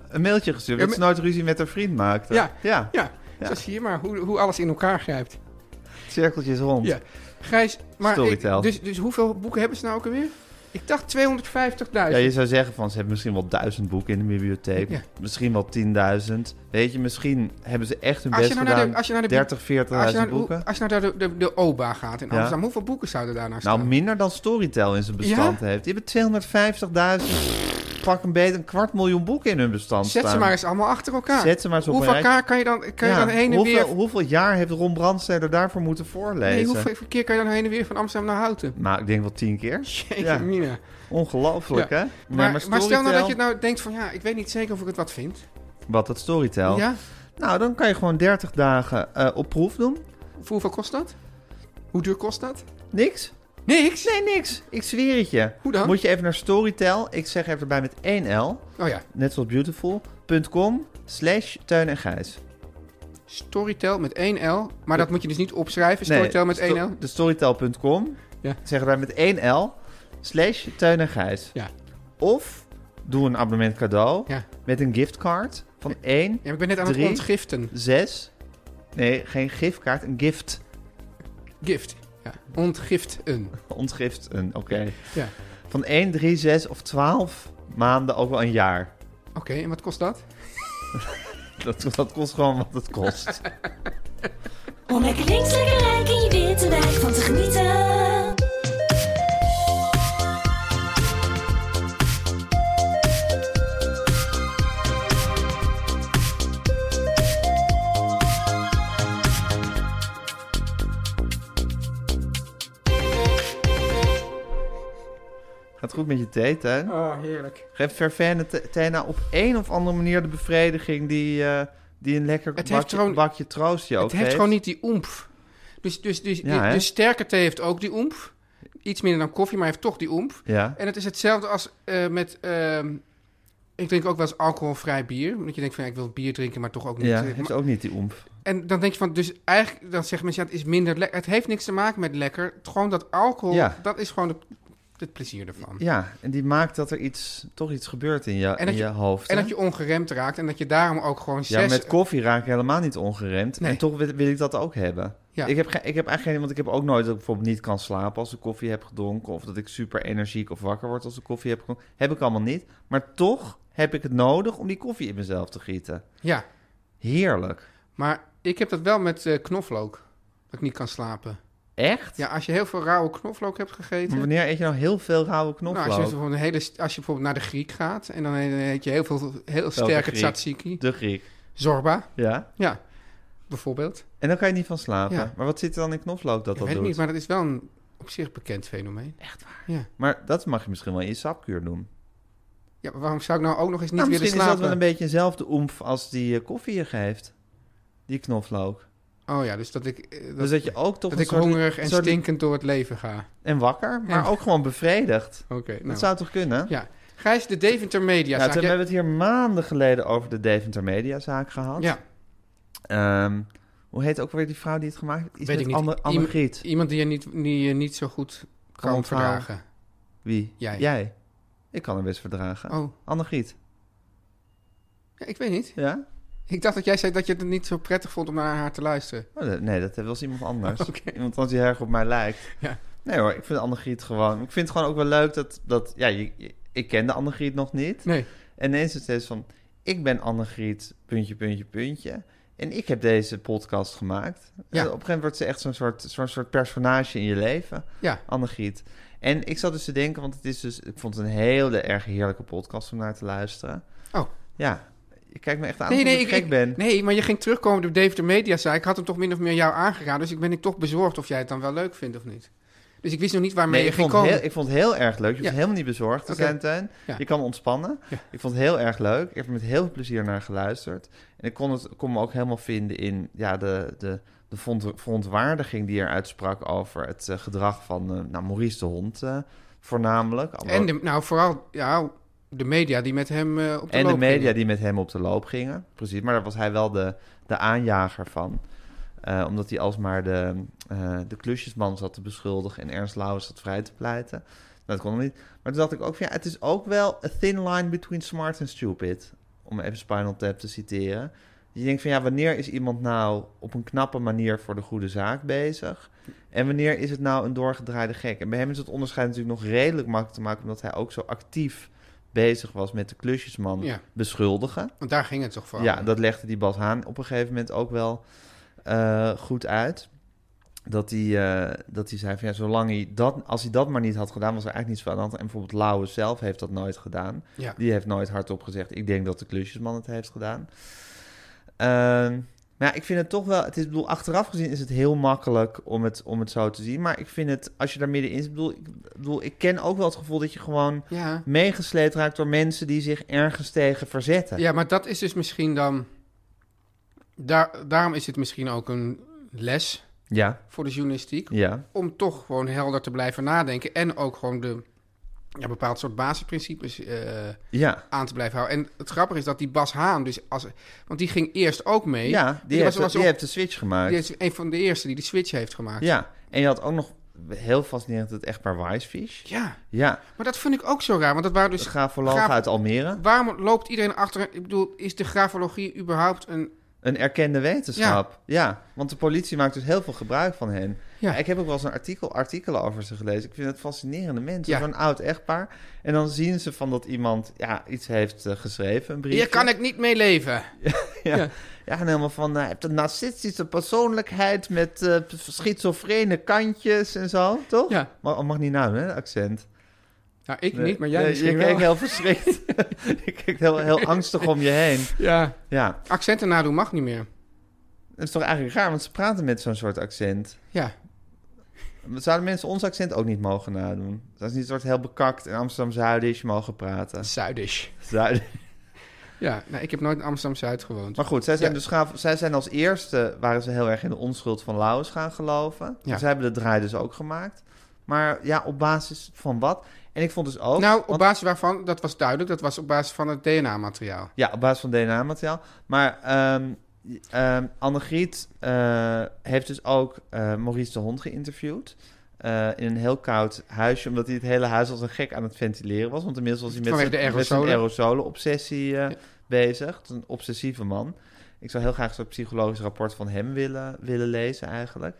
[SPEAKER 2] Een mailtje gestuurd
[SPEAKER 3] Ja,
[SPEAKER 2] dat ze nooit ruzie met haar vriend maakte.
[SPEAKER 3] Ja.
[SPEAKER 2] ja.
[SPEAKER 3] ja, zo zie je maar hoe, hoe alles in elkaar grijpt.
[SPEAKER 2] cirkeltjes rond.
[SPEAKER 3] Ja. Gijs, maar ik-
[SPEAKER 2] Storytel.
[SPEAKER 3] dus, dus hoeveel boeken hebben ze nou ook alweer? Ik dacht 250.000.
[SPEAKER 2] Ja, je zou zeggen van ze hebben misschien wel duizend boeken in de bibliotheek.
[SPEAKER 3] Ja.
[SPEAKER 2] Misschien wel 10.000. Weet je, misschien hebben ze echt hun
[SPEAKER 3] Als je
[SPEAKER 2] best
[SPEAKER 3] nou naar de-
[SPEAKER 2] gedaan.
[SPEAKER 3] als je naar de bi-
[SPEAKER 2] 30, 40.000
[SPEAKER 3] als, je naar,
[SPEAKER 2] boeken.
[SPEAKER 3] de- als je naar de, de, de OBA gaat in
[SPEAKER 2] Ja.
[SPEAKER 3] Amsterdam, hoeveel boeken zouden daar nou staan?
[SPEAKER 2] nou, minder dan Storytel in zijn bestand heeft. Die hebben 250.000, pak een beet, een kwart miljoen boeken in hun bestand
[SPEAKER 3] Zet
[SPEAKER 2] staan.
[SPEAKER 3] ze maar eens allemaal achter elkaar.
[SPEAKER 2] Zet ze maar eens op
[SPEAKER 3] hoeveel
[SPEAKER 2] een rijtje.
[SPEAKER 3] elkaar kan je dan, kan je
[SPEAKER 2] Ja,
[SPEAKER 3] dan heen en
[SPEAKER 2] hoeveel,
[SPEAKER 3] weer...
[SPEAKER 2] hoeveel jaar heeft Ron Brandsteder daarvoor moeten voorlezen?
[SPEAKER 3] Nee, hoeveel keer kan je dan heen en weer van Amsterdam naar Houten? *laughs*
[SPEAKER 2] Maar ik denk wel tien keer.
[SPEAKER 3] Jeetje
[SPEAKER 2] Ja.
[SPEAKER 3] mina.
[SPEAKER 2] Ongelooflijk,
[SPEAKER 3] Ja.
[SPEAKER 2] hè? Nee,
[SPEAKER 3] Maar, maar, stel nou dat
[SPEAKER 2] Storytel-
[SPEAKER 3] je het nou denkt van... Ja, ik weet niet zeker of ik het wat vind.
[SPEAKER 2] Wat, dat Storytel?
[SPEAKER 3] Ja?
[SPEAKER 2] Nou, dan kan je gewoon 30 dagen eh, op proef doen.
[SPEAKER 3] Voor hoeveel kost dat? Hoe duur kost dat?
[SPEAKER 2] Niks?
[SPEAKER 3] Niks?
[SPEAKER 2] Nee, niks. Ik zweer het je.
[SPEAKER 3] Hoe dan?
[SPEAKER 2] Moet je even naar Storytel. Ik zeg even erbij met 1L.
[SPEAKER 3] Oh ja,
[SPEAKER 2] Net zoals beautiful.com slash Teun en Gijs.
[SPEAKER 3] Storytel met 1L. Maar dat moet je dus niet opschrijven, Storytel met
[SPEAKER 2] sto-
[SPEAKER 3] 1L.
[SPEAKER 2] De Storytel.com.
[SPEAKER 3] Ja.
[SPEAKER 2] Zeg erbij met 1L slash Teun en Gijs.
[SPEAKER 3] Ja.
[SPEAKER 2] Of doe een abonnement cadeau
[SPEAKER 3] Ja.
[SPEAKER 2] met een giftcard van 1,
[SPEAKER 3] Ja, maar ik ben net aan het
[SPEAKER 2] Drie.
[SPEAKER 3] ontgiften.
[SPEAKER 2] 6... Nee, geen giftkaart, een gift.
[SPEAKER 3] Gift. Ja, ontgiften.
[SPEAKER 2] Ontgift een, oké.
[SPEAKER 3] Ja.
[SPEAKER 2] Van 1, 3, 6 of 12 maanden, ook wel een jaar.
[SPEAKER 3] Oké, en wat kost dat?
[SPEAKER 2] Dat, dat kost gewoon wat het
[SPEAKER 3] *laughs*
[SPEAKER 2] kost.
[SPEAKER 6] Om lekker links, lekker rijk in je witte wijk van te genieten.
[SPEAKER 2] Gaat goed met je thee, Tuin?
[SPEAKER 3] Oh, heerlijk.
[SPEAKER 2] Geeft Vervaine Tena op een of andere manier de bevrediging die, eh, die een lekker
[SPEAKER 3] Het heeft
[SPEAKER 2] bakje,
[SPEAKER 3] gewoon-
[SPEAKER 2] bakje troost je ook
[SPEAKER 3] Het heeft
[SPEAKER 2] geeft?
[SPEAKER 3] gewoon niet die oemf. Dus, dus, dus,
[SPEAKER 2] Ja,
[SPEAKER 3] dus,
[SPEAKER 2] hè?
[SPEAKER 3] dus sterke thee heeft ook die oemf. Iets minder dan koffie, maar heeft toch die oemf.
[SPEAKER 2] Ja,
[SPEAKER 3] En het is hetzelfde als eh, met... ehm, ik drink ook wel eens alcoholvrij bier. Omdat je denkt van, ja, ik wil bier drinken, maar toch ook niet.
[SPEAKER 2] ja
[SPEAKER 3] Eh,
[SPEAKER 2] heeft
[SPEAKER 3] maar-
[SPEAKER 2] ook niet die oemf.
[SPEAKER 3] En dan denk je van, dus eigenlijk... Dan zeggen mensen, ja, het is minder lekker. Het heeft niks te maken met lekker. Het- Gewoon dat alcohol,
[SPEAKER 2] Ja.
[SPEAKER 3] dat is gewoon de- het plezier ervan.
[SPEAKER 2] Ja, en die maakt dat er iets, toch iets gebeurt in je,
[SPEAKER 3] En
[SPEAKER 2] in
[SPEAKER 3] dat
[SPEAKER 2] je,
[SPEAKER 3] je-
[SPEAKER 2] hoofd.
[SPEAKER 3] En
[SPEAKER 2] hè?
[SPEAKER 3] dat je ongeremd raakt. En dat je daarom ook gewoon
[SPEAKER 2] ja,
[SPEAKER 3] zes...
[SPEAKER 2] met koffie raak ik helemaal niet ongeremd.
[SPEAKER 3] Nee.
[SPEAKER 2] En toch wil, wil ik dat ook hebben.
[SPEAKER 3] Ja.
[SPEAKER 2] Ik, heb ge- ik heb eigenlijk geen... Want ik heb ook nooit dat ik bijvoorbeeld niet kan slapen als ik koffie heb gedronken. Of dat ik super energiek of wakker word als ik koffie heb gedronken. Heb ik allemaal niet. Maar toch heb ik het nodig om die koffie in mezelf te gieten.
[SPEAKER 3] ja,
[SPEAKER 2] Heerlijk.
[SPEAKER 3] maar ik heb dat wel met eh, knoflook. Dat ik niet kan slapen.
[SPEAKER 2] Echt?
[SPEAKER 3] Ja, als je heel veel rauwe knoflook hebt gegeten.
[SPEAKER 2] Maar wanneer eet je nou heel veel rauwe knoflook?
[SPEAKER 3] Nou, als, je bijvoorbeeld een hele, st- als je bijvoorbeeld naar de Griek gaat en dan eet je heel veel heel sterke
[SPEAKER 2] Griek?
[SPEAKER 3] tzatziki.
[SPEAKER 2] De Griek.
[SPEAKER 3] Zorba,
[SPEAKER 2] Ja.
[SPEAKER 3] ja, bijvoorbeeld.
[SPEAKER 2] En dan kan je niet van slapen.
[SPEAKER 3] Ja.
[SPEAKER 2] Maar wat zit er dan in knoflook dat dat
[SPEAKER 3] ik weet
[SPEAKER 2] doet?
[SPEAKER 3] het niet, maar dat is wel een op zich bekend fenomeen. Echt waar? Ja,
[SPEAKER 2] Maar dat mag je misschien wel in je sapkuur doen.
[SPEAKER 3] ja maar waarom zou ik nou ook nog eens niet
[SPEAKER 2] Nou,
[SPEAKER 3] willen
[SPEAKER 2] misschien is dat
[SPEAKER 3] slapen?
[SPEAKER 2] wel een beetje dezelfde oemf als die eh, koffie je geeft. Die knoflook.
[SPEAKER 3] Oh ja, dus dat ik, eh, dat,
[SPEAKER 2] dus dat je ook toch
[SPEAKER 3] dat
[SPEAKER 2] een
[SPEAKER 3] ik
[SPEAKER 2] soort-
[SPEAKER 3] hongerig en
[SPEAKER 2] soort-
[SPEAKER 3] stinkend door het leven ga.
[SPEAKER 2] En wakker, maar
[SPEAKER 3] Ja.
[SPEAKER 2] ook gewoon bevredigd.
[SPEAKER 3] Oké, nou.
[SPEAKER 2] Dat zou toch kunnen?
[SPEAKER 3] Ja. Gijs, de Deventer Media.
[SPEAKER 2] Nou, toen hebben we het hier maanden geleden over de Deventer Mediazaak gehad.
[SPEAKER 3] ja,
[SPEAKER 2] Ehm, hoe heet ook weer die vrouw die het gemaakt heeft? Iets
[SPEAKER 3] weet ik
[SPEAKER 2] met
[SPEAKER 3] niet.
[SPEAKER 2] Anne, Anne
[SPEAKER 3] Iem-
[SPEAKER 2] Griet.
[SPEAKER 3] Iemand die je niet, die je niet zo goed kan
[SPEAKER 2] Onthouden.
[SPEAKER 3] verdragen.
[SPEAKER 2] Wie?
[SPEAKER 3] Jij.
[SPEAKER 2] Jij. Ik kan hem best verdragen.
[SPEAKER 3] Oh.
[SPEAKER 2] Annegriet.
[SPEAKER 3] Ja, ik weet niet.
[SPEAKER 2] Ja?
[SPEAKER 3] Ik dacht dat jij zei dat je het niet zo prettig vond om naar haar te luisteren.
[SPEAKER 2] Oh, dat- nee, dat was iemand anders.
[SPEAKER 3] *laughs* Oké.
[SPEAKER 2] Iemand anders die erg op mij lijkt.
[SPEAKER 3] Ja.
[SPEAKER 2] Nee hoor, ik vind Annegriet gewoon... Ik vind het gewoon ook wel leuk dat... dat ja, je, je- ik kende Annegriet nog niet.
[SPEAKER 3] Nee. Oh.
[SPEAKER 2] En ineens is het steeds van... Ik ben Annegriet, puntje, puntje, puntje. En ik heb deze podcast gemaakt. En op een gegeven moment wordt ze echt zo'n soort, zo'n soort personage in je leven.
[SPEAKER 3] Ja.
[SPEAKER 2] Annegriet. En ik zat dus te denken, want het is dus... Ik vond het een heel erg heerlijke podcast om naar te luisteren.
[SPEAKER 3] Oh.
[SPEAKER 2] Ja. Je kijkt me echt aan
[SPEAKER 3] Nee, nee,
[SPEAKER 2] ik
[SPEAKER 3] ik,
[SPEAKER 2] gek
[SPEAKER 3] ik-
[SPEAKER 2] ben.
[SPEAKER 3] nee, maar je ging terugkomen op Dave de Media zei. Ik had hem toch min of meer jou aangeraden. Dus ik ben ik toch bezorgd of jij het dan wel leuk vindt of niet. Dus ik wist nog niet waarmee
[SPEAKER 2] Nee, ik
[SPEAKER 3] je ging
[SPEAKER 2] vond,
[SPEAKER 3] komen.
[SPEAKER 2] heel, ik vond het heel erg leuk. Je hoeft
[SPEAKER 3] Ja.
[SPEAKER 2] helemaal niet bezorgd te
[SPEAKER 3] Oké.
[SPEAKER 2] zijn, Teun.
[SPEAKER 3] Ja.
[SPEAKER 2] Je kan ontspannen.
[SPEAKER 3] Ja.
[SPEAKER 2] Ik vond het heel erg leuk. Ik heb er met heel veel plezier naar geluisterd. En ik kon, het, kon me ook helemaal vinden in ja, de, de, de vond- verontwaardiging die er uitsprak over het eh, gedrag van eh, nou, Maurice de Hond eh, voornamelijk.
[SPEAKER 3] En de, nou, vooral ja, de media die met hem eh, op de
[SPEAKER 2] en de
[SPEAKER 3] loop gingen.
[SPEAKER 2] media die met hem op de loop gingen. Precies, maar daar was hij wel de, de aanjager van. Eh, omdat hij alsmaar de, eh, de klusjesman zat te beschuldigen... en Ernst Lauwers zat vrij te pleiten. Nou, dat kon hem niet. Maar toen dacht ik ook van... ja, het is ook wel a thin line between smart en stupid. Om even Spinal Tap te citeren. Je denkt van ja, wanneer is iemand nou op een knappe manier voor de goede zaak bezig? En wanneer is het nou een doorgedraaide gek? En bij hem is het onderscheid natuurlijk nog redelijk makkelijk te maken, omdat hij ook zo actief bezig was met de klusjesman
[SPEAKER 3] Ja.
[SPEAKER 2] beschuldigen.
[SPEAKER 3] Want daar ging het toch voor.
[SPEAKER 2] Ja, dat legde die Bas Haan op een gegeven moment ook wel eh, goed uit. Dat hij, eh, dat hij zei van ja, zolang hij dat, als hij dat maar niet had gedaan, was er eigenlijk niets van aan de hand. En bijvoorbeeld Lauwe zelf heeft dat nooit gedaan.
[SPEAKER 3] Ja.
[SPEAKER 2] Die heeft nooit hardop gezegd, ik denk dat de klusjesman het heeft gedaan. Ehm, maar ja, ik vind het toch wel, het is, ik bedoel, achteraf gezien is het heel makkelijk om het, om het zo te zien. Maar ik vind het, als je daar middenin zit, bedoel, ik, bedoel, ik ken ook wel het gevoel dat je gewoon
[SPEAKER 3] Ja.
[SPEAKER 2] meegesleept raakt door mensen die zich ergens tegen verzetten.
[SPEAKER 3] ja, maar dat is dus misschien dan... Daar, daarom is het misschien ook een les
[SPEAKER 2] Ja,
[SPEAKER 3] voor de journalistiek.
[SPEAKER 2] ja.
[SPEAKER 3] Om toch gewoon helder te blijven nadenken. En ook gewoon de ja, bepaald soort basisprincipes eh,
[SPEAKER 2] Ja,
[SPEAKER 3] aan te blijven houden. En het grappige is dat die Bas Haan, dus als, want die ging eerst ook mee.
[SPEAKER 2] ja die, heeft,
[SPEAKER 3] was, was
[SPEAKER 2] die
[SPEAKER 3] ook-
[SPEAKER 2] heeft de switch gemaakt.
[SPEAKER 3] die is een van de eerste die de switch heeft gemaakt.
[SPEAKER 2] Ja, en je had ook nog heel fascinerend het echtpaar Wisefish.
[SPEAKER 3] Ja,
[SPEAKER 2] Ja,
[SPEAKER 3] maar dat vind ik ook zo raar. Want dat waren
[SPEAKER 2] de
[SPEAKER 3] dus.
[SPEAKER 2] grafoloog
[SPEAKER 3] Graaf-
[SPEAKER 2] uit Almere.
[SPEAKER 3] Waarom loopt iedereen achter? Ik bedoel, is de grafologie überhaupt een.
[SPEAKER 2] Een erkende wetenschap. Ja. want de politie maakt dus heel veel gebruik van hen.
[SPEAKER 3] Ja.
[SPEAKER 2] Ik heb ook wel eens een artikel, artikelen over ze gelezen. Ik vind het fascinerende mensen.
[SPEAKER 3] Ja.
[SPEAKER 2] Zo'n oud echtpaar. En dan zien ze van dat iemand ja, iets heeft eh, geschreven, een brief.
[SPEAKER 3] Hier kan ik niet mee leven.
[SPEAKER 2] *laughs* Ja. ja. en helemaal van, eh, je hebt een narcistische persoonlijkheid met eh, schizofrene kantjes en zo, toch?
[SPEAKER 3] Ja.
[SPEAKER 2] Maar mag niet nou, hè, accent.
[SPEAKER 3] Nou, ik
[SPEAKER 2] Nee.
[SPEAKER 3] niet, maar jij
[SPEAKER 2] Nee,
[SPEAKER 3] misschien
[SPEAKER 2] Je kijkt
[SPEAKER 3] wel.
[SPEAKER 2] heel verschrikt. *laughs* je kijkt heel, heel angstig om je heen.
[SPEAKER 3] Ja.
[SPEAKER 2] Ja,
[SPEAKER 3] Accenten nadoen mag niet meer.
[SPEAKER 2] dat is toch eigenlijk raar, want ze praten met zo'n soort accent.
[SPEAKER 3] Ja.
[SPEAKER 2] Zouden mensen ons accent ook niet mogen nadoen? Dat is niet een soort heel bekakt en Amsterdam-Zuidisch mogen praten.
[SPEAKER 3] Zuidisch.
[SPEAKER 2] Zuid.
[SPEAKER 3] Ja, nou, ik heb nooit in Amsterdam-Zuid gewoond.
[SPEAKER 2] Maar goed, zij zijn,
[SPEAKER 3] Ja.
[SPEAKER 2] dus gaaf, zij zijn als eerste, waren ze heel erg in de onschuld van Laus gaan geloven.
[SPEAKER 3] Ja.
[SPEAKER 2] Zij hebben de draai dus ook gemaakt. Maar ja, op basis van wat? En ik vond dus ook...
[SPEAKER 3] nou, op
[SPEAKER 2] want-
[SPEAKER 3] basis waarvan, dat was duidelijk, dat was op basis van het DNA-materiaal.
[SPEAKER 2] Ja, op basis van DNA-materiaal. Maar ehm ehm, Annegriet eh, heeft dus ook eh, Maurice de Hond geïnterviewd. eh, in een heel koud huisje, omdat hij het hele huis als een gek aan het ventileren was. Want inmiddels was hij met
[SPEAKER 3] Vanwege
[SPEAKER 2] zijn-
[SPEAKER 3] de
[SPEAKER 2] met zijn
[SPEAKER 3] aerosolen.
[SPEAKER 2] aerosolen-obsessie eh,
[SPEAKER 3] Ja.
[SPEAKER 2] bezig. Het is een obsessieve man. Ik zou heel graag zo'n psychologisch rapport van hem willen, willen lezen eigenlijk.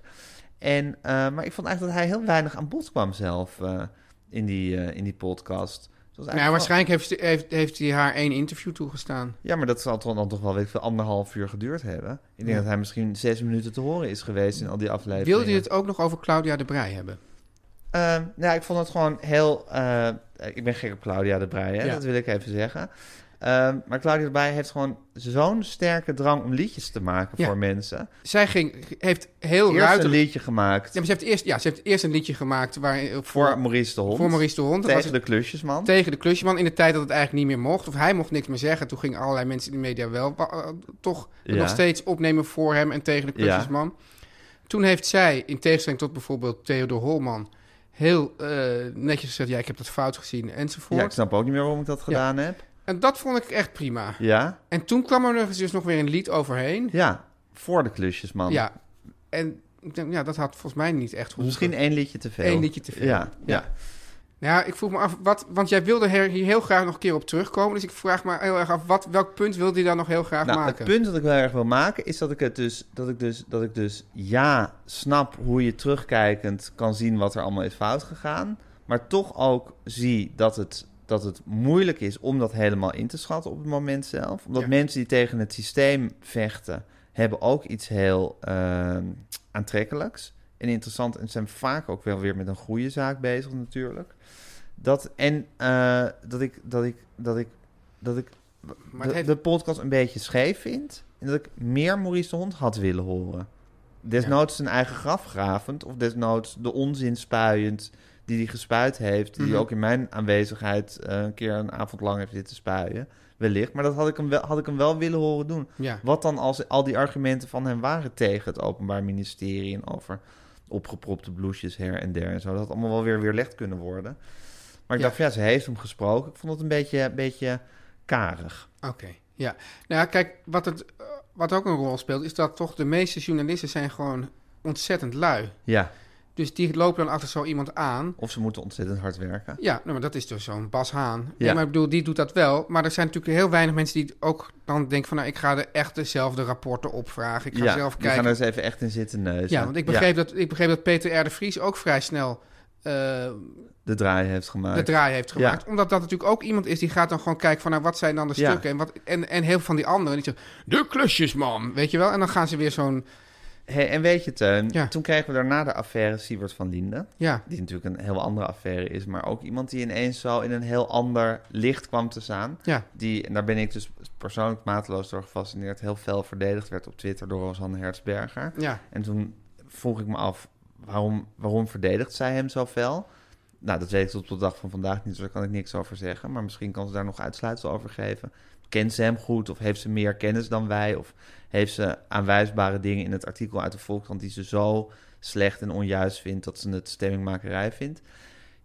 [SPEAKER 2] En, eh, maar ik vond eigenlijk dat hij heel weinig aan bod kwam zelf eh, in, die, eh, in die podcast. Het was eigenlijk
[SPEAKER 3] Nou,
[SPEAKER 2] gewoon-
[SPEAKER 3] waarschijnlijk heeft, ze- heeft, heeft hij haar één interview toegestaan.
[SPEAKER 2] ja, maar dat zal toch dan toch wel weet ik veel, anderhalf uur geduurd hebben. Ik denk
[SPEAKER 3] Ja.
[SPEAKER 2] dat hij misschien zes minuten te horen is geweest in al die afleveringen.
[SPEAKER 3] Wilde je het ook nog over Claudia de Brij hebben?
[SPEAKER 2] Ehm, nou, ik vond het gewoon heel... eh, ik ben gek op Claudia de Brij, hè?
[SPEAKER 3] Ja.
[SPEAKER 2] dat wil ik even zeggen. Ehm, maar Claudia de Brij heeft gewoon zo'n sterke drang om liedjes te maken
[SPEAKER 3] Ja.
[SPEAKER 2] voor mensen.
[SPEAKER 3] Zij ging, heeft heel
[SPEAKER 2] Eerst een
[SPEAKER 3] ruiterlijk...
[SPEAKER 2] liedje gemaakt
[SPEAKER 3] Ja, maar ze, heeft eerst, ja, ze heeft eerst een liedje gemaakt waar, voor,
[SPEAKER 2] voor Maurice de Hond.
[SPEAKER 3] voor Maurice de Hond. Dat
[SPEAKER 2] Tegen
[SPEAKER 3] was
[SPEAKER 2] de klusjesman.
[SPEAKER 3] tegen de klusjeman in de tijd dat het eigenlijk niet meer mocht. Of hij mocht niks meer zeggen. Toen gingen allerlei mensen in de media wel wa- eh, toch het
[SPEAKER 2] Ja.
[SPEAKER 3] nog steeds opnemen voor hem en tegen de
[SPEAKER 2] Ja.
[SPEAKER 3] klusjesman. Toen heeft zij, in tegenstelling tot bijvoorbeeld Theodor Holman, heel eh, netjes gezegd: Ja, ik heb dat fout gezien enzovoort.
[SPEAKER 2] Ja, ik snap ook niet meer waarom ik dat gedaan heb.
[SPEAKER 3] En dat vond ik echt prima.
[SPEAKER 2] Ja,
[SPEAKER 3] En toen kwam er nog eens dus nog weer een lied overheen.
[SPEAKER 2] ja, voor de klusjesman.
[SPEAKER 3] Ja, en ik denk, ja, dat had volgens mij niet echt
[SPEAKER 2] Misschien
[SPEAKER 3] één,
[SPEAKER 2] één liedje te veel.
[SPEAKER 3] liedje te veel.
[SPEAKER 2] Ja, ja.
[SPEAKER 3] Ja, ik vroeg me af, wat, want jij wilde her- hier heel graag nog een keer op terugkomen. Dus ik vraag me heel erg af, wat, welk punt wilde je dan nog heel graag
[SPEAKER 2] Nou,
[SPEAKER 3] maken?
[SPEAKER 2] Het punt dat ik wel erg wil maken is dat ik het dus dat ik dus dat ik dus ja snap hoe je terugkijkend kan zien wat er allemaal is fout gegaan, maar toch ook zie dat het dat het moeilijk is om dat helemaal in te schatten op het moment zelf, omdat
[SPEAKER 3] Ja.
[SPEAKER 2] mensen die tegen het systeem vechten hebben ook iets heel ehm, aantrekkelijks en interessant en zijn vaak ook wel weer met een goede zaak bezig natuurlijk. Dat en eh, dat ik dat ik dat ik dat ik
[SPEAKER 3] Maar
[SPEAKER 2] de,
[SPEAKER 3] het heeft-
[SPEAKER 2] de podcast een beetje scheef vind. En dat ik meer Maurice de Hond had willen horen. Desnoods zijn eigen graf gravend. Of desnoods de onzin spuiend die hij gespuit heeft. Die
[SPEAKER 3] Mhm.
[SPEAKER 2] hij ook in mijn aanwezigheid eh, een keer een avond lang heeft zitten spuien. Wellicht. Maar dat had ik hem wel, had ik hem wel willen horen doen.
[SPEAKER 3] Ja.
[SPEAKER 2] Wat dan als al die argumenten van hem waren tegen het Openbaar Ministerie en over opgepropte blouses her en der en zo. Dat had allemaal wel weer weerlegd kunnen worden. Maar ik
[SPEAKER 3] Ja.
[SPEAKER 2] dacht, van, ja, ze heeft hem gesproken. Ik vond het een beetje, een beetje karig.
[SPEAKER 3] Oké, ja. Nou ja, kijk, wat, het, eh, wat ook een rol speelt... is dat toch de meeste journalisten zijn gewoon ontzettend lui.
[SPEAKER 2] Ja,
[SPEAKER 3] Dus die lopen dan achter zo iemand aan...
[SPEAKER 2] of ze moeten ontzettend hard werken.
[SPEAKER 3] Ja, nou, maar dat is dus zo'n Bas Haan.
[SPEAKER 2] Ja.
[SPEAKER 3] Ja. maar ik bedoel, die doet dat wel. Maar er zijn natuurlijk heel weinig mensen die ook dan denken van... nou, ik ga er echt dezelfde rapporten opvragen. Ik ga
[SPEAKER 2] ja,
[SPEAKER 3] zelf
[SPEAKER 2] we gaan
[SPEAKER 3] kijken.
[SPEAKER 2] er eens even echt in zitten neuzen.
[SPEAKER 3] Ja, want ik begreep, Dat, ik begreep dat Peter R. de Vries ook vrij snel... eh,
[SPEAKER 2] de draai heeft gemaakt.
[SPEAKER 3] de draai heeft gemaakt. Omdat dat natuurlijk ook iemand is die gaat dan gewoon kijken van... nou, wat zijn dan de
[SPEAKER 2] Ja.
[SPEAKER 3] stukken? En, wat, en, en heel veel van die anderen. Die zeggen, de klusjesman, weet je wel? En dan gaan ze weer zo'n...
[SPEAKER 2] Hey, en weet je, Teun,
[SPEAKER 3] Ja.
[SPEAKER 2] toen kregen we daarna de affaire Siebert van Linden.
[SPEAKER 3] Ja,
[SPEAKER 2] Die natuurlijk een heel andere affaire is, maar ook iemand die ineens zo in een heel ander licht kwam te staan.
[SPEAKER 3] ja,
[SPEAKER 2] Die, en daar ben ik dus persoonlijk mateloos door gefascineerd, heel fel verdedigd werd op Twitter door Rosanne Hertzberger.
[SPEAKER 3] ja.
[SPEAKER 2] En toen vroeg ik me af, waarom, waarom verdedigt zij hem zo fel? Nou, dat weet ik tot op de dag van vandaag niet, dus daar kan ik niks over zeggen. Maar misschien kan ze daar nog uitsluitsel over geven. Kent ze hem goed of heeft ze meer kennis dan wij? Of heeft ze aanwijsbare dingen in het artikel uit de Volkskrant... die ze zo slecht en onjuist vindt dat ze het stemmingmakerij vindt?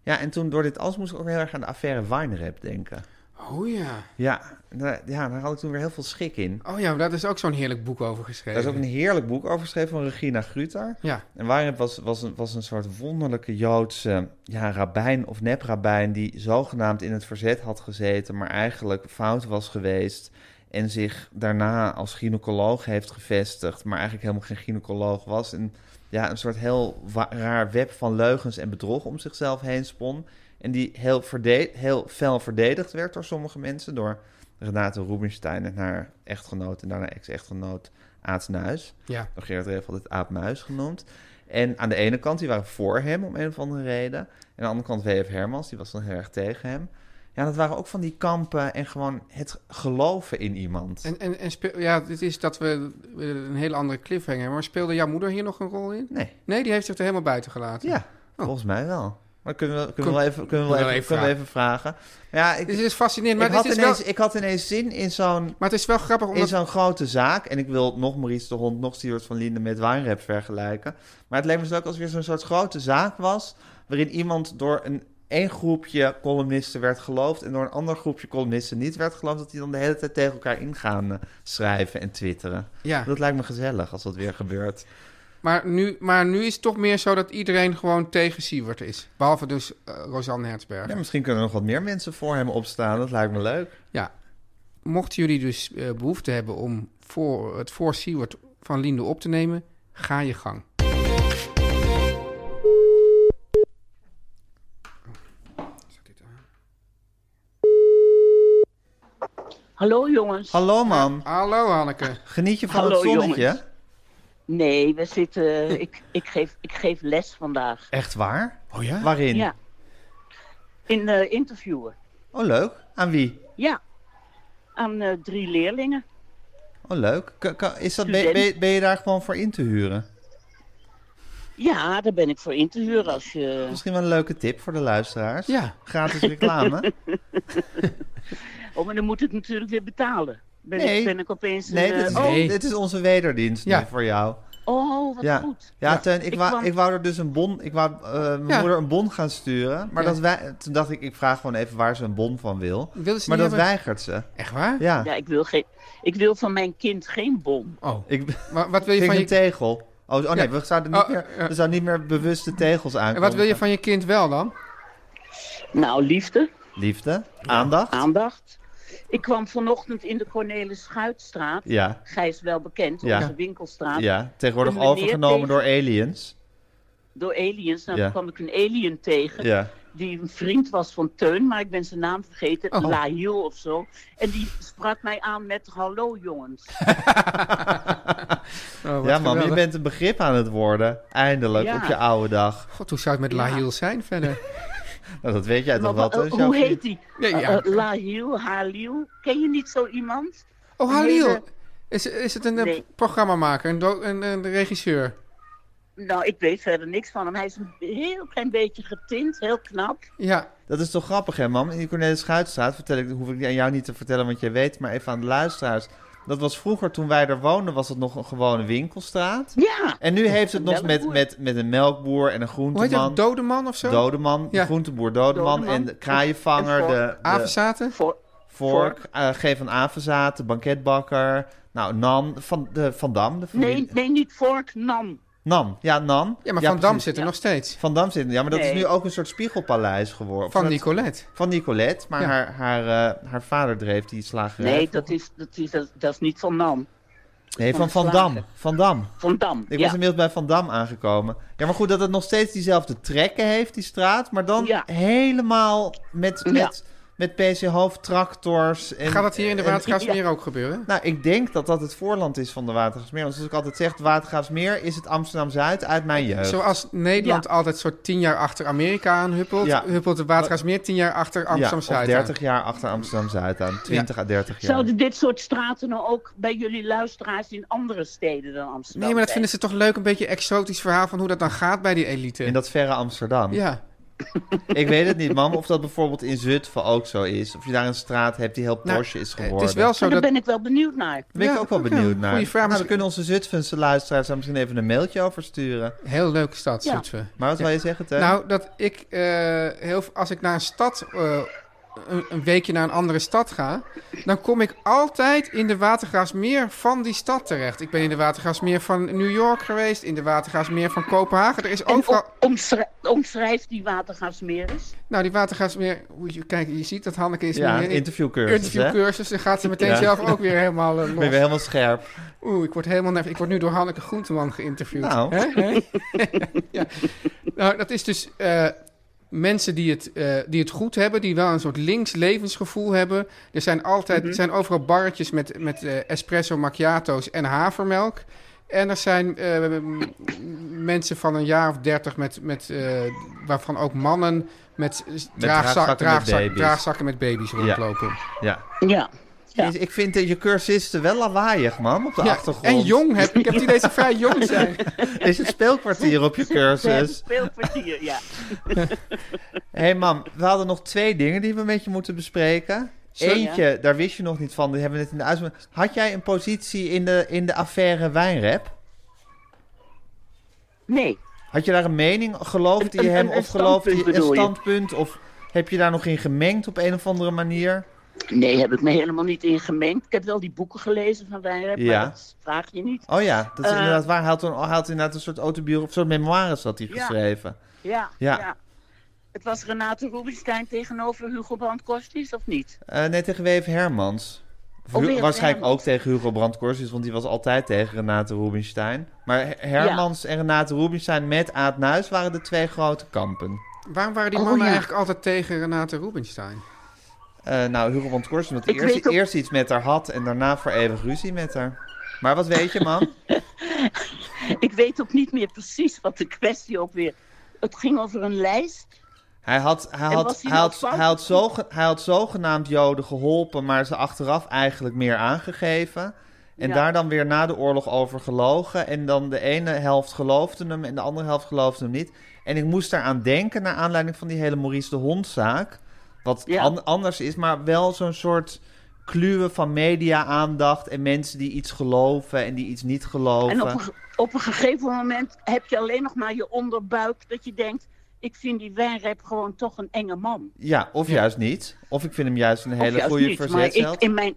[SPEAKER 2] Ja, en toen door dit alles moest ik ook heel erg aan de affaire Weinrep denken.
[SPEAKER 3] Oh ja.
[SPEAKER 2] Ja, daar, ja, daar had ik toen weer heel veel schik in.
[SPEAKER 3] Oh ja, maar daar is ook zo'n heerlijk boek over geschreven.
[SPEAKER 2] Daar is ook een heerlijk boek over geschreven van Regina Gruter.
[SPEAKER 3] Ja,
[SPEAKER 2] En Weinreb was, was, een, was een soort wonderlijke Joodse ja, rabbijn of neprabijn... die zogenaamd in het verzet had gezeten, maar eigenlijk fout was geweest... en zich daarna als gynaecoloog heeft gevestigd... maar eigenlijk helemaal geen gynaecoloog was... en ja, een soort heel wa- raar web van leugens en bedrog om zichzelf heen spon... en die heel, verde heel fel verdedigd werd door sommige mensen... door Renate Rubinstein en haar echtgenoot en daarna ex-echtgenoot Aad Nuis
[SPEAKER 3] ja.
[SPEAKER 2] door Gerard Reef had het aapmuis genoemd. En aan de ene kant, die waren voor hem om een of andere reden. En aan de andere kant W.F. Hermans, die was dan heel erg tegen hem. Ja, dat waren ook van die kampen en gewoon het geloven in iemand.
[SPEAKER 3] En, en, en speel, ja, dit is dat we we een hele andere cliffhanger hebben. Maar speelde jouw moeder hier nog een rol in?
[SPEAKER 2] Nee,
[SPEAKER 3] Nee, die heeft zich er helemaal buiten gelaten.
[SPEAKER 2] ja, volgens mij wel. Maar kunnen we, kunnen we,
[SPEAKER 3] Kun-
[SPEAKER 2] wel even, kunnen we, wel even, kunnen we even vragen. Maar ja, ik,
[SPEAKER 3] Dus het is fascinerend. Maar,
[SPEAKER 2] ik, had
[SPEAKER 3] dit is
[SPEAKER 2] ineens,
[SPEAKER 3] wel,
[SPEAKER 2] ik had ineens zin in zo'n...
[SPEAKER 3] maar het is wel grappig
[SPEAKER 2] In
[SPEAKER 3] omdat...
[SPEAKER 2] zo'n grote zaak, en ik wil nog Maurice de Hond, nog Stuart van Linden met Wijnrep vergelijken. Maar het leek me zo leuk als het weer zo'n soort grote zaak was, waarin iemand door een één groepje columnisten werd geloofd en door een ander groepje columnisten niet werd geloofd, dat die dan de hele tijd tegen elkaar in gaan eh, schrijven en twitteren.
[SPEAKER 3] Ja,
[SPEAKER 2] Dat lijkt me gezellig als dat weer gebeurt.
[SPEAKER 3] maar nu, maar nu is het toch meer zo dat iedereen gewoon tegen Siewert is. Behalve dus eh, Rosanne Hertzberg.
[SPEAKER 2] Ja, misschien kunnen er nog wat meer mensen voor hem opstaan, dat lijkt me leuk.
[SPEAKER 3] Ja. Mochten jullie dus eh, behoefte hebben om voor, het voor Seward van Linde op te nemen, ga je gang.
[SPEAKER 7] Hallo jongens.
[SPEAKER 2] Hallo man,
[SPEAKER 3] Hallo Hanneke.
[SPEAKER 2] geniet je van
[SPEAKER 7] Hallo,
[SPEAKER 2] het zonnetje?
[SPEAKER 7] jongens. Nee, we zitten. eh, ik, ik, geef, ik geef les vandaag.
[SPEAKER 2] Echt waar?
[SPEAKER 3] Oh ja?
[SPEAKER 2] Waarin?
[SPEAKER 7] Ja. In eh, interviewen.
[SPEAKER 2] Oh leuk, aan wie?
[SPEAKER 7] Ja. Aan eh, drie leerlingen.
[SPEAKER 2] Oh leuk, Ka- ka- is dat, ben, ben, ben je daar gewoon voor in te huren?
[SPEAKER 7] Ja, daar ben ik voor in te huren als je.
[SPEAKER 2] Misschien wel een leuke tip voor de luisteraars.
[SPEAKER 3] Ja.
[SPEAKER 2] Gratis
[SPEAKER 3] *laughs*
[SPEAKER 2] reclame.
[SPEAKER 7] Oh, maar dan moet ik natuurlijk weer betalen. Ben,
[SPEAKER 2] Nee.
[SPEAKER 7] ik, ben ik opeens. een,
[SPEAKER 2] Nee,
[SPEAKER 7] eh,
[SPEAKER 2] dit is,
[SPEAKER 7] oh,
[SPEAKER 3] Nee.
[SPEAKER 2] dit is onze wederdienst nu
[SPEAKER 3] Ja.
[SPEAKER 2] voor jou.
[SPEAKER 7] oh, wat
[SPEAKER 2] ja.
[SPEAKER 7] goed.
[SPEAKER 2] Ja,
[SPEAKER 3] Ja.
[SPEAKER 2] Teun, ik,
[SPEAKER 7] Ik
[SPEAKER 2] wou,
[SPEAKER 7] kwam-
[SPEAKER 2] ik wou er dus een bon... Ik wou eh, mijn
[SPEAKER 3] Ja.
[SPEAKER 2] moeder een bon gaan sturen. Maar
[SPEAKER 3] Ja.
[SPEAKER 2] dat wij, toen dacht ik, ik vraag gewoon even waar ze een bon van wil.
[SPEAKER 3] Wilde ze
[SPEAKER 2] Maar
[SPEAKER 3] niet
[SPEAKER 2] dat
[SPEAKER 3] hebben?
[SPEAKER 2] weigert ze.
[SPEAKER 3] Echt waar?
[SPEAKER 2] Ja.
[SPEAKER 7] Ja, ik wil, geen, ik wil van mijn kind geen bom.
[SPEAKER 3] Oh.
[SPEAKER 2] Ik *laughs*
[SPEAKER 3] Wa- wat wil je
[SPEAKER 2] ging
[SPEAKER 3] van
[SPEAKER 2] een
[SPEAKER 3] je
[SPEAKER 2] tegel. Oh, oh nee, we zouden niet,
[SPEAKER 3] Oh,
[SPEAKER 2] meer,
[SPEAKER 3] ja.
[SPEAKER 2] we zouden niet meer bewuste tegels aankomen.
[SPEAKER 3] En wat wil je van je kind wel dan?
[SPEAKER 7] Nou, liefde,
[SPEAKER 2] Liefde, aandacht.
[SPEAKER 7] aandacht. Ik kwam vanochtend in de Cornelis Schuitstraat.
[SPEAKER 2] Ja,
[SPEAKER 7] Gijs wel bekend,
[SPEAKER 2] Ja.
[SPEAKER 7] onze winkelstraat.
[SPEAKER 2] ja. tegenwoordig
[SPEAKER 7] Een meneer
[SPEAKER 2] overgenomen
[SPEAKER 7] tegen-
[SPEAKER 2] door aliens.
[SPEAKER 7] Door aliens. Nou,
[SPEAKER 2] Ja.
[SPEAKER 7] toen kwam ik een alien tegen.
[SPEAKER 2] Ja.
[SPEAKER 7] die een vriend was van Teun, maar ik ben zijn naam vergeten,
[SPEAKER 3] Oh.
[SPEAKER 7] Lahil of zo. En die sprak mij aan met hallo
[SPEAKER 2] *laughs*
[SPEAKER 7] jongens.
[SPEAKER 3] Oh, wat
[SPEAKER 2] ja man, je
[SPEAKER 3] geweldig.
[SPEAKER 2] bent een begrip aan het worden. Eindelijk,
[SPEAKER 7] Ja.
[SPEAKER 2] op je oude dag.
[SPEAKER 3] God, hoe zou het met Lahiel zijn verder?
[SPEAKER 2] Nou, dat weet jij
[SPEAKER 7] Maar
[SPEAKER 2] toch
[SPEAKER 7] wa-
[SPEAKER 2] wel. dat is
[SPEAKER 7] eh,
[SPEAKER 2] jouw
[SPEAKER 7] hoe
[SPEAKER 2] vriend.
[SPEAKER 7] heet die?
[SPEAKER 3] Ja, ja.
[SPEAKER 7] Eh, eh, Lahil, Halil? Ken je niet zo iemand?
[SPEAKER 3] Oh, Halil.
[SPEAKER 7] hele-
[SPEAKER 3] Is, is het een eh,
[SPEAKER 7] Nee.
[SPEAKER 3] programmamaker, een, do- een, een regisseur?
[SPEAKER 7] Nou, ik weet verder niks van hem. Hij is een heel klein beetje getint, heel knap.
[SPEAKER 3] Ja.
[SPEAKER 2] Dat is toch grappig, hè, man? In die Cornelis Schuitstraat, vertel ik, hoef ik aan jou niet te vertellen, want jij weet, maar even aan de luisteraars. Dat was vroeger, toen wij er woonden, was het nog een gewone winkelstraat.
[SPEAKER 7] Ja,
[SPEAKER 2] En nu heeft het
[SPEAKER 7] Een
[SPEAKER 2] nog met,
[SPEAKER 7] melkboer.
[SPEAKER 2] met, met een melkboer en een
[SPEAKER 3] Hoe heet dat?
[SPEAKER 2] groenteman.
[SPEAKER 3] Dode man of zo?
[SPEAKER 2] Dodeman,
[SPEAKER 3] Ja.
[SPEAKER 2] groenteboer Dodeman,
[SPEAKER 7] Dodeman.
[SPEAKER 2] en de kraaienvanger,
[SPEAKER 7] En
[SPEAKER 2] de, de
[SPEAKER 3] Avenzaten?
[SPEAKER 7] voor,
[SPEAKER 2] vork, eh, G van Avenzaat, de banketbakker, nou, Nan, Van, de, van Dam, de familie.
[SPEAKER 7] nee, nee, niet Vork, Nam.
[SPEAKER 2] Nan, ja, Nan.
[SPEAKER 3] Ja, maar Van Dam
[SPEAKER 2] precies.
[SPEAKER 3] zit er nog steeds.
[SPEAKER 2] Van Dam zit, ja, maar dat is
[SPEAKER 7] Nee.
[SPEAKER 2] nu ook een soort spiegelpaleis geworden. Of
[SPEAKER 3] Van
[SPEAKER 2] dat-
[SPEAKER 3] Nicolette.
[SPEAKER 2] Van Nicolette, maar
[SPEAKER 3] Ja.
[SPEAKER 2] haar, haar, eh, haar vader dreef die slagerij.
[SPEAKER 7] Nee, dat is, dat, is, dat, dat is niet van Nam.
[SPEAKER 2] Nee, van
[SPEAKER 7] van
[SPEAKER 2] Van
[SPEAKER 7] de
[SPEAKER 2] Dam.
[SPEAKER 7] slager.
[SPEAKER 2] Van Dam.
[SPEAKER 7] Van Dam,
[SPEAKER 2] Ik
[SPEAKER 7] ja.
[SPEAKER 2] was inmiddels bij Van Dam aangekomen. Ja, maar goed, dat het nog steeds diezelfde trekken heeft, die straat. Maar dan
[SPEAKER 7] Ja.
[SPEAKER 2] helemaal met,
[SPEAKER 7] Ja.
[SPEAKER 2] met, met PC-hoofdtractors.
[SPEAKER 3] Gaat dat hier in de
[SPEAKER 2] Eh,
[SPEAKER 3] Watergraafsmeer
[SPEAKER 7] ja.
[SPEAKER 3] ook gebeuren?
[SPEAKER 2] Nou, ik denk dat dat het voorland is van de Watergraafsmeer. Want zoals ik altijd zeg, de Watergraafsmeer is het Amsterdam-Zuid uit mijn jeugd.
[SPEAKER 3] Zoals Nederland altijd soort tien jaar achter Amerika aanhuppelt,
[SPEAKER 2] Ja.
[SPEAKER 3] huppelt de Watergraafsmeer tien jaar achter
[SPEAKER 2] ja, of
[SPEAKER 3] Amsterdam-Zuid aan.
[SPEAKER 2] 30 jaar achter Amsterdam-Zuid aan. 20 à 30 jaar.
[SPEAKER 7] Zouden dit soort straten nou ook bij jullie luisteraars in andere steden dan Amsterdam
[SPEAKER 3] Nee, maar dat
[SPEAKER 7] zijn?
[SPEAKER 3] vinden ze toch leuk, een beetje exotisch verhaal van hoe dat dan gaat bij die elite.
[SPEAKER 2] In dat verre Amsterdam.
[SPEAKER 3] Ja.
[SPEAKER 2] Ik weet het niet, mam,
[SPEAKER 3] *laughs*
[SPEAKER 2] of dat bijvoorbeeld in Zutphen ook zo is. Of je daar een straat hebt die heel
[SPEAKER 3] Nou,
[SPEAKER 2] Porsche is
[SPEAKER 3] eh,
[SPEAKER 2] geworden.
[SPEAKER 3] Het is wel zo
[SPEAKER 7] Maar
[SPEAKER 3] dat...
[SPEAKER 7] Daar ben ik wel benieuwd naar.
[SPEAKER 2] Daar ben ik
[SPEAKER 3] Ja,
[SPEAKER 2] ook wel
[SPEAKER 3] oké,
[SPEAKER 2] benieuwd naar.
[SPEAKER 3] goeie vraag.
[SPEAKER 2] Nou, we kunnen onze Zutphense luisteraars daar misschien even een mailtje over sturen.
[SPEAKER 3] Heel leuke stad,
[SPEAKER 7] Ja.
[SPEAKER 3] Zutphen.
[SPEAKER 2] Maar wat wil je zeggen, Teun?
[SPEAKER 3] Nou, dat ik eh, heel, v- als ik naar een stad, eh, een, een weekje naar een andere stad ga, dan kom ik altijd in de Watergraafsmeer van die stad terecht. Ik ben in de Watergraafsmeer van New York geweest, in de Watergraafsmeer van Kopenhagen. Er is
[SPEAKER 7] En
[SPEAKER 3] overal.
[SPEAKER 7] o- omschrij- omschrijf die watergasmeer eens.
[SPEAKER 3] Nou, die Watergraafsmeer. Oei, je- Kijk, je ziet dat Hanneke is.
[SPEAKER 2] ja,
[SPEAKER 3] nu in-
[SPEAKER 2] interviewcursus, hè?
[SPEAKER 3] Interviewcursus, dan gaat ze meteen
[SPEAKER 2] Ja.
[SPEAKER 3] zelf ook
[SPEAKER 2] *laughs*
[SPEAKER 3] weer helemaal eh,
[SPEAKER 2] Ben je
[SPEAKER 3] los.
[SPEAKER 2] weer helemaal scherp.
[SPEAKER 3] Oeh, ik word helemaal nerveus. Ik word nu door Hanneke Groenteman geïnterviewd.
[SPEAKER 2] Nou.
[SPEAKER 3] Hè? Hè? ja. Nou, dat is dus eh, mensen die het, eh, die het goed hebben, die wel een soort links levensgevoel hebben. Er zijn altijd,
[SPEAKER 7] Mhm.
[SPEAKER 3] er zijn overal barretjes met, met eh, espresso macchiato's en havermelk. En er zijn eh, m- mensen van een jaar of dertig, met, met, eh, waarvan ook mannen met, eh,
[SPEAKER 2] draagzakken met
[SPEAKER 3] draagzak, draagzak,
[SPEAKER 2] baby's.
[SPEAKER 3] draagzakken met baby's rondlopen.
[SPEAKER 2] Ja.
[SPEAKER 7] Ja. Ja.
[SPEAKER 2] Dus Ik vind dat je cursisten wel lawaaiig, man, op de
[SPEAKER 3] Ja,
[SPEAKER 2] achtergrond.
[SPEAKER 3] en jong heb ik. heb het idee
[SPEAKER 2] *laughs*
[SPEAKER 3] dat ze vrij jong zijn.
[SPEAKER 2] Is het speelkwartier op
[SPEAKER 3] *laughs*
[SPEAKER 2] je
[SPEAKER 7] Ze hebben
[SPEAKER 2] cursus?
[SPEAKER 7] speelkwartier, ja.
[SPEAKER 2] Hé, hey, mam, we hadden nog twee dingen die we met je moeten bespreken.
[SPEAKER 7] Sorry,
[SPEAKER 2] Eentje, daar wist je nog niet van, die hebben we net in de uitspraak. Had jij een positie in de, in de affaire wijnrap?
[SPEAKER 7] Nee.
[SPEAKER 2] Had je daar een mening? Geloofde
[SPEAKER 7] Een-
[SPEAKER 2] je
[SPEAKER 7] een-
[SPEAKER 2] hem
[SPEAKER 7] een-
[SPEAKER 2] of
[SPEAKER 7] een
[SPEAKER 2] geloofde je
[SPEAKER 7] standpunt
[SPEAKER 2] een
[SPEAKER 7] bedoel je?
[SPEAKER 2] standpunt? Of heb je daar nog in gemengd op een of andere manier?
[SPEAKER 7] Nee, heb ik me helemaal niet in gemengd. Ik heb wel die boeken gelezen van Wijnrep,
[SPEAKER 2] Ja.
[SPEAKER 7] maar dat vraag je niet.
[SPEAKER 2] Oh ja, dat is
[SPEAKER 7] Eh.
[SPEAKER 2] inderdaad waar. Hij had, een, hij had inderdaad een soort autobiografie, of een soort memoires had hij
[SPEAKER 7] Ja.
[SPEAKER 2] geschreven.
[SPEAKER 7] Ja,
[SPEAKER 2] Ja.
[SPEAKER 7] ja. Het was Renate Rubinstein tegenover Hugo Brand-Kostis, of niet?
[SPEAKER 2] Eh, nee, tegen W.F. Hermans. Of
[SPEAKER 7] Oh,
[SPEAKER 2] Hu-
[SPEAKER 7] W.F.
[SPEAKER 2] waarschijnlijk
[SPEAKER 7] Hermans.
[SPEAKER 2] ook tegen Hugo Brandkorsis, want die was altijd tegen Renate Rubinstein. Maar Her- Hermans en Renate Rubinstein met Aad Nuis waren de twee grote kampen.
[SPEAKER 3] Waarom waren die
[SPEAKER 7] Oh,
[SPEAKER 3] mannen
[SPEAKER 7] ja.
[SPEAKER 3] eigenlijk altijd tegen Renate Rubinstein?
[SPEAKER 2] Eh, nou, Hugo Brandkorsis, omdat hij
[SPEAKER 7] Ik
[SPEAKER 2] eerst,
[SPEAKER 7] weet ook-
[SPEAKER 2] eerst iets met haar had en daarna voor eeuwig ruzie met haar. Maar wat weet je, man?
[SPEAKER 7] Ik weet ook niet meer precies wat de kwestie ook weer... Het ging over een lijst.
[SPEAKER 2] Hij had, hij,
[SPEAKER 7] En
[SPEAKER 2] had,
[SPEAKER 7] was
[SPEAKER 2] hij,
[SPEAKER 7] hij nou
[SPEAKER 2] had,
[SPEAKER 7] fout?
[SPEAKER 2] hij, had zoge- hij had zogenaamd Joden geholpen, maar ze achteraf eigenlijk meer aangegeven. En
[SPEAKER 7] Ja.
[SPEAKER 2] daar dan weer na de oorlog over gelogen. En dan de ene helft geloofde hem en de andere helft geloofde hem niet. En ik moest daaraan denken, naar aanleiding van die hele Maurice de Hond-zaak. Wat
[SPEAKER 7] Ja.
[SPEAKER 2] an- anders is, maar wel zo'n soort kluwen van media-aandacht. En mensen die iets geloven en die iets niet geloven.
[SPEAKER 7] En op een, ge- op een gegeven moment heb je alleen nog maar je onderbuik dat je denkt... Ik vind die Wijnrep gewoon toch een enge man.
[SPEAKER 2] Ja, of juist niet. Of ik vind hem juist een
[SPEAKER 7] Of
[SPEAKER 2] hele
[SPEAKER 7] juist
[SPEAKER 2] goede
[SPEAKER 7] niet, maar
[SPEAKER 2] verzetsheld.
[SPEAKER 7] ik, in, mijn,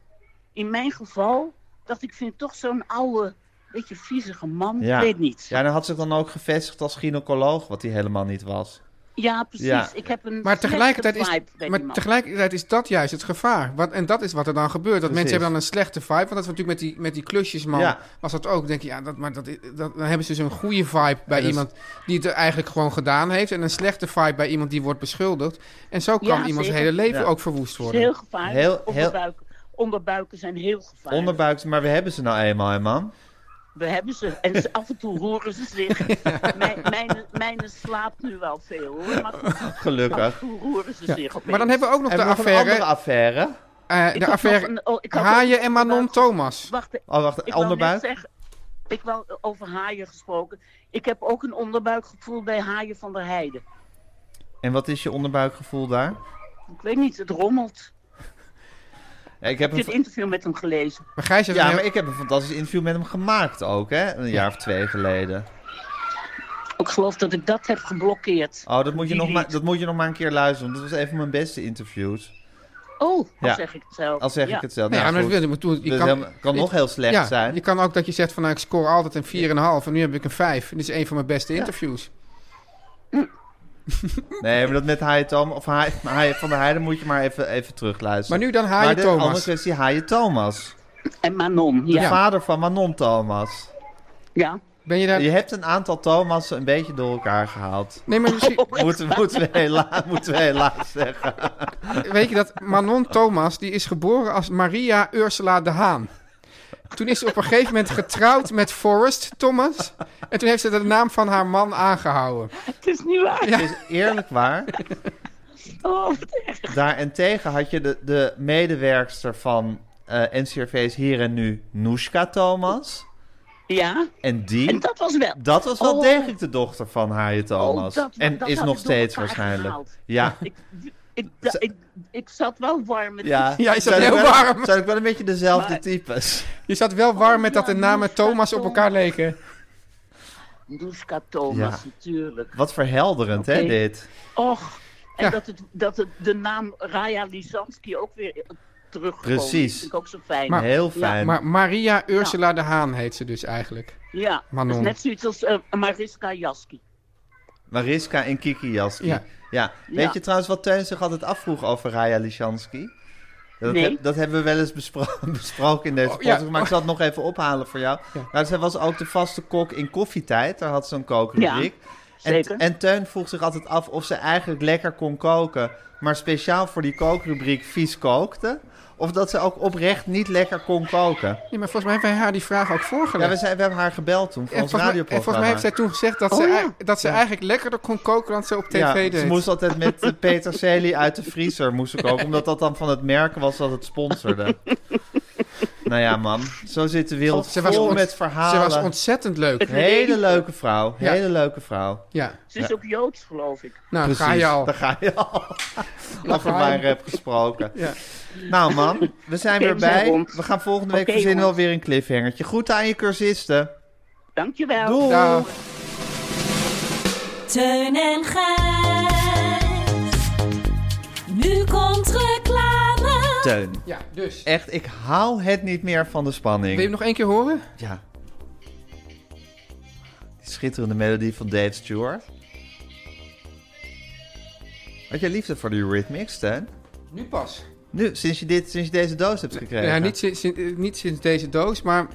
[SPEAKER 7] in mijn geval dacht ik, vind het toch zo'n oude, beetje viezige man. Ik weet niet. Ah,
[SPEAKER 2] Ja, en hij had zich dan ook gevestigd als gynaecoloog, wat hij helemaal niet was.
[SPEAKER 7] Ja, precies.
[SPEAKER 2] Ja.
[SPEAKER 7] Ik heb een
[SPEAKER 3] Maar tegelijkertijd,
[SPEAKER 7] slechte vibe
[SPEAKER 3] is,
[SPEAKER 7] bij
[SPEAKER 3] maar
[SPEAKER 7] die man.
[SPEAKER 3] tegelijkertijd is dat juist het gevaar. Wat, en dat is wat er dan gebeurt. Dat mensen
[SPEAKER 2] Precies.
[SPEAKER 3] hebben dan een slechte vibe. Want dat we natuurlijk met die, met die klusjesman
[SPEAKER 2] Ja.
[SPEAKER 3] was dat ook. Dan Denk je, ja, dat, maar dat, is- dat, dan hebben ze dus een goede vibe bij
[SPEAKER 2] dat is-
[SPEAKER 3] iemand die het eigenlijk gewoon gedaan heeft. En een slechte vibe bij iemand die wordt beschuldigd. En zo kan
[SPEAKER 7] Ja,
[SPEAKER 3] iemands
[SPEAKER 7] zeker.
[SPEAKER 3] hele leven
[SPEAKER 2] Ja.
[SPEAKER 3] ook verwoest
[SPEAKER 7] Het
[SPEAKER 3] worden.
[SPEAKER 7] is heel gevaarlijk.
[SPEAKER 2] Heel- heel-
[SPEAKER 7] Onderbuiken. Onderbuiken zijn heel gevaarlijk.
[SPEAKER 2] Onderbuiks, maar we hebben ze nou eenmaal, hè, man?
[SPEAKER 7] We hebben ze. En ze- af en toe horen ze
[SPEAKER 2] *laughs*
[SPEAKER 7] zich. Mijn, mijn, mijn slaapt nu wel veel hoor. Maar goed, af en
[SPEAKER 2] Gelukkig.
[SPEAKER 7] toe roeren ze zich op.
[SPEAKER 3] Maar dan hebben we ook nog
[SPEAKER 2] En
[SPEAKER 3] de
[SPEAKER 2] nog een
[SPEAKER 3] affaire,
[SPEAKER 2] andere affaire.
[SPEAKER 3] eh, de affaire
[SPEAKER 7] oh,
[SPEAKER 3] Haaien en Manon Thomas.
[SPEAKER 7] Wacht, ik
[SPEAKER 2] Oh, wacht,
[SPEAKER 7] wil net
[SPEAKER 2] onderbuik.
[SPEAKER 7] zeggen. Ik wel over haaien gesproken. Ik heb ook een onderbuikgevoel bij haaien van der Heide.
[SPEAKER 2] En wat is je onderbuikgevoel daar?
[SPEAKER 7] Ik weet niet, het rommelt.
[SPEAKER 2] Ja, ik heb
[SPEAKER 7] Ik heb
[SPEAKER 2] een,
[SPEAKER 7] dit interview met hem gelezen.
[SPEAKER 3] Maar Gijs heeft
[SPEAKER 2] ja,
[SPEAKER 3] een
[SPEAKER 2] maar
[SPEAKER 3] heel-
[SPEAKER 2] ik heb een fantastisch interview met hem gemaakt ook, hè? Een jaar of twee geleden.
[SPEAKER 7] Ik geloof dat ik dat heb geblokkeerd.
[SPEAKER 2] Oh, dat moet je,
[SPEAKER 7] Die
[SPEAKER 2] nog
[SPEAKER 7] lied.
[SPEAKER 2] maar, dat moet je nog maar een keer luisteren. Want dat was een van mijn beste interviews.
[SPEAKER 7] Oh, dan
[SPEAKER 2] Ja.
[SPEAKER 7] zeg ik het zelf.
[SPEAKER 2] Al zeg
[SPEAKER 7] Ja.
[SPEAKER 2] ik het zelf.
[SPEAKER 3] Nee,
[SPEAKER 2] nou,
[SPEAKER 3] maar dat
[SPEAKER 2] goed.
[SPEAKER 3] wil je- maar toen- je
[SPEAKER 2] Dat
[SPEAKER 3] kan-
[SPEAKER 2] helemaal- kan
[SPEAKER 3] je-
[SPEAKER 2] nog heel slecht
[SPEAKER 3] ja,
[SPEAKER 2] zijn.
[SPEAKER 3] Je kan ook dat je zegt van nou, ik score altijd een 4,5 en nu heb ik een 5. Dit is een van mijn beste interviews.
[SPEAKER 2] Nee, maar dat met Haaien Thomas... Of Haaien, Haaien van der Heijden moet je maar even, even
[SPEAKER 3] Maar
[SPEAKER 2] terugluisteren.
[SPEAKER 3] nu dan Haaien
[SPEAKER 2] de
[SPEAKER 3] Thomas.
[SPEAKER 2] andere kwestie, Haaien Thomas.
[SPEAKER 7] En Manon,
[SPEAKER 2] De
[SPEAKER 7] ja.
[SPEAKER 2] vader van Manon Thomas.
[SPEAKER 7] ja.
[SPEAKER 3] Ben je daar...
[SPEAKER 2] Je hebt een aantal Thomassen een beetje door elkaar gehaald.
[SPEAKER 3] Nee, maar
[SPEAKER 7] *laughs*
[SPEAKER 3] misschien...
[SPEAKER 7] Oh.
[SPEAKER 2] Moeten, *laughs* moeten, we hela- moeten we helaas zeggen.
[SPEAKER 3] Weet je dat Manon Thomas, die is geboren als Maria Ursula de Haan. Toen is ze op een gegeven moment getrouwd met Forrest Thomas. En toen heeft ze de naam van haar man aangehouden.
[SPEAKER 7] Het is niet waar.
[SPEAKER 2] Het is eerlijk waar.
[SPEAKER 7] Oh, wat erg.
[SPEAKER 2] Daarentegen had je de, de medewerkster van eh NCRV's Hier en Nu, Noeska Thomas.
[SPEAKER 7] Ja,
[SPEAKER 2] En
[SPEAKER 7] en
[SPEAKER 2] die,
[SPEAKER 7] dat was wel.
[SPEAKER 2] dat was wel
[SPEAKER 7] Oh.
[SPEAKER 2] degelijk de dochter van Haaien Thomas.
[SPEAKER 7] dat-
[SPEAKER 2] en
[SPEAKER 7] dat
[SPEAKER 2] is
[SPEAKER 7] had
[SPEAKER 2] nog
[SPEAKER 7] ik door
[SPEAKER 2] steeds
[SPEAKER 7] elkaar
[SPEAKER 2] waarschijnlijk.
[SPEAKER 7] gehaald.
[SPEAKER 2] Ja.
[SPEAKER 7] Ik, ik, da- ik, ik zat wel warm met
[SPEAKER 3] *laughs*
[SPEAKER 2] Ja,
[SPEAKER 3] Ja, is dat
[SPEAKER 2] Zijn
[SPEAKER 3] heel
[SPEAKER 2] ook wel-
[SPEAKER 3] warm?
[SPEAKER 2] Zijn ook wel een beetje dezelfde
[SPEAKER 7] Maar-
[SPEAKER 2] types.
[SPEAKER 3] Je zat wel warm met dat de
[SPEAKER 7] Oh, ja,
[SPEAKER 3] namen
[SPEAKER 7] Noeska
[SPEAKER 3] Thomas op elkaar
[SPEAKER 7] Thomas.
[SPEAKER 3] leken.
[SPEAKER 7] Noeska Thomas
[SPEAKER 2] Ja.
[SPEAKER 7] natuurlijk.
[SPEAKER 2] Wat verhelderend, hè,
[SPEAKER 7] Oké.
[SPEAKER 2] dit.
[SPEAKER 7] Och, en
[SPEAKER 3] Ja.
[SPEAKER 7] dat, het, dat het de naam Raya Lizansky ook weer terugkomt.
[SPEAKER 2] Precies.
[SPEAKER 7] vind ik ook zo fijn.
[SPEAKER 3] Maar-
[SPEAKER 2] Heel
[SPEAKER 7] Ja,
[SPEAKER 2] fijn.
[SPEAKER 3] Maar Maria Ursula de Haan heet ze dus eigenlijk.
[SPEAKER 7] ja, dat
[SPEAKER 3] Manon.
[SPEAKER 7] is net zoiets als eh, Mariska Jaski.
[SPEAKER 2] Mariska en Kiki Jaski. Ja.
[SPEAKER 3] Ja.
[SPEAKER 2] Weet
[SPEAKER 7] Ja.
[SPEAKER 2] je trouwens wat Teun zich altijd afvroeg over Raya Lishansky? Dat,
[SPEAKER 7] Nee.
[SPEAKER 2] heb- dat hebben we wel eens bespro- *laughs* besproken in deze
[SPEAKER 3] Oh, ja.
[SPEAKER 2] podcast, maar ik zal het nog even ophalen voor jou. Nou, zij was ook de vaste kok in koffietijd, daar had ze een kookrubriek.
[SPEAKER 7] zeker.
[SPEAKER 2] En, en Teun vroeg zich altijd af of ze eigenlijk lekker kon koken, maar speciaal voor die kookrubriek vies kookte. Of dat ze ook oprecht niet lekker kon koken.
[SPEAKER 3] Nee, maar volgens mij hebben wij haar die vraag ook voorgelegd.
[SPEAKER 2] Ja, we, zijn, we hebben haar gebeld toen voor
[SPEAKER 3] En
[SPEAKER 2] ons
[SPEAKER 3] volgens, mij, en
[SPEAKER 2] radioprogramma.
[SPEAKER 3] volgens mij heeft zij toen gezegd dat ze, ei- dat ze eigenlijk lekkerder kon koken dan ze op tv
[SPEAKER 2] Ja,
[SPEAKER 3] deed.
[SPEAKER 2] ze moest altijd met eh, Peter Celi uit de vriezer moest ik
[SPEAKER 3] *laughs*
[SPEAKER 2] ook, omdat dat dan van het merk was dat het sponsorde. nou ja, man, zo zit de wereld
[SPEAKER 3] Ze was
[SPEAKER 2] vol
[SPEAKER 3] ont-
[SPEAKER 2] met
[SPEAKER 3] Ze
[SPEAKER 2] verhalen.
[SPEAKER 3] was ontzettend leuk.
[SPEAKER 2] Hele leuke vrouw,
[SPEAKER 3] Ja.
[SPEAKER 2] hele leuke vrouw.
[SPEAKER 3] Ja.
[SPEAKER 7] Ze is ook Joods, geloof ik.
[SPEAKER 3] Nou, ga je al.
[SPEAKER 2] daar ga je al. Over
[SPEAKER 3] ga je.
[SPEAKER 2] mijn rap gesproken.
[SPEAKER 3] Ja.
[SPEAKER 2] Nou man, we zijn
[SPEAKER 7] Oké,
[SPEAKER 2] weer
[SPEAKER 7] we zijn
[SPEAKER 2] bij.
[SPEAKER 7] rond.
[SPEAKER 2] We gaan volgende week
[SPEAKER 7] Oké,
[SPEAKER 2] verzinnen wel
[SPEAKER 7] jongens.
[SPEAKER 2] weer een cliffhangertje. Groeten aan je cursisten.
[SPEAKER 7] Dankjewel.
[SPEAKER 2] Doei.
[SPEAKER 3] Dag.
[SPEAKER 6] Teun en Gijs. Nu komt reclame.
[SPEAKER 2] Teun,
[SPEAKER 3] Ja, dus.
[SPEAKER 2] echt, ik hou het niet meer van de spanning.
[SPEAKER 3] Wil je hem nog één keer horen?
[SPEAKER 2] Ja. Die schitterende melodie van Dave Stewart. Had jij liefde voor die Rhythmics, Stan?
[SPEAKER 3] Nu pas.
[SPEAKER 2] Nu, sinds je, dit, sinds je deze doos hebt gekregen.
[SPEAKER 3] Ja, niet, sinds, sin- eh, niet sinds deze doos, maar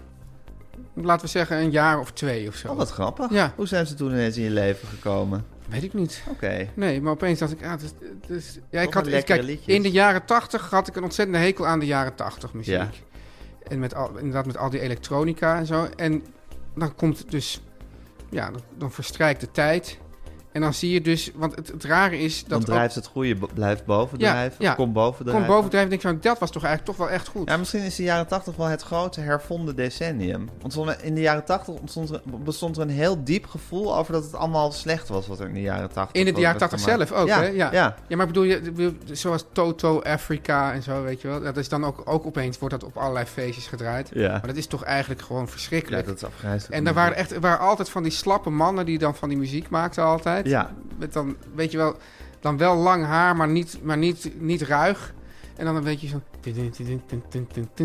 [SPEAKER 3] laten we zeggen een jaar of twee of zo.
[SPEAKER 2] Oh, wat grappig.
[SPEAKER 3] Ja.
[SPEAKER 2] Hoe zijn ze toen ineens in je leven gekomen?
[SPEAKER 3] Weet ik niet.
[SPEAKER 2] Oké.
[SPEAKER 3] Nee, maar opeens dacht ik, ah, het is- het is- ja,
[SPEAKER 2] maar
[SPEAKER 3] ik had,
[SPEAKER 2] lekkere
[SPEAKER 3] kijk,
[SPEAKER 2] liedjes.
[SPEAKER 3] in de jaren tachtig had ik een ontzettende hekel aan de jaren tachtig muziek.
[SPEAKER 2] Ja.
[SPEAKER 3] En met al, inderdaad met al die elektronica en zo. En dan komt het dus, ja, dan, dan verstrijkt de tijd. En dan zie je dus, want het, het rare is
[SPEAKER 2] Dan
[SPEAKER 3] dat ook,
[SPEAKER 2] drijft het goede, bo- blijft bovendrijven.
[SPEAKER 3] Ja, ja.
[SPEAKER 2] Kom bovendrijven.
[SPEAKER 3] komt bovendrijven en denk ik van, dat was toch eigenlijk toch wel echt goed.
[SPEAKER 2] Ja, misschien is de jaren 80 wel het grote hervonden decennium. Want soms- in de jaren 80 ontstond er- bestond er een heel diep gevoel over dat het allemaal slecht was wat er in de jaren 80
[SPEAKER 3] in de
[SPEAKER 2] was
[SPEAKER 3] jaren tachtig
[SPEAKER 2] gemaakt.
[SPEAKER 3] zelf ook,
[SPEAKER 2] ja,
[SPEAKER 3] hè? Ja.
[SPEAKER 2] ja.
[SPEAKER 3] Ja, maar bedoel je, bedoel- zoals Toto Africa en zo, weet je wel. Dat is dan ook, ook opeens, wordt dat op allerlei feestjes gedraaid.
[SPEAKER 2] Ja.
[SPEAKER 3] Maar dat is toch eigenlijk gewoon
[SPEAKER 2] Ja,
[SPEAKER 3] verschrikkelijk.
[SPEAKER 2] dat is afgrijzelijk.
[SPEAKER 3] En daar waren echt er waren altijd van die slappe mannen die dan van die muziek maakten altijd.
[SPEAKER 2] Ja,
[SPEAKER 3] Met dan, weet je wel, dan wel lang haar, maar niet, maar niet, niet ruig. En dan een beetje zo...
[SPEAKER 2] dat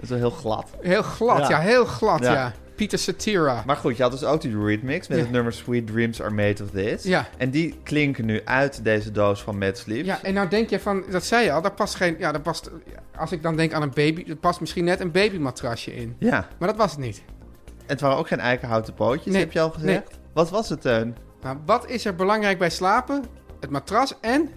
[SPEAKER 2] is wel heel glad.
[SPEAKER 3] Heel glad,
[SPEAKER 2] Ja.
[SPEAKER 3] ja, heel glad,
[SPEAKER 2] Ja.
[SPEAKER 3] ja. Pieter Satira.
[SPEAKER 2] Maar goed, je had dus ook die Rhythmics met
[SPEAKER 3] Ja.
[SPEAKER 2] het nummer Sweet Dreams Are Made of This.
[SPEAKER 3] Ja.
[SPEAKER 2] En die klinken nu uit deze doos van Mad Sleeps.
[SPEAKER 3] Ja, en nou denk je van, dat zei je al, daar past geen... Ja, daar past, als ik dan denk aan een baby, er past misschien net een babymatrasje in.
[SPEAKER 2] Ja.
[SPEAKER 3] Maar dat was het niet.
[SPEAKER 2] En het waren ook geen eikenhouten pootjes,
[SPEAKER 3] Nee.
[SPEAKER 2] heb je al gezegd. Wat was het, Teun?
[SPEAKER 3] Maar wat is er belangrijk bij slapen? Het matras en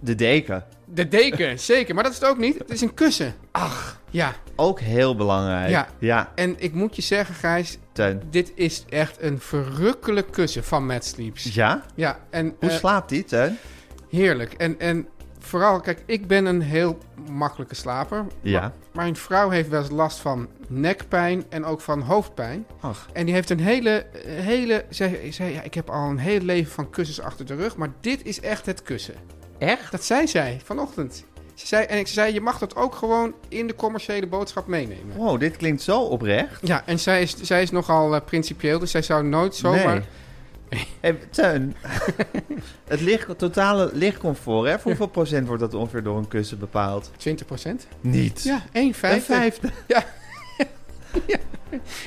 [SPEAKER 2] De deken.
[SPEAKER 3] de deken, *laughs* zeker. Maar dat is het ook niet. Het is een kussen. Ach. Ja,
[SPEAKER 2] Ook heel belangrijk.
[SPEAKER 3] Ja.
[SPEAKER 2] ja
[SPEAKER 3] en ik moet je zeggen, Gijs,
[SPEAKER 2] Teun.
[SPEAKER 3] dit is echt een verrukkelijk kussen van Mad Sleeps.
[SPEAKER 2] Ja?
[SPEAKER 3] Ja, en
[SPEAKER 2] Hoe
[SPEAKER 3] eh,
[SPEAKER 2] slaapt die, Teun?
[SPEAKER 3] heerlijk. En, en vooral, kijk, ik ben een heel makkelijke slaper.
[SPEAKER 2] Ja.
[SPEAKER 3] Mijn vrouw heeft wel eens last van nekpijn en ook van hoofdpijn.
[SPEAKER 2] Ach.
[SPEAKER 3] En die heeft een hele, hele... Zij zei, ja, ik heb al een heel leven van kussens achter de rug, maar dit is echt het kussen. Echt? Dat zei zij vanochtend. Ze zei, en ik zei, je mag dat ook gewoon in de commerciële boodschap meenemen.
[SPEAKER 2] Wow, dit klinkt zo oprecht.
[SPEAKER 3] Ja, en zij is, zij is nogal eh, principieel, dus zij zou nooit zomaar...
[SPEAKER 2] Nee. *laughs* Hey, Teun, *laughs* het licht, totale lichtcomfort, hè? Voor hoeveel procent wordt dat ongeveer door een kussen bepaald?
[SPEAKER 3] 20 procent?
[SPEAKER 2] Niet.
[SPEAKER 3] Ja, 1
[SPEAKER 2] een
[SPEAKER 3] vijfde.
[SPEAKER 2] vijfde.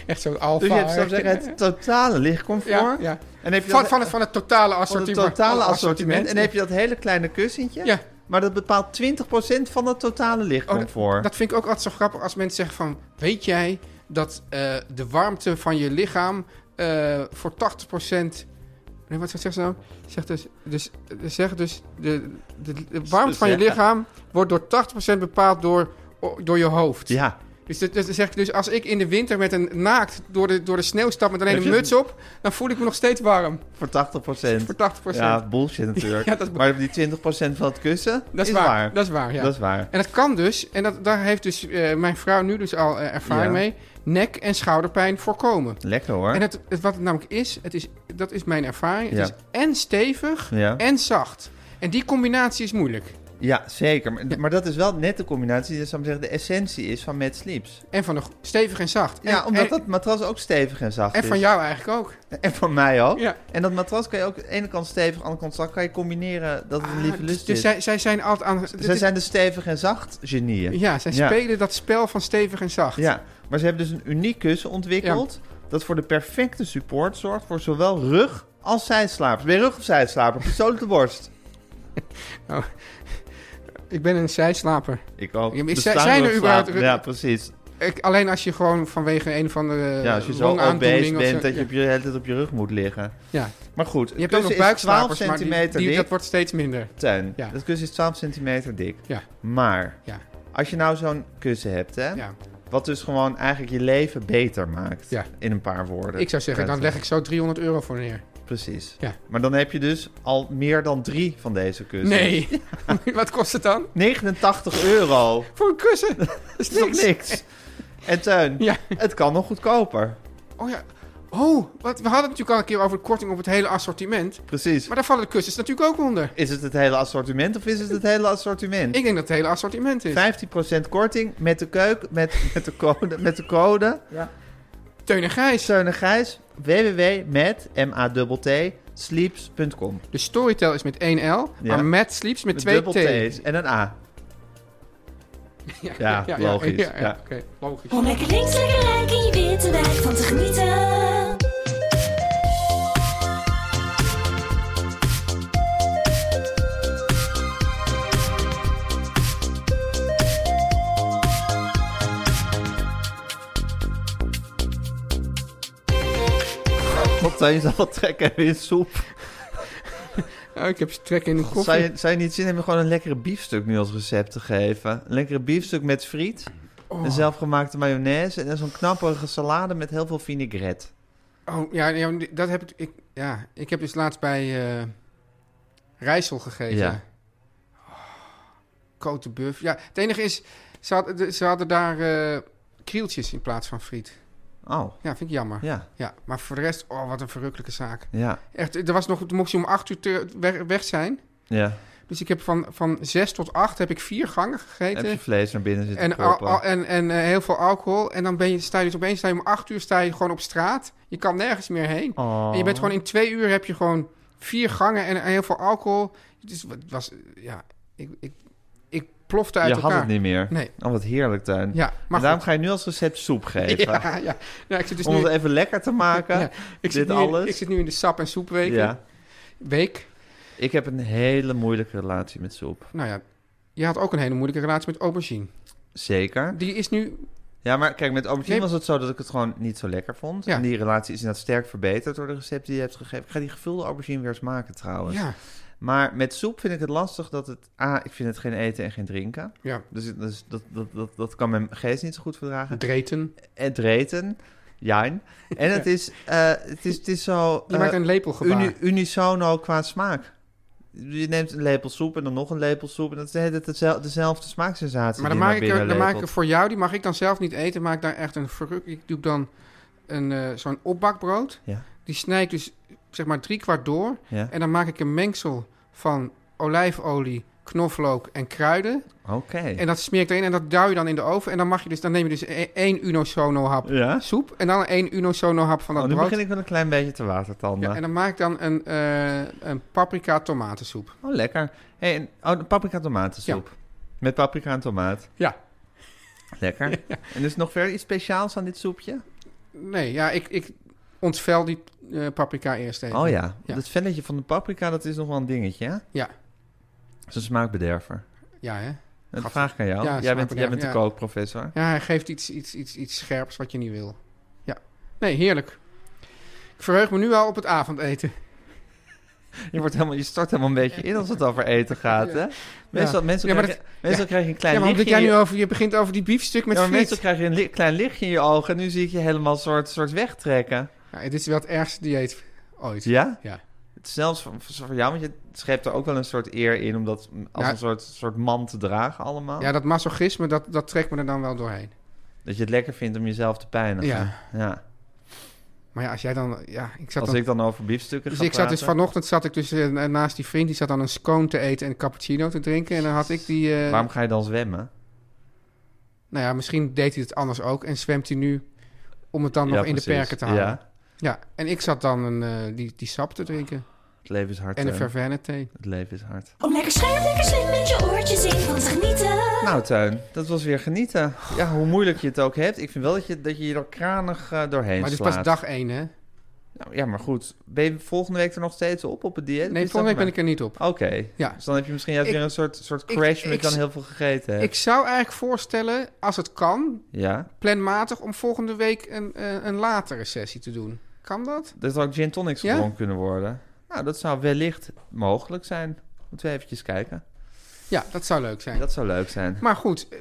[SPEAKER 3] Echt zo'n alfa.
[SPEAKER 2] Dus je hebt
[SPEAKER 3] hè?
[SPEAKER 2] zou ik zeggen, het totale lichtcomfort.
[SPEAKER 3] ja, ja.
[SPEAKER 2] En heb je
[SPEAKER 3] Van,
[SPEAKER 2] dat-
[SPEAKER 3] van, het, van het totale
[SPEAKER 2] van het
[SPEAKER 3] assortiment.
[SPEAKER 2] totale assortiment. En heb je dat hele kleine kussentje.
[SPEAKER 3] Ja. Oh,
[SPEAKER 2] Maar dat bepaalt 20% van het totale lichtcomfort.
[SPEAKER 3] Dat vind ik ook altijd zo grappig als mensen zeggen van... Weet jij dat eh, de warmte van je lichaam eh, voor 80%... Nee, wat zegt ze nou? Zegt dus, dus, zeg dus de, de, de warmte van je
[SPEAKER 2] Zeg-
[SPEAKER 3] lichaam wordt door 80% bepaald door, door je hoofd.
[SPEAKER 2] Ja.
[SPEAKER 3] Dus, dat, dat zeg ik dus als ik in de winter met een naakt door de, door de sneeuw stap met alleen
[SPEAKER 2] Heb
[SPEAKER 3] een
[SPEAKER 2] je-
[SPEAKER 3] muts op... dan voel ik me nog steeds warm
[SPEAKER 2] Voor 80%.
[SPEAKER 3] voor 80%.
[SPEAKER 2] Ja, bullshit natuurlijk.
[SPEAKER 3] *laughs* Ja, dat is bu-
[SPEAKER 2] maar die 20% van het kussen
[SPEAKER 3] dat is, waar. Dat is waar, ja.
[SPEAKER 2] Dat is waar.
[SPEAKER 3] En dat kan dus, en dat, daar heeft dus eh, mijn vrouw nu dus al eh, ervaring
[SPEAKER 2] Ja.
[SPEAKER 3] mee, nek- en schouderpijn voorkomen.
[SPEAKER 2] Lekker hoor.
[SPEAKER 3] En het, het- wat het namelijk is, het is, dat is mijn ervaring, het
[SPEAKER 2] Ja.
[SPEAKER 3] is en stevig
[SPEAKER 2] Ja.
[SPEAKER 3] en zacht. En die combinatie is moeilijk.
[SPEAKER 2] Ja, zeker. Maar, maar dat is wel net de combinatie die zou ik zeggen, de essentie is van Mad Sleeps.
[SPEAKER 3] En van de go- stevig en zacht.
[SPEAKER 2] Ja,
[SPEAKER 3] en,
[SPEAKER 2] omdat
[SPEAKER 3] en,
[SPEAKER 2] dat matras ook stevig en zacht
[SPEAKER 3] En
[SPEAKER 2] is.
[SPEAKER 3] van jou eigenlijk ook.
[SPEAKER 2] En van mij ook.
[SPEAKER 3] Ja.
[SPEAKER 2] En dat matras kan je ook aan de ene kant stevig, aan de andere kant zacht, kan je combineren dat het een lieve
[SPEAKER 3] Ah,
[SPEAKER 2] lust
[SPEAKER 3] dus
[SPEAKER 2] is.
[SPEAKER 3] zij, zij zijn altijd aan... dit
[SPEAKER 2] Zij
[SPEAKER 3] is-
[SPEAKER 2] zijn de stevig en zacht genieën.
[SPEAKER 3] Ja, zij
[SPEAKER 2] Ja.
[SPEAKER 3] spelen dat spel van stevig en zacht.
[SPEAKER 2] Ja, maar ze hebben dus een uniek kussen ontwikkeld dat voor de perfecte support zorgt voor zowel rug als zijslapers. Ben je rug of zijslaper? Persoonlijk de worst.
[SPEAKER 3] Ik ben een zijslaper.
[SPEAKER 2] Ik ook.
[SPEAKER 3] Ja, maar is-
[SPEAKER 2] Bestaande
[SPEAKER 3] zijn er
[SPEAKER 2] rugslaap-
[SPEAKER 3] überhaupt rug-
[SPEAKER 2] Ja, precies.
[SPEAKER 3] Ik, alleen als je gewoon vanwege een of andere
[SPEAKER 2] Ja, als je zo obese
[SPEAKER 3] longaandoening eh, of
[SPEAKER 2] bent dat
[SPEAKER 3] ja.
[SPEAKER 2] je op je de hele tijd op je rug moet liggen.
[SPEAKER 3] Ja.
[SPEAKER 2] Maar goed,
[SPEAKER 3] Je
[SPEAKER 2] het
[SPEAKER 3] hebt ook
[SPEAKER 2] kussen
[SPEAKER 3] nog
[SPEAKER 2] is 12
[SPEAKER 3] buikslapers, maar die-
[SPEAKER 2] centimeter
[SPEAKER 3] die,
[SPEAKER 2] dik.
[SPEAKER 3] dat wordt steeds minder.
[SPEAKER 2] Teun,
[SPEAKER 3] Ja.
[SPEAKER 2] dat kussen is 12 centimeter dik.
[SPEAKER 3] Ja.
[SPEAKER 2] Maar,
[SPEAKER 3] Ja.
[SPEAKER 2] als je nou zo'n kussen hebt, hè,
[SPEAKER 3] Ja.
[SPEAKER 2] wat dus gewoon eigenlijk je leven beter maakt,
[SPEAKER 3] Ja.
[SPEAKER 2] in een paar woorden.
[SPEAKER 3] Ik zou zeggen, dan leg ik zo 300 euro voor neer.
[SPEAKER 2] Precies.
[SPEAKER 3] Ja.
[SPEAKER 2] Maar dan heb je dus al meer dan drie van deze kussens.
[SPEAKER 3] Nee. *laughs* Wat kost het dan?
[SPEAKER 2] 89 euro.
[SPEAKER 3] Voor een
[SPEAKER 2] *laughs*
[SPEAKER 3] kussen. Dat is
[SPEAKER 2] Dat is nog
[SPEAKER 3] niks.
[SPEAKER 2] niks. En Teun,
[SPEAKER 3] Ja.
[SPEAKER 2] het kan nog goedkoper.
[SPEAKER 3] Oh ja. Oh, wat, we hadden het natuurlijk al een keer over de korting op het hele assortiment.
[SPEAKER 2] Precies.
[SPEAKER 3] Maar daar vallen de kussens natuurlijk ook onder.
[SPEAKER 2] Is het het hele assortiment of is het het hele assortiment?
[SPEAKER 3] Ik denk dat het hele assortiment is.
[SPEAKER 2] 15% korting met de keuk, met, *laughs* met de code, met de code.
[SPEAKER 3] Teun en Gijs.
[SPEAKER 2] Teun en Gijs, www.sleeps.com.
[SPEAKER 3] De Storytel is met 1L,
[SPEAKER 2] Ja.
[SPEAKER 3] maar Matt Sleeps met 2
[SPEAKER 2] dubbel
[SPEAKER 3] T.
[SPEAKER 2] T's en een A. Ja, logisch,
[SPEAKER 3] Ja,
[SPEAKER 2] ja.
[SPEAKER 3] oké, logisch.
[SPEAKER 6] Om lekker links, lekker rijk in je witte wijk van te genieten.
[SPEAKER 2] Wat zou je dan wel trekken in soep?
[SPEAKER 3] Oh, ik heb trek in de koffie.
[SPEAKER 2] Zou je, zou je niet zin hebben gewoon een lekkere biefstuk nu als recept te geven? Een lekkere biefstuk met friet,
[SPEAKER 3] Oh.
[SPEAKER 2] een zelfgemaakte mayonaise en dan zo'n knapperige salade met heel veel vinaigrette.
[SPEAKER 3] Oh, ja, ja, dat heb ik, ik... Ja, ik heb dus laatst bij eh Rijssel gegeten.
[SPEAKER 2] Ja.
[SPEAKER 3] Cote de Buff. Ja, het enige is, ze hadden, de- ze hadden daar eh, krieltjes in plaats van friet.
[SPEAKER 2] Oh,
[SPEAKER 3] Ja, vind ik jammer. Ja.
[SPEAKER 2] ja,
[SPEAKER 3] maar voor de rest, oh, wat een verrukkelijke zaak.
[SPEAKER 2] ja,
[SPEAKER 3] Echt, er was nog, toen mocht je om acht uur te- weg, weg zijn.
[SPEAKER 2] ja.
[SPEAKER 3] Dus ik heb van, van zes tot acht heb ik vier gangen gegeten.
[SPEAKER 2] Heb je vlees naar binnen zitten
[SPEAKER 3] En,
[SPEAKER 2] proppen.
[SPEAKER 3] al- al- en, en eh, heel veel alcohol. En dan ben je, sta je dus opeens sta je om acht uur sta je gewoon op straat. Je kan nergens meer heen.
[SPEAKER 2] Oh.
[SPEAKER 3] En je bent gewoon in twee uur heb je gewoon vier gangen en, en heel veel alcohol. Dus het was, ja, ik, ik, ik plofte uit
[SPEAKER 2] je
[SPEAKER 3] elkaar.
[SPEAKER 2] had het niet meer.
[SPEAKER 3] Nee.
[SPEAKER 2] Oh, wat heerlijk, Tuin.
[SPEAKER 3] Ja, maar
[SPEAKER 2] en daarom ga je nu als recept soep geven.
[SPEAKER 3] *laughs* Ja, ja. Nou, ik zit dus
[SPEAKER 2] om
[SPEAKER 3] nu,
[SPEAKER 2] het even lekker te maken.
[SPEAKER 3] Ja, ik zit
[SPEAKER 2] dit
[SPEAKER 3] nu in-
[SPEAKER 2] alles.
[SPEAKER 3] ik zit nu in de sap- en soepweek.
[SPEAKER 2] ja.
[SPEAKER 3] Week.
[SPEAKER 2] Ik heb een hele moeilijke relatie met soep.
[SPEAKER 3] Nou ja, je had ook een hele moeilijke relatie met aubergine.
[SPEAKER 2] Zeker.
[SPEAKER 3] Die is nu...
[SPEAKER 2] Ja, maar kijk, met aubergine
[SPEAKER 3] Nee.
[SPEAKER 2] was het zo dat ik het gewoon niet zo lekker vond.
[SPEAKER 3] Ja.
[SPEAKER 2] En die relatie is inderdaad sterk verbeterd door de recepten die je hebt gegeven. Ik ga die gevulde aubergine weer eens maken trouwens.
[SPEAKER 3] Ja,
[SPEAKER 2] Maar met soep vind ik het lastig dat het... A, ik vind het geen eten en geen drinken.
[SPEAKER 3] ja.
[SPEAKER 2] Dus, het- dus dat, dat, dat, dat kan mijn geest niet zo goed verdragen.
[SPEAKER 3] Dreten.
[SPEAKER 2] En dreten. Jijn. En het is, eh, het is, het is zo...
[SPEAKER 3] Je
[SPEAKER 2] eh,
[SPEAKER 3] maakt een lepelgebaar.
[SPEAKER 2] Uni- unisono qua smaak. Je neemt een lepel soep en dan nog een lepel soep. En dat is de hele tijd dezel- dezelfde smaaksensatie.
[SPEAKER 3] maar dan
[SPEAKER 2] die
[SPEAKER 3] maak, ik
[SPEAKER 2] binnen
[SPEAKER 3] er, dan maak ik er
[SPEAKER 2] lepelt.
[SPEAKER 3] voor jou, die mag ik dan zelf niet eten, maak ik daar echt een verruk. Ik doe dan een, eh, zo'n opbakbrood.
[SPEAKER 2] Ja.
[SPEAKER 3] Die snijd ik dus zeg maar drie kwart door.
[SPEAKER 2] Ja.
[SPEAKER 3] En dan maak ik een mengsel van olijfolie, knoflook en kruiden.
[SPEAKER 2] Oké.
[SPEAKER 3] En dat smeer ik erin en dat duw je dan in de oven. En dan, mag je dus, dan neem je dus e- één unosono hap
[SPEAKER 2] Ja.
[SPEAKER 3] soep en dan één unosono hap van dat
[SPEAKER 2] Oh, nu
[SPEAKER 3] brood.
[SPEAKER 2] begin ik wel een klein beetje te watertanden.
[SPEAKER 3] Ja, en dan maak ik dan een, eh, een paprika tomatensoep.
[SPEAKER 2] Oh, lekker. Hey, en, oh, paprika tomatensoep. Met paprika en tomaat.
[SPEAKER 3] Ja. *laughs*
[SPEAKER 2] Lekker. En is er nog verder iets speciaals aan dit soepje?
[SPEAKER 3] Nee, ja, ik, ik ontvel die eh, paprika eerst even.
[SPEAKER 2] Oh ja.
[SPEAKER 3] Ja.
[SPEAKER 2] Dat velletje van de paprika, dat is nog wel een dingetje, hè?
[SPEAKER 3] Ja,
[SPEAKER 2] Dat is een smaakbederver.
[SPEAKER 3] ja hè.
[SPEAKER 2] Dat
[SPEAKER 3] Gaf-
[SPEAKER 2] vraag ik aan jou.
[SPEAKER 3] Ja,
[SPEAKER 2] jij, bent, jij
[SPEAKER 3] smaakbederver,
[SPEAKER 2] bent de
[SPEAKER 3] ja.
[SPEAKER 2] kookprofessor.
[SPEAKER 3] Ja, hij geeft iets, iets, iets, iets scherps wat je niet wil. Ja. Nee, heerlijk. Ik verheug me nu al op het avondeten.
[SPEAKER 2] Je, wordt helemaal, je stort helemaal een beetje in als het over eten gaat, hè? Meestal, mensen
[SPEAKER 3] Ja, maar
[SPEAKER 2] krijgen, meestal krijg je een klein
[SPEAKER 3] ja, want
[SPEAKER 2] lichtje...
[SPEAKER 3] omdat jij
[SPEAKER 2] in je-
[SPEAKER 3] nu over, je begint over die biefstuk met
[SPEAKER 2] Ja,
[SPEAKER 3] ja,
[SPEAKER 2] maar meestal krijg je een li- klein lichtje in je ogen... en nu zie ik je helemaal soort, soort wegtrekken.
[SPEAKER 3] Ja, dit is wel het ergste dieet ooit.
[SPEAKER 2] Ja?
[SPEAKER 3] Ja.
[SPEAKER 2] Het is zelfs voor, voor voor jou, want je schept er ook wel een soort eer in... om dat als
[SPEAKER 3] Ja.
[SPEAKER 2] een soort, soort man te dragen allemaal.
[SPEAKER 3] Ja, dat masochisme, dat, dat trekt me er dan wel doorheen.
[SPEAKER 2] Dat je het lekker vindt om jezelf te pijnigen.
[SPEAKER 3] Ja.
[SPEAKER 2] Ja.
[SPEAKER 3] Maar ja, als jij dan... Ja, ik zat
[SPEAKER 2] Als
[SPEAKER 3] dan...
[SPEAKER 2] ik dan over biefstukken
[SPEAKER 3] dus
[SPEAKER 2] ga
[SPEAKER 3] ik zat dus
[SPEAKER 2] praten.
[SPEAKER 3] vanochtend zat ik dus eh, naast die vriend, die zat dan een scone te eten en een cappuccino te drinken. En dan had ik die... eh,
[SPEAKER 2] Waarom ga je dan zwemmen?
[SPEAKER 3] Nou ja, misschien deed hij het anders ook en zwemt hij nu om het dan nog in de
[SPEAKER 2] precies.
[SPEAKER 3] perken te houden. Ja.
[SPEAKER 2] Ja,
[SPEAKER 3] en ik zat dan een, eh, die, die sap te drinken
[SPEAKER 2] het leven is hard.
[SPEAKER 3] en een
[SPEAKER 2] hè.
[SPEAKER 3] vervenne thee.
[SPEAKER 2] Het leven is hard.
[SPEAKER 6] Om lekker scherp, lekker slim met je oortjes in van te genieten.
[SPEAKER 2] Nou, Tuin, dat was weer genieten. Ja, hoe moeilijk je het ook hebt. Ik vind wel dat je, dat je hier al kranig eh, doorheen
[SPEAKER 3] Maar dit is
[SPEAKER 2] slaat.
[SPEAKER 3] pas dag één, hè?
[SPEAKER 2] Nou, ja, maar goed. Ben je volgende week er nog steeds op, op het dieet?
[SPEAKER 3] Nee,
[SPEAKER 2] Is
[SPEAKER 3] volgende
[SPEAKER 2] dat
[SPEAKER 3] week ben ik er niet op.
[SPEAKER 2] maar- Oké.
[SPEAKER 3] Ja.
[SPEAKER 2] Dus dan heb je misschien juist
[SPEAKER 3] Ik-
[SPEAKER 2] weer een soort, soort
[SPEAKER 3] ik-
[SPEAKER 2] crash... omdat
[SPEAKER 3] ik-
[SPEAKER 2] je dan heel veel gegeten hebt.
[SPEAKER 3] Ik zou eigenlijk voorstellen, als het kan,
[SPEAKER 2] ja.
[SPEAKER 3] planmatig om volgende week een, eh, een latere sessie te doen. Kan dat?
[SPEAKER 2] Dat zou ook gin tonics
[SPEAKER 3] Ja?
[SPEAKER 2] gewoon kunnen worden. Nou, dat zou wellicht mogelijk zijn. Moeten we eventjes kijken.
[SPEAKER 3] Ja, dat zou leuk zijn.
[SPEAKER 2] Dat zou leuk zijn.
[SPEAKER 3] Maar goed, eh,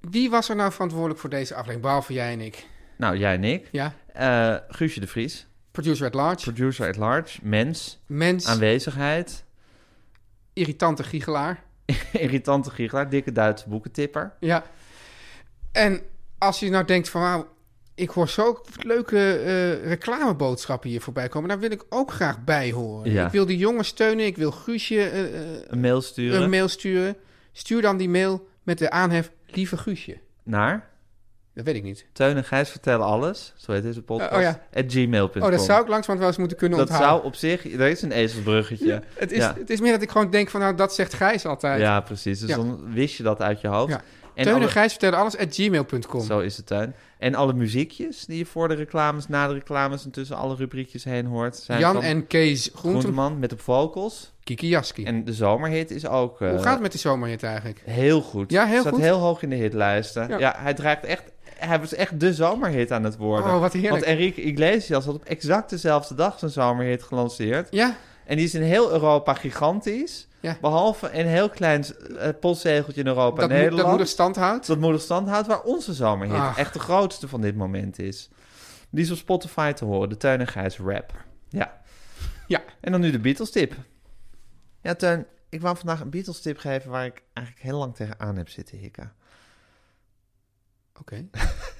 [SPEAKER 3] wie was er nou verantwoordelijk voor deze aflevering? Behalve jij en ik.
[SPEAKER 2] Nou, jij en ik.
[SPEAKER 3] Ja,
[SPEAKER 2] Eh, Guusje de Vries.
[SPEAKER 3] producer at large,
[SPEAKER 2] Producer at large. Mens.
[SPEAKER 3] mens,
[SPEAKER 2] Aanwezigheid. *laughs*
[SPEAKER 3] irritante giegelaar.
[SPEAKER 2] Irritante giegelaar. Dikke Duitse boekentipper.
[SPEAKER 3] Ja. En als je nou denkt van, wauw, ik hoor zo leuke eh, reclameboodschappen hier voorbij komen. Daar wil ik ook graag bij horen.
[SPEAKER 2] Ja.
[SPEAKER 3] Ik wil die jongen steunen. Ik wil Guusje eh, eh,
[SPEAKER 2] Een mail sturen.
[SPEAKER 3] een mail sturen. Stuur dan die mail met de aanhef Lieve Guusje.
[SPEAKER 2] naar
[SPEAKER 3] Dat weet ik niet.
[SPEAKER 2] Teun en Gijs vertellen alles. Zo heet deze podcast.
[SPEAKER 3] Eh, oh ja.
[SPEAKER 2] At gmail.com.
[SPEAKER 3] Oh, dat zou ik langzamerhand wel eens moeten kunnen
[SPEAKER 2] Dat
[SPEAKER 3] onthouden.
[SPEAKER 2] zou op zich... Er is een ezelsbruggetje. Ja,
[SPEAKER 3] Het, is,
[SPEAKER 2] ja.
[SPEAKER 3] het is meer dat ik gewoon denk van, nou, dat zegt Gijs altijd. Ja.
[SPEAKER 2] precies. Dus
[SPEAKER 3] Ja.
[SPEAKER 2] dan wist je dat uit je hoofd.
[SPEAKER 3] Ja.
[SPEAKER 2] En
[SPEAKER 3] Teun en
[SPEAKER 2] alle-
[SPEAKER 3] Gijs vertellen alles at gmail.com.
[SPEAKER 2] Zo is het, Teun. En alle muziekjes die je voor de reclames, na de reclames en tussen alle rubriekjes heen hoort... zijn
[SPEAKER 3] Jan
[SPEAKER 2] van
[SPEAKER 3] en Kees Groenteman.
[SPEAKER 2] Groenteman met de vocals.
[SPEAKER 3] Kiki Jaski.
[SPEAKER 2] En de zomerhit is ook... eh,
[SPEAKER 3] Hoe gaat het met de zomerhit eigenlijk?
[SPEAKER 2] Heel goed.
[SPEAKER 3] Ja, heel
[SPEAKER 2] Staat
[SPEAKER 3] goed.
[SPEAKER 2] heel hoog in de hitlijsten.
[SPEAKER 3] Ja.
[SPEAKER 2] Ja, hij draagt echt... Hij was echt de zomerhit aan het worden.
[SPEAKER 3] Oh, wat heerlijk.
[SPEAKER 2] Want Enrique Iglesias had op exact dezelfde dag zijn zomerhit gelanceerd.
[SPEAKER 3] Ja,
[SPEAKER 2] En die is in heel Europa gigantisch.
[SPEAKER 3] Ja.
[SPEAKER 2] Behalve een heel klein eh, postzegeltje in Europa
[SPEAKER 3] dat, moe-
[SPEAKER 2] Nederland.
[SPEAKER 3] dat moeder stand houdt.
[SPEAKER 2] dat moedig stand houdt waar onze zomerhit
[SPEAKER 3] Ach.
[SPEAKER 2] echt de grootste van dit moment is. Die is op Spotify te horen. De Teun en Gijs rap. Ja.
[SPEAKER 3] Ja.
[SPEAKER 2] En dan nu de Beatles tip. Ja, Teun. Ik wou vandaag een Beatles tip geven waar ik eigenlijk heel lang tegenaan heb zitten hikken.
[SPEAKER 3] Oké.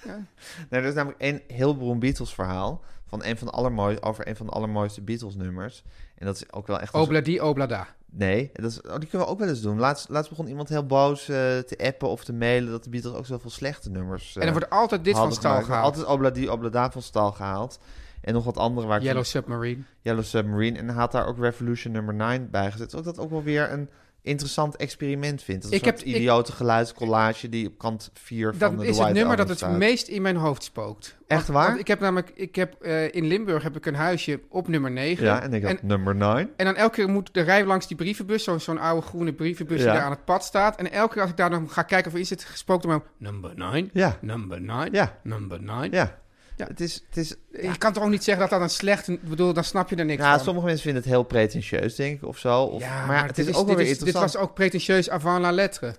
[SPEAKER 2] Nou, er is namelijk een heel beroemd Beatles verhaal van een van de allermooiste, over een van de allermooiste Beatles nummers. En dat is ook wel echt... een soort-
[SPEAKER 3] Obladi, oblada.
[SPEAKER 2] Nee, dat is, oh, die kunnen we ook wel eens doen. Laatst, laatst begon iemand heel boos eh, te appen of te mailen dat de Beatles ook zoveel slechte nummers eh,
[SPEAKER 3] en er wordt altijd dit van
[SPEAKER 2] hadden
[SPEAKER 3] stal
[SPEAKER 2] gemaakt.
[SPEAKER 3] gehaald.
[SPEAKER 2] Altijd Obladi Oblada van stal gehaald. En nog wat andere waar ik-
[SPEAKER 3] Yellow Submarine.
[SPEAKER 2] Yellow Submarine. En hij had daar ook Revolution nummer 9 bij gezet. Dus ook dat ook wel weer een interessant experiment vind. Dat is een
[SPEAKER 3] Ik
[SPEAKER 2] soort
[SPEAKER 3] heb- ik-
[SPEAKER 2] idiote geluidscollage die op kant 4 van de
[SPEAKER 3] Dat
[SPEAKER 2] The
[SPEAKER 3] is het
[SPEAKER 2] White
[SPEAKER 3] nummer
[SPEAKER 2] Album
[SPEAKER 3] dat het
[SPEAKER 2] staat.
[SPEAKER 3] meest in mijn hoofd spookt. Want-
[SPEAKER 2] Echt waar?
[SPEAKER 3] want ik heb namelijk, ik heb, eh, in Limburg heb ik een huisje op nummer 9.
[SPEAKER 2] Ja, en ik had
[SPEAKER 3] en,
[SPEAKER 2] nummer 9.
[SPEAKER 3] en dan elke keer moet de rij langs die brievenbus, zo- zo'n oude groene brievenbus
[SPEAKER 2] Ja.
[SPEAKER 3] die daar aan het pad staat. En elke keer als ik daar dan ga kijken of er iets zit, gespookt door mijn number 9,
[SPEAKER 2] Ja.
[SPEAKER 3] number 9,
[SPEAKER 2] Ja.
[SPEAKER 3] number 9.
[SPEAKER 2] Ja.
[SPEAKER 3] Ja.
[SPEAKER 2] Het is, het is
[SPEAKER 3] Je kan toch ook niet zeggen dat dat een slecht... Ik bedoel, dan snap je er niks
[SPEAKER 2] ja,
[SPEAKER 3] van.
[SPEAKER 2] sommige mensen vinden het heel pretentieus, denk ik, of zo. Of,
[SPEAKER 3] Ja,
[SPEAKER 2] maar, het is, ook wel
[SPEAKER 3] dit,
[SPEAKER 2] weer
[SPEAKER 3] is- dit
[SPEAKER 2] interessant.
[SPEAKER 3] was ook pretentieus avant la lettre.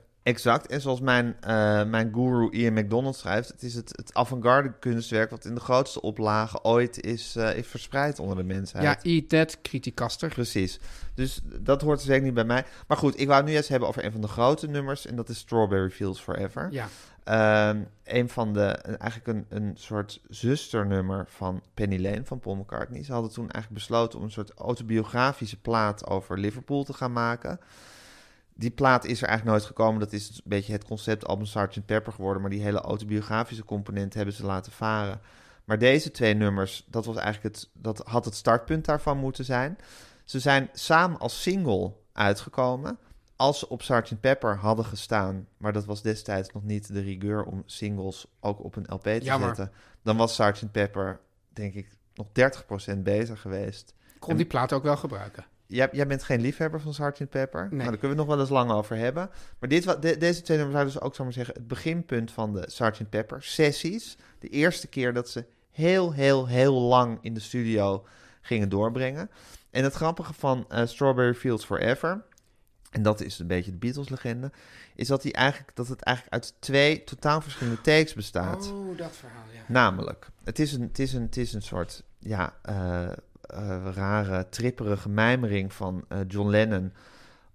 [SPEAKER 2] Exact. En zoals mijn, eh mijn guru Ian McDonald schrijft, het is het, het avant-garde kunstwerk wat in de grootste oplage ooit is, eh, is verspreid onder de mensheid.
[SPEAKER 3] Ja, eat that, criticaster.
[SPEAKER 2] Precies. Dus dat hoort zeker niet bij mij. Maar goed, ik wou het nu eens hebben over een van de grote nummers. En dat is Strawberry Fields Forever.
[SPEAKER 3] Ja.
[SPEAKER 2] Ehm, een van de, een- eigenlijk een, een soort zusternummer van Penny Lane van Paul McCartney. Ze hadden toen eigenlijk besloten om een soort autobiografische plaat over Liverpool te gaan maken. Die plaat is er eigenlijk nooit gekomen. Dat is een beetje het conceptalbum Sgt. Pepper geworden. Maar die hele autobiografische component hebben ze laten varen. Maar deze twee nummers, dat, was eigenlijk het, dat had het startpunt daarvan moeten zijn. Ze zijn samen als single uitgekomen. Als ze op Sgt. Pepper hadden gestaan, maar dat was destijds nog niet de rigueur om singles ook op een LP te
[SPEAKER 3] Jammer.
[SPEAKER 2] zetten, dan was Sgt. Pepper, denk ik, nog 30% bezig geweest.
[SPEAKER 3] Kon die plaat ook wel gebruiken.
[SPEAKER 2] Jij, jij bent geen liefhebber van Sgt. Pepper. Nou, daar kunnen we het nog wel eens lang over hebben. Maar dit, wa- de- deze twee nummers waren dus ook, zou ik maar zeggen, het beginpunt van de Sgt. Pepper sessies. De eerste keer dat ze heel, heel, heel lang in de studio gingen doorbrengen. En het grappige van eh, Strawberry Fields Forever, en dat is een beetje de Beatles-legende, is dat, die eigenlijk, dat het eigenlijk uit twee totaal verschillende takes bestaat.
[SPEAKER 3] Oh, dat verhaal, ja.
[SPEAKER 2] Namelijk, het is een, het is een, het is een soort ja, eh, eh, rare, tripperige mijmering van eh, John Lennon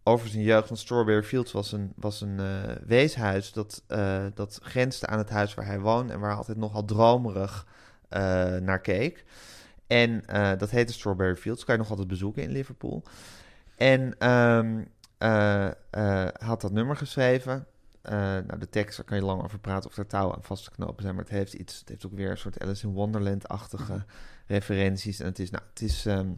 [SPEAKER 2] over zijn jeugd. Want Strawberry Fields was een, was een eh, weeshuis dat, eh, dat grensde aan het huis waar hij woonde en waar hij altijd nogal dromerig eh, naar keek. En eh, dat heette Strawberry Fields, kan je nog altijd bezoeken in Liverpool. En ehm, eh, eh, hij had dat nummer geschreven. Eh, nou, de tekst, daar kan je lang over praten of er touwen aan vast te knopen zijn. Maar het heeft iets, het heeft ook weer een soort Alice in Wonderland-achtige referenties. En het is, nou, het is, ehm,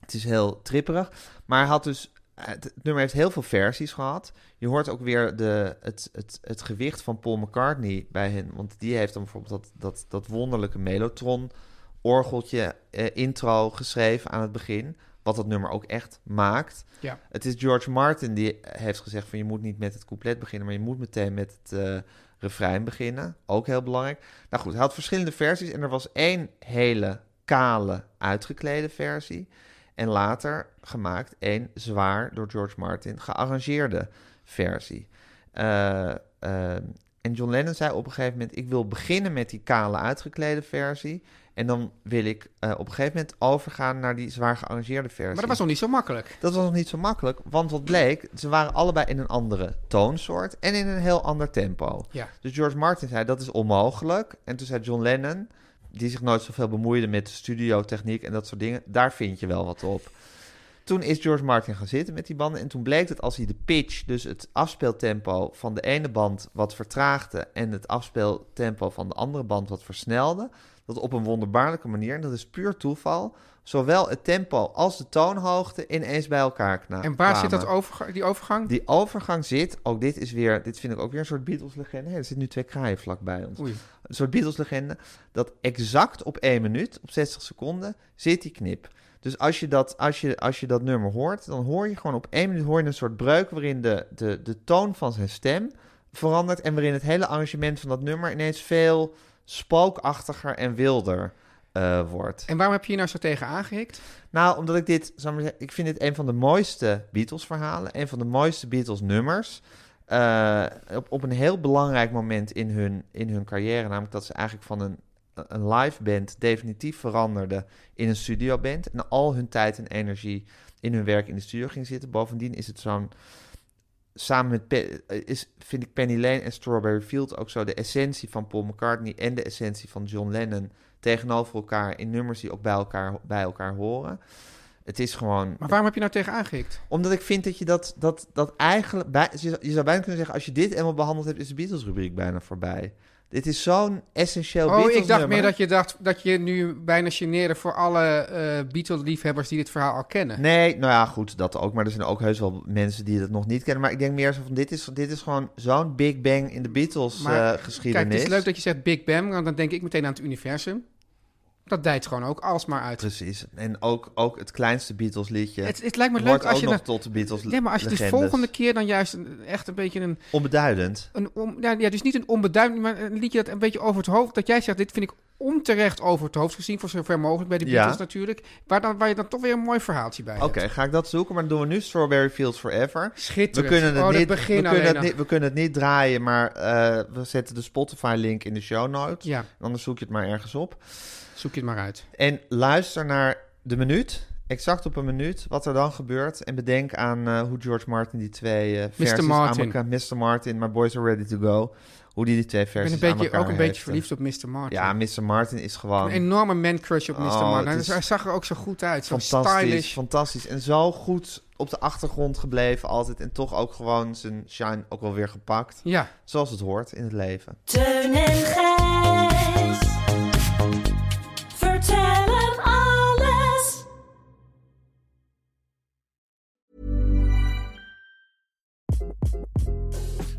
[SPEAKER 2] het is heel tripperig. Maar hij had dus, het, het nummer heeft heel veel versies gehad. Je hoort ook weer de, het, het, het gewicht van Paul McCartney bij hen. Want die heeft dan bijvoorbeeld dat, dat, dat wonderlijke Melotron orgeltje eh, intro geschreven aan het begin. Wat dat nummer ook echt maakt.
[SPEAKER 3] Ja.
[SPEAKER 2] Het is George Martin die heeft gezegd van je moet niet met het couplet beginnen, maar je moet meteen met het eh, refrein beginnen. Ook heel belangrijk. Nou goed, hij had verschillende versies en er was één hele kale uitgeklede versie. En later gemaakt één zwaar door George Martin gearrangeerde versie. Eh, ehm, en John Lennon zei op een gegeven moment: Ik wil beginnen met die kale uitgeklede versie. En dan wil ik eh, op een gegeven moment overgaan naar die zwaar gearrangeerde versie.
[SPEAKER 3] Maar dat was nog niet zo makkelijk.
[SPEAKER 2] Dat was nog niet zo makkelijk, want wat bleek, ze waren allebei in een andere toonsoort en in een heel ander tempo.
[SPEAKER 3] Ja.
[SPEAKER 2] Dus George Martin zei, dat is onmogelijk. En toen zei John Lennon, die zich nooit zoveel bemoeide met de studiotechniek en dat soort dingen, daar vind je wel wat op. Toen is George Martin gaan zitten met die banden en toen bleek dat als hij de pitch, dus het afspeeltempo van de ene band wat vertraagde en het afspeeltempo van de andere band wat versnelde, dat op een wonderbaarlijke manier, en dat is puur toeval, zowel het tempo als de toonhoogte ineens bij elkaar kna-
[SPEAKER 3] En waar zit dat
[SPEAKER 2] kwamen.
[SPEAKER 3] overga die overgang?
[SPEAKER 2] Die overgang zit, ook dit is weer, dit vind ik ook weer een soort Beatles-legende. Hey, er zitten nu twee kraaien vlakbij ons.
[SPEAKER 3] Oei.
[SPEAKER 2] Een soort Beatles-legende, dat exact op één minuut, op 60 seconden, zit die knip. Dus als je dat, als je, als je dat nummer hoort, dan hoor je gewoon op één minuut hoor je een soort breuk waarin de, de, de toon van zijn stem verandert en waarin het hele arrangement van dat nummer ineens veel spookachtiger en wilder eh, wordt.
[SPEAKER 3] En waarom heb je hier nou zo tegen aangehikt?
[SPEAKER 2] Nou, omdat ik dit, zal ik, maar zeggen, ik vind dit een van de mooiste Beatles-verhalen, een van de mooiste Beatles-nummers. Eh, op, op een heel belangrijk moment in hun, in hun carrière, namelijk dat ze eigenlijk van een, een live band definitief veranderden in een studioband. En al hun tijd en energie in hun werk in de studio ging zitten. Bovendien is het zo'n. Samen met Pe- eh, is, vind ik Penny Lane en Strawberry Field ook zo de essentie van Paul McCartney en de essentie van John Lennon tegenover elkaar in nummers die ook bij elkaar, bij elkaar horen. Het is gewoon.
[SPEAKER 3] Maar waarom heb je nou tegen aangehikt?
[SPEAKER 2] Omdat ik vind dat je dat, dat, dat eigenlijk. Bij, je, zou- je zou bijna kunnen zeggen: als je dit eenmaal behandeld hebt, is de Beatles-rubriek bijna voorbij. Dit is zo'n essentieel
[SPEAKER 3] Oh, ik dacht
[SPEAKER 2] Beatles-nummer.
[SPEAKER 3] meer dat je dacht dat je nu bijna geneerde voor alle eh Beatle-liefhebbers die dit verhaal al kennen.
[SPEAKER 2] Nee, nou ja, goed, dat ook. Maar er zijn ook heus wel mensen die dat nog niet kennen. Maar ik denk meer zo van, dit is, dit is gewoon zo'n Big Bang in de eh,
[SPEAKER 3] Maar,
[SPEAKER 2] Beatles-geschiedenis.
[SPEAKER 3] Kijk, het is leuk dat je zegt Big Bang, want dan denk ik meteen aan het universum. Dat dijt gewoon ook alsmaar uit.
[SPEAKER 2] Precies. En ook, ook het kleinste Beatles-liedje
[SPEAKER 3] Het, het lijkt me
[SPEAKER 2] wordt
[SPEAKER 3] leuk als
[SPEAKER 2] ook
[SPEAKER 3] je
[SPEAKER 2] nog
[SPEAKER 3] dan-
[SPEAKER 2] tot de Beatles
[SPEAKER 3] Nee, maar als je dus
[SPEAKER 2] legendes.
[SPEAKER 3] volgende keer dan juist een- echt een beetje een...
[SPEAKER 2] Onbeduidend.
[SPEAKER 3] een on- ja, ja, dus niet een onbeduidend, maar een liedje dat een beetje over het hoofd... Dat jij zegt, dit vind ik onterecht over het hoofd gezien, voor zover mogelijk bij de
[SPEAKER 2] Ja.
[SPEAKER 3] Beatles natuurlijk. Waar, dan, waar je dan toch weer een mooi verhaaltje bij
[SPEAKER 2] Oké,
[SPEAKER 3] hebt.
[SPEAKER 2] ga ik dat zoeken, maar dan doen we nu Strawberry Fields Forever. We
[SPEAKER 3] Schitterend.
[SPEAKER 2] kunnen, het
[SPEAKER 3] oh, dat
[SPEAKER 2] niet, we,
[SPEAKER 3] begin
[SPEAKER 2] kunnen
[SPEAKER 3] alleen
[SPEAKER 2] het
[SPEAKER 3] al.
[SPEAKER 2] niet, we kunnen het niet draaien, maar eh, we zetten de Spotify-link in de show notes.
[SPEAKER 3] Ja,
[SPEAKER 2] Anders zoek je het maar ergens op.
[SPEAKER 3] zoek je het maar uit.
[SPEAKER 2] En luister naar de minuut, exact op een minuut, wat er dan gebeurt. En bedenk aan eh, hoe George Martin die twee eh, versies
[SPEAKER 3] Martin.
[SPEAKER 2] aan elkaar... Mr. Martin, My Boys Are Ready To Go. Hoe die die twee
[SPEAKER 3] Ik ben
[SPEAKER 2] versies
[SPEAKER 3] een
[SPEAKER 2] aan
[SPEAKER 3] beetje,
[SPEAKER 2] elkaar
[SPEAKER 3] ook een beetje
[SPEAKER 2] hechten.
[SPEAKER 3] verliefd op Mr. Martin.
[SPEAKER 2] eh, Ja, Mr. Martin is gewoon
[SPEAKER 3] Een enorme man-crush op Mr.
[SPEAKER 2] Oh,
[SPEAKER 3] Martin.
[SPEAKER 2] het
[SPEAKER 3] Hij
[SPEAKER 2] is
[SPEAKER 3] hij zag er ook zo goed uit. Zo
[SPEAKER 2] fantastisch,
[SPEAKER 3] stylish.
[SPEAKER 2] fantastisch. En zo goed op de achtergrond gebleven altijd. En toch ook gewoon zijn shine ook wel weer gepakt.
[SPEAKER 3] Ja,
[SPEAKER 2] Zoals het hoort in het leven.
[SPEAKER 8] Teun en Gijs. Vertel hem alles.